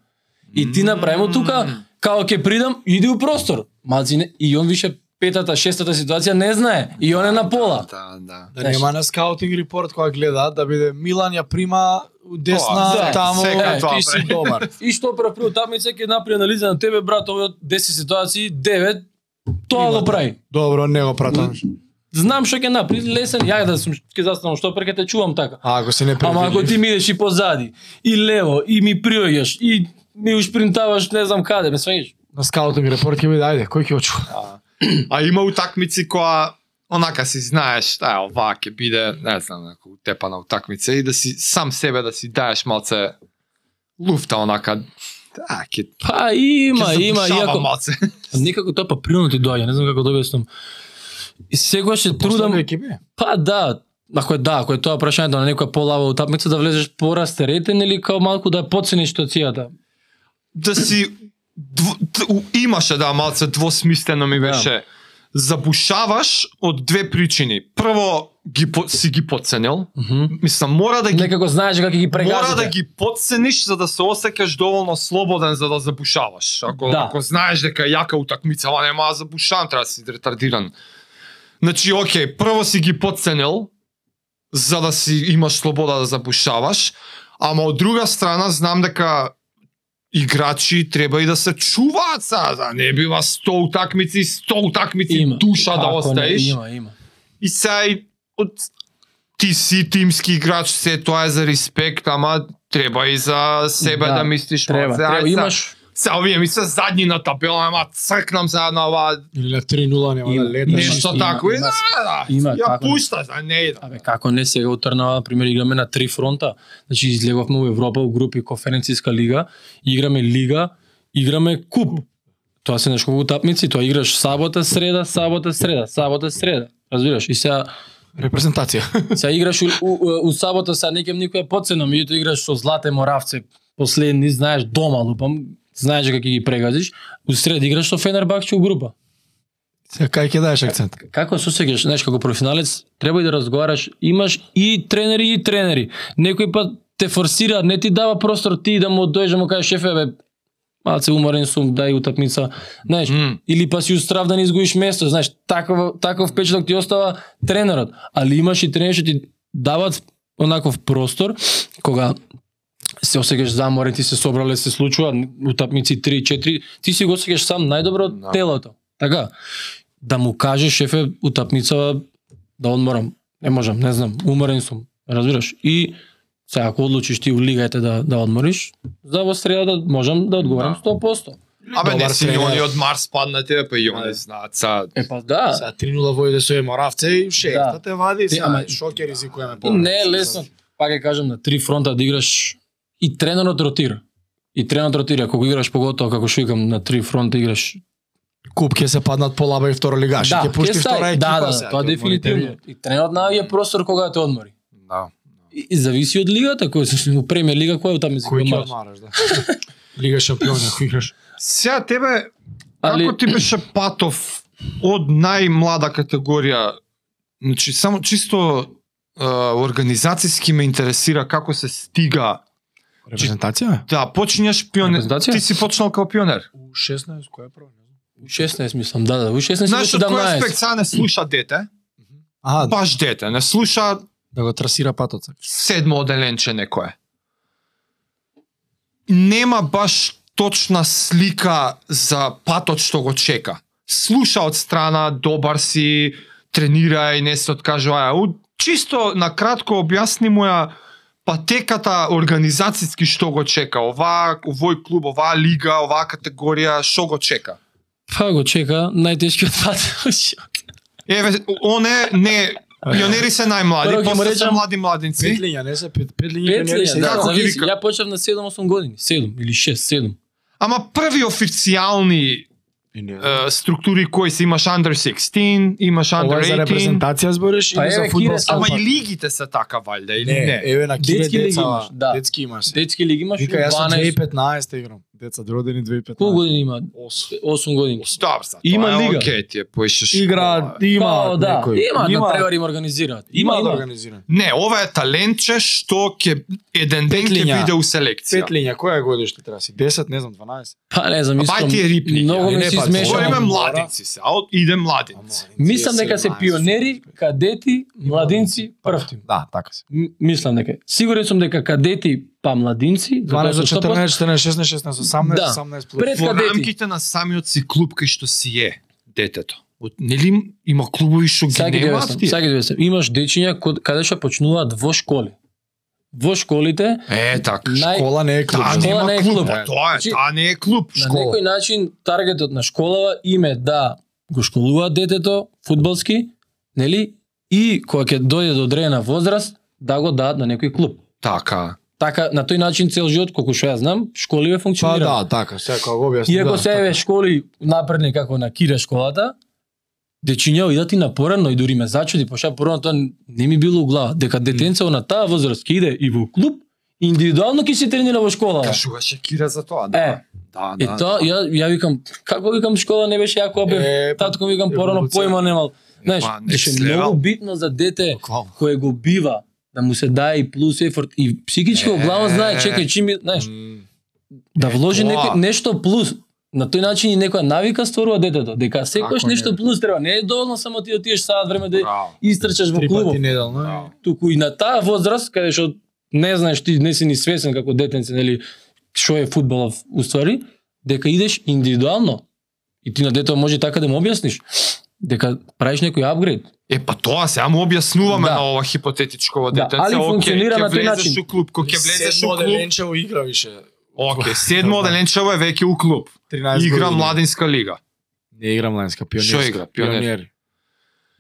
Speaker 1: И ти направимо тука као ќе придам, иди у простор. Мази не, и он више петата, шестата ситуација не знае и он е на пола.
Speaker 4: Да, да.
Speaker 3: Да
Speaker 1: Знаеш.
Speaker 3: нема на скаутинг репорт кога гледаат да биде Милан ја прима у десна
Speaker 1: Тоа, да,
Speaker 3: таму
Speaker 2: сека
Speaker 3: е,
Speaker 2: тоа,
Speaker 3: ти си
Speaker 2: бе.
Speaker 3: добар.
Speaker 1: И што прв прв утамница ќе направи анализа на тебе брат, овој од 10 ситуации 9 тоа го прави.
Speaker 3: Добро, не го пратам.
Speaker 1: Знам што ќе направи, лесен, ја да сум ќе застанам што пред ќе те чувам така.
Speaker 3: А ако се не
Speaker 1: Ама ако ти ми идеш и позади, и лево, и ми приоѓаш, и ми ушпринтаваш не знам каде, ме сваѓаш.
Speaker 3: на скаутинг репорт ќе биде, ајде, кој ќе очува?
Speaker 2: А има утакмици која онака си знаеш, ај, ова ќе биде, не знам, некој тепана утакмица и да си сам себе да си даеш малце луфта онака. Да, ќе
Speaker 1: Па има,
Speaker 2: ќе се
Speaker 1: има,
Speaker 2: задушава
Speaker 1: иако
Speaker 2: малце.
Speaker 1: некако тоа па природно ти доаѓа, не знам како да објаснам. И секогаш се трудам,
Speaker 3: Ќе биде.
Speaker 1: па да, Ако е да, ако е тоа прашањето на некоја полава утапница да влезеш пораsteретен или као малку да ја подцениш ситуацијата.
Speaker 2: да си дв, т, у, имаше да малце двосмислено ми беше. Да. Забушаваш од две причини. Прво ги по, си ги подценил.
Speaker 1: Мгм.
Speaker 2: Мислам мора да ги
Speaker 1: Некако знаеш како ги прегазите.
Speaker 2: мора да ги подцениш за да се осеќаш доволно слободен за да забушаваш. Ако
Speaker 1: Да.
Speaker 2: ако знаеш дека е јака утакмица, ама нема да забушавам, треба да си ретардиран. Значи, окей, прво си ги подценил за да си имаш слобода да забушаваш, ама од друга страна знам дека играчи треба и да се чуваат сега, да не бива 100 утакмици, 100 утакмици душа да
Speaker 1: Како не,
Speaker 2: остаеш.
Speaker 1: Има, има.
Speaker 2: И сега и од ти си тимски играч, се тоа е за респект, ама треба и за себе
Speaker 1: Да,
Speaker 2: да, мислиш.
Speaker 1: Треба,
Speaker 2: малце.
Speaker 1: треба.
Speaker 2: Ај, сега-
Speaker 1: Имаш
Speaker 2: Сега овие ми се задни на табела, ама цркнам сега на ова
Speaker 3: Или на 3-0 нема
Speaker 1: Има.
Speaker 3: да лета.
Speaker 2: нешто
Speaker 1: има,
Speaker 2: тако. и
Speaker 1: има,
Speaker 2: да, да,
Speaker 1: има,
Speaker 2: ја
Speaker 1: како не.
Speaker 2: пушта, за не идам.
Speaker 1: Абе, како не сега у Трнава, на пример, играме на три фронта. Значи, излеговме у Европа, у групи, конференцијска лига, играме лига, играме куп. Тоа се нешко утапници, тоа играш сабота, среда, сабота, среда, сабота, среда. Разбираш? И сега,
Speaker 3: Репрезентација.
Speaker 1: сега играш у, у, у сабота, сега некем никој е подцена, меѓутоа играш со Злате Моравце, последни, знаеш, дома лупам, знаеш како ги прегазиш. У среда играш со Фенербахче у група.
Speaker 3: Сега кај ќе даеш акцент?
Speaker 1: Како се осеќаш, знаеш, како професионалец, треба и да разговараш, имаш и тренери и тренери. Некој пат те форсира, не ти дава простор ти да му дојдеш да му кажеш шефе бе, малце уморен сум, дај утакмица. Знаеш,
Speaker 2: Мм.
Speaker 1: или па си устрав да не изгубиш место, знаеш, таков таков впечаток ти остава тренерот, али имаш и тренери што ти дават онаков простор кога се осеќаш заморен, ти се собрале, се случува утапници 3-4, ти си го осеќаш сам најдобро од
Speaker 2: Да.
Speaker 1: телото. Така, да му кажеш шефе утапница да одморам. Не можам, не знам, уморен сум. Разбираш? И сега ако одлучиш ти у лигајте да да одмориш, за во среда да можам да одговарам 100%.
Speaker 2: Абе, не
Speaker 3: Добар
Speaker 2: си ни
Speaker 3: тренер.
Speaker 2: они од Марс падна тебе, па и они знаат. сега.
Speaker 1: Е па да.
Speaker 3: Сега 3-0 војде со е Моравце и шефта
Speaker 1: Да.
Speaker 3: те вади,
Speaker 1: Ти,
Speaker 3: сега
Speaker 1: ама-
Speaker 3: шокер ризикуваме
Speaker 1: И не е лесно,
Speaker 3: значи.
Speaker 1: пак ќе кажам, на три фронта да играш и тренерот ротира. И тренерот ротира, кога играш поготово, како што викам, на три фронта играш.
Speaker 3: Куп ќе се паднат по лаба и второ лигаш,
Speaker 1: да,
Speaker 3: ќе пушти
Speaker 1: ќе стај.
Speaker 3: втора екипа.
Speaker 1: Да, да,
Speaker 3: сега,
Speaker 1: тоа
Speaker 3: ќе
Speaker 1: дефинитивно.
Speaker 3: одморите
Speaker 1: И тренерот наоѓа простор кога да те одмори.
Speaker 2: Да.
Speaker 1: И, и зависи од лигата, кој се у премиер лига, кој е таму
Speaker 3: вие. Кој ќе
Speaker 1: се
Speaker 3: одмараш, да. Лига шампиони, ако играш.
Speaker 2: Сега тебе,
Speaker 1: Али
Speaker 2: Како ти беше Патов од најмлада категорија? Значи, само чисто е, организацијски ме интересира како се стига.
Speaker 3: Репрезентација?
Speaker 2: Да, почињаш пионер.
Speaker 1: Репрезентација?
Speaker 2: Ти си почнал како пионер.
Speaker 3: У 16 кој е прво, не знам.
Speaker 1: у 16 мислам, да, да, у 16
Speaker 2: Знаеш
Speaker 1: Знаеш,
Speaker 2: од кој
Speaker 1: 17.
Speaker 2: аспект сега не слуша дете?
Speaker 3: А, да,
Speaker 2: Баш дете, не слуша
Speaker 3: да го трасира патот. сакаш.
Speaker 2: седмо оделенче некое. Нема баш точна слика за патот што го чека. Слуша од страна, добар си, тренирај, не се откажувај. У- Чисто на кратко објасни му ја патеката организацијски што го чека. Ова, овој клуб, оваа лига, оваа категорија, што го чека.
Speaker 1: Па го чека најтешкиот пат.
Speaker 2: Еве, оне, не, пионери се најмлади,
Speaker 1: Прво ќе му
Speaker 2: после се
Speaker 1: речам-
Speaker 2: млади младинци.
Speaker 3: Петлиња не се пет, петлиња
Speaker 1: Пет
Speaker 3: пионери
Speaker 1: ли,
Speaker 3: се.
Speaker 1: да,
Speaker 2: како ги
Speaker 1: зависи.
Speaker 2: вика?
Speaker 1: Ја почнав на 7-8 години, 7 или 6, 7.
Speaker 2: Ама први официјални
Speaker 3: И не.
Speaker 2: е, структури кои се имаш under 16, имаш
Speaker 3: Ова е за
Speaker 2: under 18.
Speaker 3: репрезентација збориш
Speaker 1: Па
Speaker 3: или за
Speaker 1: еве,
Speaker 3: фудбалска?
Speaker 1: Кире,
Speaker 2: Ама
Speaker 3: лопата?
Speaker 2: и лигите се така валјда или
Speaker 3: Не,
Speaker 2: не?
Speaker 3: еве на Кире
Speaker 1: Детски лиги
Speaker 3: деца,
Speaker 1: имаш, да.
Speaker 3: детски имаш. се.
Speaker 1: Детски лиги имаш
Speaker 3: Вика, јас сум
Speaker 1: 12.
Speaker 3: 2015 играм. Деца, родени 2015.
Speaker 1: Колку години има?
Speaker 3: Осум.
Speaker 1: 8 години.
Speaker 2: Добро, са,
Speaker 1: Има
Speaker 2: тоа е
Speaker 1: лига.
Speaker 2: Окей, ти е поишеш.
Speaker 3: Игра,
Speaker 1: Као,
Speaker 3: има
Speaker 1: да,
Speaker 3: некој.
Speaker 1: Има, има превар им организираат.
Speaker 3: Има да
Speaker 1: да.
Speaker 3: организиран.
Speaker 2: Не, ова е талентче што ќе еден ден ќе
Speaker 3: Петлиња.
Speaker 2: биде у селекција.
Speaker 3: Петлиња, која е годиште треба си? 10, не знам, 12.
Speaker 1: Па не знам,
Speaker 2: Бај
Speaker 1: искам.
Speaker 2: ти е рипни,
Speaker 1: Многу
Speaker 3: али
Speaker 1: ми
Speaker 3: не,
Speaker 1: се
Speaker 3: па,
Speaker 2: Ова име
Speaker 3: Ама,
Speaker 1: измешано.
Speaker 2: младинци се, а од иде младинци.
Speaker 1: Мислам дека се пионери, кадети, младинци, првти.
Speaker 3: Да, така се.
Speaker 1: М- Мислам дека. е. Сигурен сум дека кадети па младинци,
Speaker 3: 12
Speaker 1: затоа
Speaker 3: до
Speaker 1: што 100%,
Speaker 3: 14, 14, 16, 16, 18,
Speaker 1: Да.
Speaker 3: 18 плюс.
Speaker 1: Пред
Speaker 2: Во
Speaker 1: кадети.
Speaker 2: рамките на самиот си клуб кај што си е детето. Од нели има клубови што ги
Speaker 1: Сега ќе ти
Speaker 2: немаат
Speaker 1: објаснам,
Speaker 2: ти?
Speaker 1: сега ќе ти објаснам. Имаш дечиња код- каде што почнуваат во школи. Во школите
Speaker 2: Е, така.
Speaker 1: Нај-
Speaker 3: Школа не е клуб.
Speaker 2: Таа
Speaker 1: школа
Speaker 2: нема
Speaker 1: Да, не е
Speaker 2: клуб.
Speaker 1: клуб.
Speaker 2: Па Тоа е,
Speaker 1: Значи,
Speaker 2: таа не е клуб.
Speaker 1: на некој начин таргетот на школава име да го школува детето фудбалски, нели? И кога ќе дојде до одредена возраст, да го дадат на некој клуб.
Speaker 2: Така.
Speaker 1: Така, на тој начин цел живот, колку што ја знам, школиве
Speaker 3: Па
Speaker 1: функционира.
Speaker 3: да, така, сега кога го објаснам.
Speaker 1: Иако
Speaker 3: да,
Speaker 1: се еве школи напредни како на Кире школата, дечиња идат и напоредно и дури ме зачуди, пошто порано тоа не ми било у глава, дека детенце на таа возраст ќе иде и во клуб, индивидуално ќе се тренира во школа.
Speaker 2: Кажуваше Кира за тоа, да.
Speaker 1: Е,
Speaker 2: да,
Speaker 1: и
Speaker 2: да,
Speaker 1: тоа,
Speaker 2: да.
Speaker 1: ја, ја викам, како викам школа не беше јако, бе,
Speaker 3: Е, па,
Speaker 1: татко викам порано
Speaker 3: еволуција. па,
Speaker 1: појма немал. Знаеш,
Speaker 2: Ема, next
Speaker 1: беше
Speaker 2: level.
Speaker 1: многу битно за дете
Speaker 3: буквално.
Speaker 1: кое го бива, да му се дае и плюс ефорт и психички во глава знае, чекај чим ми, знаеш,
Speaker 3: М,
Speaker 1: да вложи
Speaker 2: тоа.
Speaker 1: некој нешто плюс. На тој начин и некоја навика стварува детето, дека секогаш
Speaker 2: Ако не.
Speaker 1: нешто плюс треба. Не е доволно само ти отидеш саат време да
Speaker 2: Браво.
Speaker 1: истрчаш во
Speaker 3: Три
Speaker 1: клубот.
Speaker 3: пати неделно.
Speaker 2: Браво.
Speaker 1: Туку и на таа возраст каде што не знаеш ти не си ни свесен како детенце нели што е фудбалов уствари, дека идеш индивидуално. И ти на детето може така да му објасниш дека правиш некој апгрейд.
Speaker 2: Е, па тоа сега му објаснуваме
Speaker 1: Да.
Speaker 2: на ова
Speaker 1: Да,
Speaker 2: хипотетичко детенце.
Speaker 1: али
Speaker 2: окей,
Speaker 1: функционира
Speaker 2: ќе
Speaker 1: на тој
Speaker 2: влезеш
Speaker 1: начин.
Speaker 2: у клуб, кој ќе влезеш у
Speaker 3: Седмо
Speaker 2: клуб.
Speaker 3: деленче во игра више.
Speaker 2: Океј, седмо деленчево е веќе у клуб.
Speaker 3: 13
Speaker 2: Игра
Speaker 3: години.
Speaker 2: младинска лига.
Speaker 3: Не игра младинска, пионерска.
Speaker 2: Шо игра? Пионер.
Speaker 3: Пионери.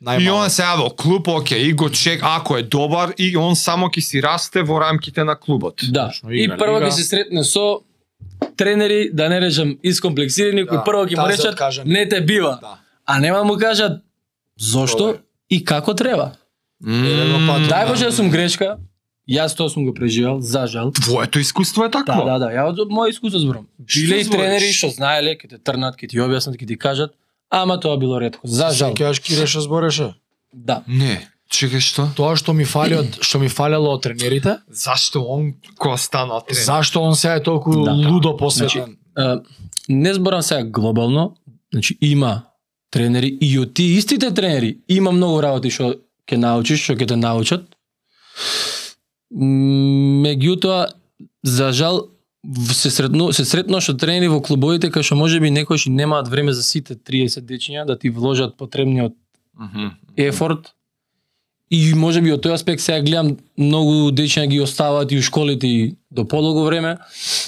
Speaker 2: И
Speaker 3: Најмало.
Speaker 2: он се во клуб, окей, и го чек, ако е добар, и он само ќе си расте во рамките на клубот.
Speaker 1: Да.
Speaker 3: Точно,
Speaker 1: И
Speaker 3: игра,
Speaker 1: прво
Speaker 3: игра.
Speaker 1: ќе се сретне со тренери, да не речам искомплексирани, кои
Speaker 3: Да,
Speaker 1: прво ќе му
Speaker 3: таа се
Speaker 1: речат
Speaker 3: откажа.
Speaker 1: не те бива.
Speaker 3: Да.
Speaker 1: А нема да му кажат зошто
Speaker 3: Добре.
Speaker 1: и како треба.
Speaker 3: Едно пат.
Speaker 1: Дај Боже да сум грешка, јас тоа сум го преживел, за жал.
Speaker 2: Твоето искуство е
Speaker 1: Да,
Speaker 2: такво.
Speaker 1: да, да, ја од моје искуство зборам. Биле и
Speaker 2: збориш?
Speaker 1: тренери што знаеле, ќе те трнат, ќе ти објаснат, ќе ти кажат, ама тоа било ретко. За жал.
Speaker 3: Сеќаваш Кире што збореше?
Speaker 1: Да.
Speaker 2: Не, чекај што?
Speaker 3: Тоа што ми фали од што ми фалело од тренерите,
Speaker 2: Зашто он кој стана тренер?
Speaker 3: зашто он сега е толку
Speaker 1: Да.
Speaker 3: лудо посветен?
Speaker 1: Е, не зборам сега глобално, значи има тренери и од тие истите тренери има многу работи што ќе научиш, што ќе те научат. М, Меѓутоа, за жал, в- се сретно, се сретно што тренери во клубовите кај што можеби некојши немаат време за сите 30 дечиња да ти вложат потребниот
Speaker 2: Мгм.
Speaker 1: ефорт и може би од тој аспект сега гледам многу дечиња ги оставаат и у школите и до подолго време.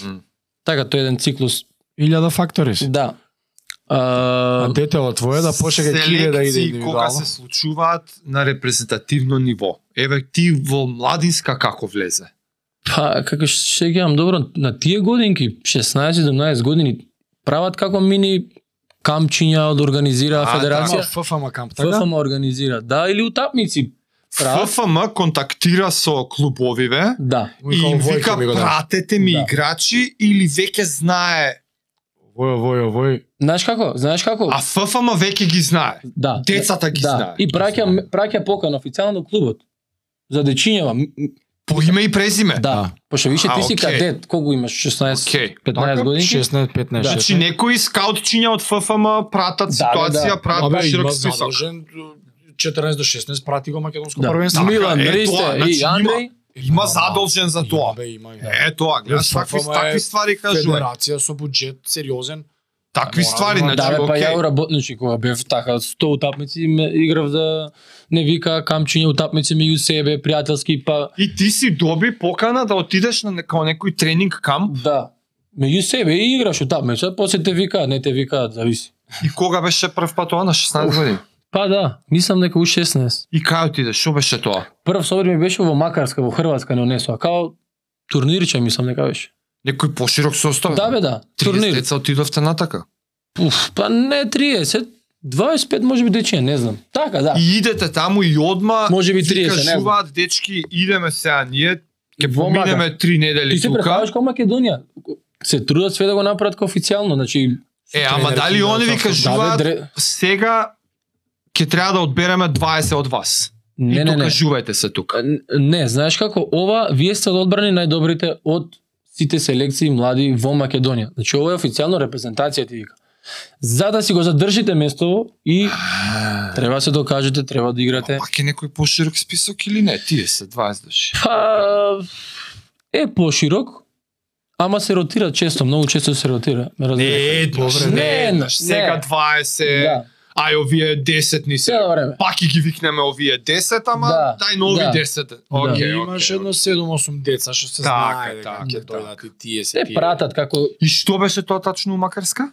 Speaker 2: Мм.
Speaker 1: Така, тој е еден циклус.
Speaker 3: Илјада фактори
Speaker 2: Значи.
Speaker 3: си.
Speaker 1: Да.
Speaker 3: А
Speaker 1: А,
Speaker 3: детето твое да почека Кире да иде
Speaker 2: Селекции кога
Speaker 3: индивидуално.
Speaker 2: се случуваат на репрезентативно ниво. Еве ти во младинска како влезе?
Speaker 1: па, како ще гледам, добро, на тие годинки, 16-17 години, прават како мини камчиња од организира
Speaker 2: А, да.
Speaker 1: федерација.
Speaker 3: Ама ФФМ камп, така?
Speaker 1: ФФМ организира, да, или утапници. Прават,
Speaker 2: ФФМ контактира со клубовиве
Speaker 1: да.
Speaker 2: и им вика
Speaker 3: ми го дава.
Speaker 2: пратете ми
Speaker 1: Да.
Speaker 2: играчи или веќе знае,
Speaker 3: Вој, вој, вој.
Speaker 1: Знаеш како? Знаеш како?
Speaker 2: а ФФМ веќе ги знае.
Speaker 1: да.
Speaker 2: Децата ги
Speaker 1: да.
Speaker 2: знае.
Speaker 1: И праќа праќа покана официјално до клубот. За дечињава, м- м-
Speaker 2: По име и презиме.
Speaker 1: Да, пошто више
Speaker 2: А,
Speaker 1: ти си
Speaker 2: окей.
Speaker 1: кадет, колку имаш 16,
Speaker 2: Окей.
Speaker 1: 15
Speaker 2: Така,
Speaker 1: години?
Speaker 3: 16, 15,
Speaker 1: Да.
Speaker 3: 16.
Speaker 2: Значи некои скаутчиња од ФФМ пратат
Speaker 1: Да, да,
Speaker 2: ситуација,
Speaker 1: да.
Speaker 3: Абе,
Speaker 2: пратат
Speaker 3: има
Speaker 2: широк список.
Speaker 3: задолжен 14 до 16 прати го македонско
Speaker 1: Да.
Speaker 3: првенство.
Speaker 2: Така,
Speaker 1: Милан,
Speaker 2: е, тоа,
Speaker 1: Ристе
Speaker 2: значи,
Speaker 1: и
Speaker 2: има.
Speaker 1: Андреј.
Speaker 2: Има задолжен за тоа.
Speaker 3: Бе, има, да.
Speaker 2: Е тоа, гледаш такви
Speaker 3: ФФМ е
Speaker 2: такви ствари кажува.
Speaker 3: Федерација со буџет сериозен.
Speaker 2: Такви
Speaker 3: Да,
Speaker 2: ствари,
Speaker 3: морално,
Speaker 1: Да,
Speaker 2: значи,
Speaker 1: бе, па
Speaker 2: окей.
Speaker 1: ја работничи кога бев така 100 утапници ме играв за не вика камчиња утапници меѓу себе, пријателски па
Speaker 2: И ти си доби покана да отидеш на некој некој тренинг кам
Speaker 1: да. Меѓу себе и играш утапница, после те вика, не те вика, зависи.
Speaker 2: и кога беше прв пат тоа на 16 години.
Speaker 1: Па да, мислам дека у 16.
Speaker 2: И кај отидеш, што беше тоа?
Speaker 1: Прв собир ми беше во Макарска, во Хрватска не онесоа, као турнирче мислам дека беше.
Speaker 2: Некој поширок состав.
Speaker 1: Да бе да,
Speaker 2: 30
Speaker 1: турнир.
Speaker 2: деца отидовте натака.
Speaker 1: Уф, па не 30, 25 може би дечија, не знам. Така, да.
Speaker 2: И идете таму и одма
Speaker 1: Може би
Speaker 2: ви
Speaker 1: 30, не знам.
Speaker 2: кажуваат дечки, идеме сега ние ќе
Speaker 1: Во Макар.
Speaker 2: поминеме три недели
Speaker 1: Ти се
Speaker 2: тука.
Speaker 1: представуваш како Македонија. Се трудат све да го направат како официјално, значи
Speaker 2: Е, ама
Speaker 3: тренер,
Speaker 2: дали
Speaker 3: ти
Speaker 2: они
Speaker 3: да
Speaker 2: ви
Speaker 3: отидат.
Speaker 2: кажуваат
Speaker 1: Да, бе, дре-
Speaker 2: сега ќе треба да одбереме 20 од вас.
Speaker 1: не
Speaker 2: И
Speaker 1: не не.
Speaker 2: докажувајте се тука.
Speaker 1: Н- Не, знаеш како ова вие сте одбрани најдобрите од сите селекции млади во Македонија. Значи ова е официјално репрезентација ти вика. За да си го задржите местото и треба се докажете, треба да играте.
Speaker 2: Пак е некој поширок список или не? Тие се 20 души.
Speaker 1: Па е поширок, ама се ротира често, многу често се ротира. Ме разбираш?
Speaker 2: Не, еднаш,
Speaker 1: Добре, не,
Speaker 2: не, еднаш,
Speaker 1: не.
Speaker 2: сега 20,
Speaker 1: Да,
Speaker 2: ај овие 10 ни се.
Speaker 1: цело време.
Speaker 2: Пак и ги викнеме овие 10, ама
Speaker 1: Да,
Speaker 2: дај нови
Speaker 1: да.
Speaker 2: 10. Океј,
Speaker 3: И
Speaker 2: да.
Speaker 3: имаш едно 7-8 деца што се
Speaker 2: Така,
Speaker 3: знае дека
Speaker 2: така,
Speaker 3: ќе
Speaker 2: така.
Speaker 3: дојдат и тие се
Speaker 1: Се
Speaker 3: тие.
Speaker 1: пратат како
Speaker 2: И што беше тоа тачно у Макарска?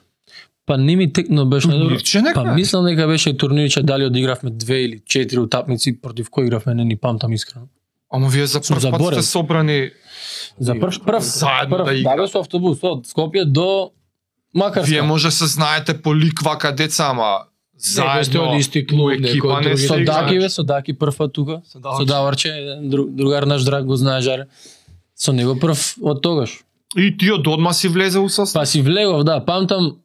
Speaker 1: Па не ми текно беше најдобро.
Speaker 2: Турнирче
Speaker 1: Па
Speaker 2: нека?
Speaker 1: мислам дека беше турнирче дали одигравме две или четири утапници против кои игравме, не ни памтам искрено.
Speaker 2: Ама вие за
Speaker 1: Сум
Speaker 2: прв пат
Speaker 1: заборен.
Speaker 2: сте собрани,
Speaker 1: За прв прв
Speaker 2: Заедно
Speaker 1: прв,
Speaker 2: да
Speaker 1: да
Speaker 2: игра.
Speaker 1: бе со автобус од Скопје до Макарска.
Speaker 2: да вие може се знаете по ликва ка деца, ама
Speaker 3: Заедно. сте од исти клуб,
Speaker 2: у екипа
Speaker 3: некој
Speaker 2: не
Speaker 3: други.
Speaker 2: сте
Speaker 3: Со
Speaker 1: Содаки,
Speaker 3: Даки,
Speaker 1: бе, Содаки прва тука.
Speaker 2: Содаварче.
Speaker 1: Содаварче, еден друг, другар наш драг го знае жаре. Со него прв од тогаш.
Speaker 2: И ти од одма си влезе у состав.
Speaker 1: Па си влегов, да, памтам,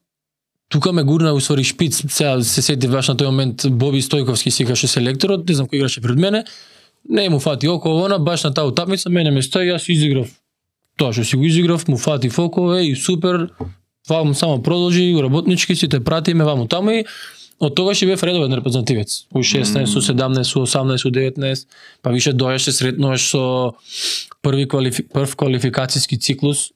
Speaker 1: тука ме гурна усвори шпиц, сега се сети баш на тој момент Боби Стојковски си каше селекторот, не знам кој играше пред мене, не му фати око она, баш на таа утапница, мене ме стои, јас изиграв тоа што си го изиграв, му фати фокове и супер, това му само продолжи, работнички си те пратиме ваму таму и од тогаш и бев редовен репрезентативец. У 16, у 17, у 18, у 19, па више дојаш се сретнуваш со први квалифи... прв квалификацијски циклус,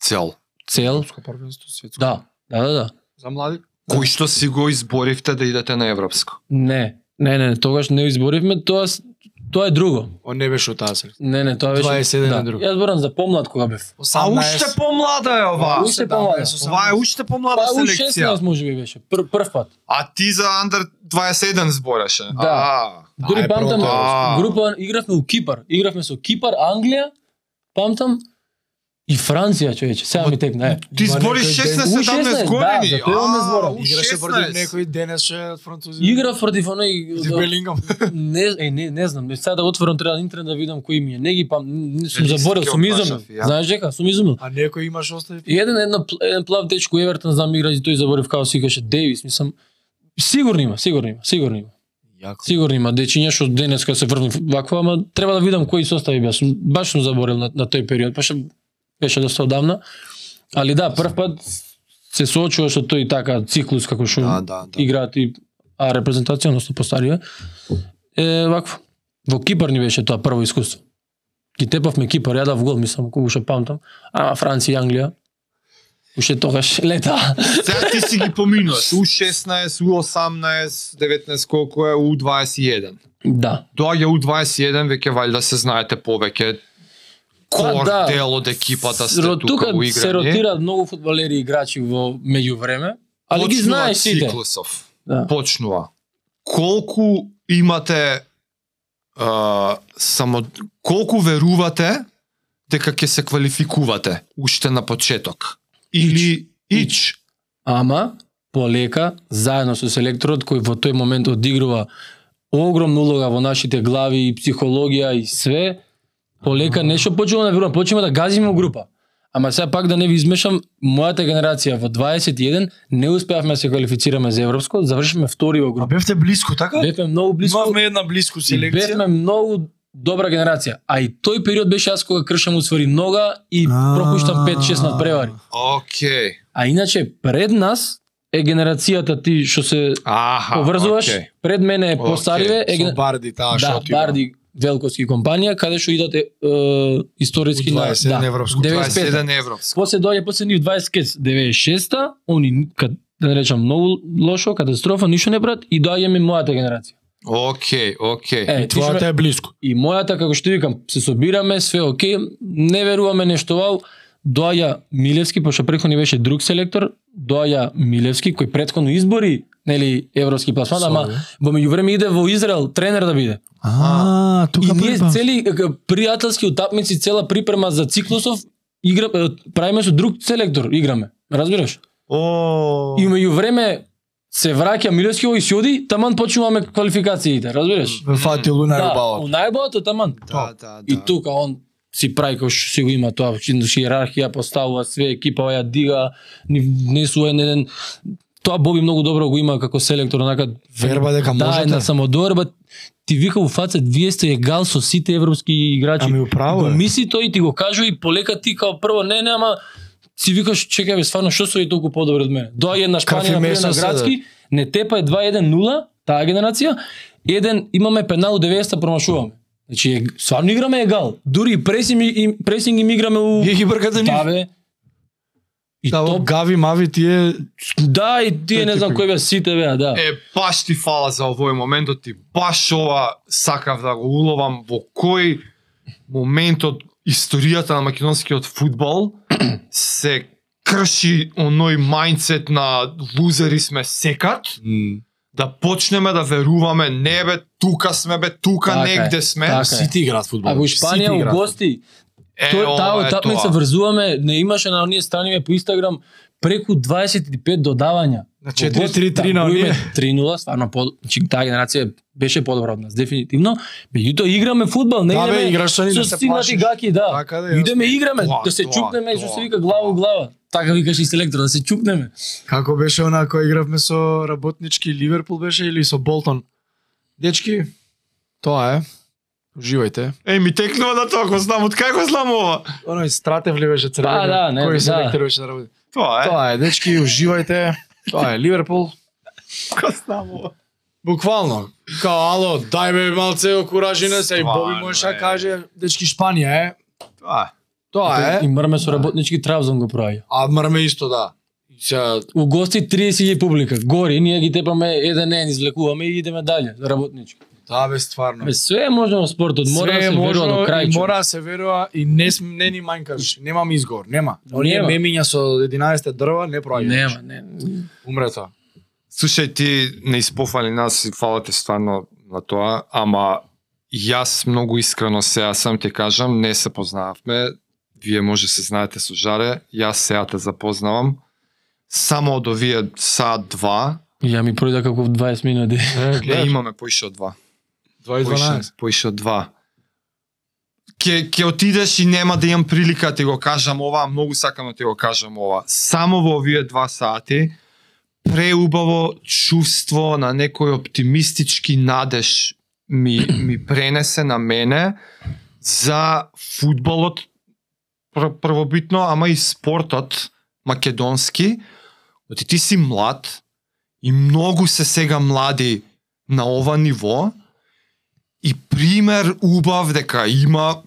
Speaker 2: Цел.
Speaker 1: цел,
Speaker 3: Европско првенство светско.
Speaker 1: да, да, да, да.
Speaker 3: За млади.
Speaker 2: Кој што си го изборивте да идете на Европско?
Speaker 1: Не, не, не, тогаш не изборивме, тоа с- тоа е друго.
Speaker 3: Он не беше у таа селекција.
Speaker 1: Не, не, тоа беше
Speaker 3: 21
Speaker 1: да.
Speaker 3: е друго.
Speaker 1: Јас зборам за помлад кога бев.
Speaker 2: А уште помлада е ова.
Speaker 1: Уште помлада.
Speaker 2: Ова е уште помлада
Speaker 1: Па у
Speaker 2: селекција.
Speaker 1: 16 може би беше, пр, прв пат.
Speaker 2: А ти за Under 27 збореше.
Speaker 1: Да.
Speaker 2: Да.
Speaker 1: Дури
Speaker 3: е
Speaker 1: памтам,
Speaker 3: првото
Speaker 2: Европско.
Speaker 1: група игравме у Кипар, игравме со Кипар, Англија, памтам и Франција, човече. Сега ми текна, е.
Speaker 2: Ти
Speaker 3: Има
Speaker 2: збориш
Speaker 3: некој ден-
Speaker 2: 16-17
Speaker 1: да,
Speaker 2: години.
Speaker 1: за тоа не
Speaker 2: А,
Speaker 1: зборам.
Speaker 2: у
Speaker 3: Па, Играше против
Speaker 2: 16.
Speaker 3: некој денеше од французи.
Speaker 1: Игра да. против оној
Speaker 3: против Белингам.
Speaker 1: не, е, не, не знам, не сега да отворам треба на интернет да видам кои ми е. Не ги пам, не сум
Speaker 2: Велики
Speaker 1: заборел,
Speaker 2: си
Speaker 1: сум
Speaker 2: ќе
Speaker 1: изумил.
Speaker 2: опашав, ја.
Speaker 1: Знаеш дека, сум изумил.
Speaker 3: А некој имаш остави.
Speaker 1: И еден, едно, пл- еден плав дечко Евертон знам игра и тој заборев како се викаше Дејвис, мислам сигурно има, сигурно има, сигурно има.
Speaker 3: Јако.
Speaker 1: Сигурно има дечиња што денес кога се врвни ваква, ама треба да видам кои состави беа. Сум- Баш сум заборел на, на тој период, паше беше доста одамна. Али да, прв пат се соочува со тој така циклус како што
Speaker 2: Да, да, да.
Speaker 1: играат и а репрезентација, односно постарија. Е вакво. Во Кипар ни беше тоа прво искуство. Ги тепавме Кипар, ја дав гол, мислам, кога уште памтам. Ама Франција и Англија. Уште тогаш лета.
Speaker 2: Сега ти си ги поминуваш. У 16, у 18, 19 колку е, у 21.
Speaker 1: да.
Speaker 2: Доаѓа у 21, веќе валјда се знаете повеќе кор
Speaker 1: да.
Speaker 2: дел од екипата сте
Speaker 1: Ро-
Speaker 2: тука во играње.
Speaker 1: се ротираат многу фудбалери и играчи во меѓувреме, али ги знаеш сите.
Speaker 2: Циклусов.
Speaker 1: Да.
Speaker 2: Почнува. Колку имате а, само колку верувате дека ќе се квалификувате уште на почеток? Или ич?
Speaker 1: Ама полека заедно со селекторот кој во тој момент одигрува огромна улога во нашите глави и психологија и све, полека нешто почнува да верувам, почнува да газиме у група. Ама сега пак да не ви измешам, мојата генерација во 21 не успеавме да се квалифицираме за европско, завршивме втори во група.
Speaker 3: бевте близко, така?
Speaker 1: Бевме многу близко.
Speaker 3: Имавме една близко
Speaker 1: И Бевме многу добра генерација. А и тој период беше јас кога кршам усвари нога и
Speaker 3: А.
Speaker 1: пропуштам 5-6 надпревари.
Speaker 2: Океј.
Speaker 1: А иначе пред нас е генерацијата ти што се
Speaker 2: Аха.
Speaker 1: поврзуваш,
Speaker 2: океј.
Speaker 1: пред мене е
Speaker 2: Океј.
Speaker 1: постариве, е
Speaker 3: Со
Speaker 1: ген...
Speaker 3: Барди таа
Speaker 1: да,
Speaker 3: шо ти.
Speaker 1: Барди Велковски компанија, каде што идат е, е, историски
Speaker 3: У
Speaker 1: на да,
Speaker 3: 21 европско,
Speaker 1: 95.
Speaker 2: 21 европско.
Speaker 1: После доаѓа после нив 20 кец 96-та, они кад да не речам многу лошо, катастрофа, ништо не брат и доаѓаме мојата генерација.
Speaker 2: Океј, океј.
Speaker 1: Е, ти што ме-
Speaker 3: Твојата е близко.
Speaker 1: И мојата, како што викам, се собираме, све окей, не веруваме нешто вау, доаѓа Милевски, пошто претходно беше друг селектор, доаѓа Милевски, кој претходно избори, нели, европски пласман, ама во меѓувреме иде во Израел тренер да биде.
Speaker 3: А,
Speaker 1: и ние цели е, ка- пријателски утапници, цела припрема за циклусов, игра, е, правиме со друг селектор, играме. Разбираш?
Speaker 2: О.
Speaker 1: И меѓувреме се враќа Милевски овој си оди, таман почнуваме квалификациите, разбираш?
Speaker 3: Фати Луна е
Speaker 1: Да,
Speaker 3: убава.
Speaker 1: најбавото таман.
Speaker 2: Да, да, да.
Speaker 1: И тука он си прави како што си го има тоа, чиндуши иерархија, поставува све, екипа ја дига, ни внесува еден еден тоа Боби многу добро го има како селектор, онака
Speaker 3: Верба дека
Speaker 1: да,
Speaker 3: можете.
Speaker 1: една самодоверба, ти вика у фаца, вие сте егал со сите европски играчи.
Speaker 3: Ами управо
Speaker 1: значи, го
Speaker 3: е.
Speaker 1: мисли тој и ти го кажува и полека ти као прво, не, не, ама си викаш, чекај бе, стварно, што се е толку подобро од мене? Доаѓа една
Speaker 3: Кафе
Speaker 1: Шпанија, например,
Speaker 3: месо
Speaker 1: на
Speaker 3: седе.
Speaker 1: градски, не тепа е 2-1-0, таа генерација, еден, имаме пенал у 90-та, промашуваме. Значи, е, стварно играме егал. Дури и пресинг, и, пресинг им играме у...
Speaker 3: Вие ги бркате
Speaker 1: Да,
Speaker 3: нив.
Speaker 1: бе. И
Speaker 3: Да,
Speaker 1: то,
Speaker 3: во Гави, Мави тие
Speaker 1: да, и тие не знам кои беа сите беа, да.
Speaker 2: Е, баш ти фала за овој моментот, ти баш ова сакав да го уловам во кој момент од историјата на македонскиот фудбал се крши оној мајндсет на лузери сме секад, да почнеме да веруваме, не бе, тука сме бе, тука
Speaker 1: Така е,
Speaker 2: негде сме.
Speaker 1: така е. па-
Speaker 3: сите играат фудбал.
Speaker 1: А во
Speaker 3: Сите
Speaker 1: Испанија у
Speaker 3: играат.
Speaker 1: гости,
Speaker 2: Е,
Speaker 1: Тој
Speaker 2: ова
Speaker 1: таа
Speaker 2: е
Speaker 1: утапница
Speaker 2: тоа.
Speaker 1: врзуваме, не имаше на оние страниме по Инстаграм преку 25 додавања. Да,
Speaker 3: На 4-3-3 на
Speaker 1: го
Speaker 3: оние.
Speaker 1: имаме 3-0, стварно, по, значи, таа генерација беше подобра од нас, дефинитивно. Меѓутоа, играме фудбал, не
Speaker 3: Да, бе,
Speaker 1: идеме
Speaker 3: играш со нив,
Speaker 1: со
Speaker 3: да се
Speaker 1: стигнати
Speaker 3: плашиш.
Speaker 1: гаки, да.
Speaker 3: Така да е.
Speaker 1: Идеме играме,
Speaker 2: Тоа,
Speaker 1: да се
Speaker 2: тоа,
Speaker 1: чупнеме и што
Speaker 2: тоа,
Speaker 1: се вика глава у глава. Така викаш и селектор, да се чупнеме.
Speaker 3: Како беше она која игравме со работнички Ливерпул беше или со Болтон? Дечки, тоа е. Уживајте.
Speaker 2: Е, ми текнува на тоа, го знам, од кај го знам ова?
Speaker 3: Оној Стратев ли беше црвен?
Speaker 1: да, не,
Speaker 3: кој
Speaker 1: да.
Speaker 3: се беше да работи?
Speaker 2: Тоа е.
Speaker 3: Тоа е, дечки, уживајте. Тоа е Ливерпул.
Speaker 2: Го знам ова.
Speaker 3: Буквално. Као, ало, дај бе малце окуражина се и Боби
Speaker 2: Стварно
Speaker 3: можеше да
Speaker 2: е.
Speaker 3: каже, дечки Шпанија е.
Speaker 2: Тоа е.
Speaker 3: Тоа
Speaker 1: И
Speaker 3: Па, е. Да.
Speaker 1: мрме со работнички травзон го прави.
Speaker 3: А мрме исто да. И Сега
Speaker 1: У гости 30.000 публика. Гори, ние ги тепаме еден еден, излекуваме и идеме дале, работнички.
Speaker 3: Да, бе, стварно.
Speaker 1: Бе, Све е можно во спортот, мора да
Speaker 3: Све
Speaker 1: се
Speaker 3: е
Speaker 1: верува
Speaker 3: можно
Speaker 1: до крај.
Speaker 3: и
Speaker 1: човек.
Speaker 3: Мора да се верува и не см- не ни манькаш. Немам изговор, нема. Оние
Speaker 1: Нема.
Speaker 3: мемиња со 11 дрва не проаѓа.
Speaker 1: Нема, не.
Speaker 3: Умре тоа.
Speaker 2: Слушај, ти не испофали нас и фала ти стварно на тоа, ама јас многу искрено сега сам ти кажам, не се познававме, вие може да се знаете со жаре, јас сега те запознавам. Само од овие саат два,
Speaker 1: Ја ми пројда како 20 минути.
Speaker 2: не имаме поише од два. Поише,
Speaker 3: 2.12.
Speaker 2: поише од два. Ке, ке отидеш и нема да имам прилика да ти го кажам ова, а многу сакам да ти го кажам ова. Само во овие два сати, преубаво чувство на некој оптимистички надеж ми, ми пренесе на мене за фудбалот пр- првобитно, ама и спортот македонски, оти ти си млад и многу се сега млади на ова ниво и пример убав дека има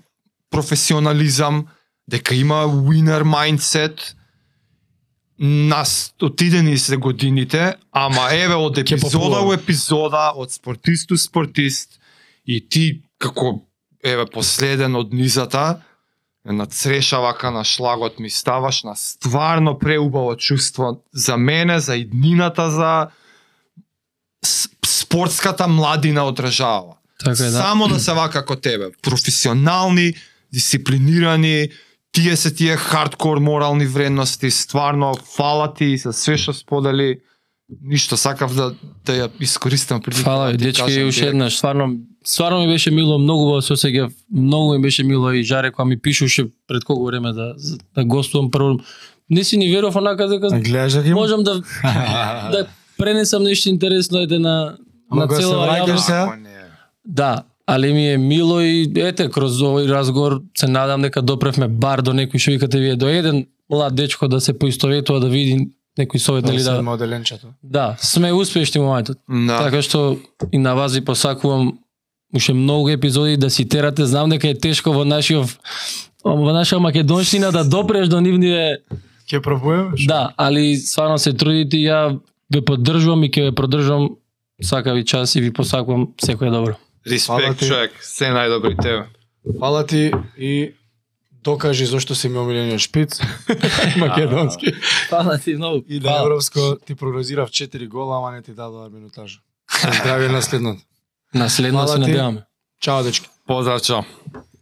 Speaker 2: професионализам, дека има winner mindset, нас отидени се годините, ама еве од
Speaker 3: Ќе
Speaker 2: епизода
Speaker 3: попувам.
Speaker 2: у епизода, од спортист у спортист, и ти како еве последен од низата, на цреша вака на шлагот ми ставаш на стварно преубаво чувство за мене, за иднината, за с- спортската младина од држава.
Speaker 1: Така е, да.
Speaker 2: Само да се вака како тебе, професионални, дисциплинирани, тие се тие хардкор морални вредности, стварно фала ти за све што сподели. Ништо сакав да да ја искористам прилика.
Speaker 1: Фала
Speaker 2: да
Speaker 1: ви,
Speaker 2: ти
Speaker 1: дечки,
Speaker 2: кажам
Speaker 1: уште
Speaker 2: директно.
Speaker 1: еднаш, стварно, стварно ми беше мило, многу во сеќав, многу ми беше мило и Жаре која ми пишуше пред колку време да за- да гостувам прво. Не си ни веров онака дека
Speaker 3: Гледаш да ги има?
Speaker 1: можам да да пренесам нешто интересно ете на
Speaker 3: Ама
Speaker 1: на
Speaker 3: кога се
Speaker 1: цела
Speaker 3: враќаш
Speaker 1: јавност.
Speaker 3: се-
Speaker 2: Ако не,
Speaker 1: Да, али ми е мило и ете кроз овој разговор се надам дека допревме бар до некој што викате вие до еден млад дечко да се поистоветува да види некој совет нели да
Speaker 3: Моделенчето.
Speaker 1: да сме успешни во моментот.
Speaker 2: Да.
Speaker 1: Така што и на вас ви посакувам уште многу епизоди да си терате. Знам дека е тешко во нашиов во наша македонщина да допреш до нивниве
Speaker 3: Ќе пробуваме?
Speaker 1: Да, али стварно се трудите, и ја ве поддржувам и ќе ве продржам. Сака ви час и ви посакувам секое добро.
Speaker 3: Фала
Speaker 2: Респект,
Speaker 3: ти.
Speaker 2: човек. Се најдобри тебе.
Speaker 3: Фала ти и докажи зошто си ми омилениот шпиц македонски.
Speaker 1: Фала ти многу.
Speaker 3: И на европско ти прогнозирав 4 гола, ама не ти дадоа минутажа. Здравје наследно.
Speaker 1: Наследно
Speaker 3: Фала
Speaker 1: се
Speaker 3: ти.
Speaker 1: надеваме.
Speaker 3: Чао дечки.
Speaker 2: Поздрав, чао.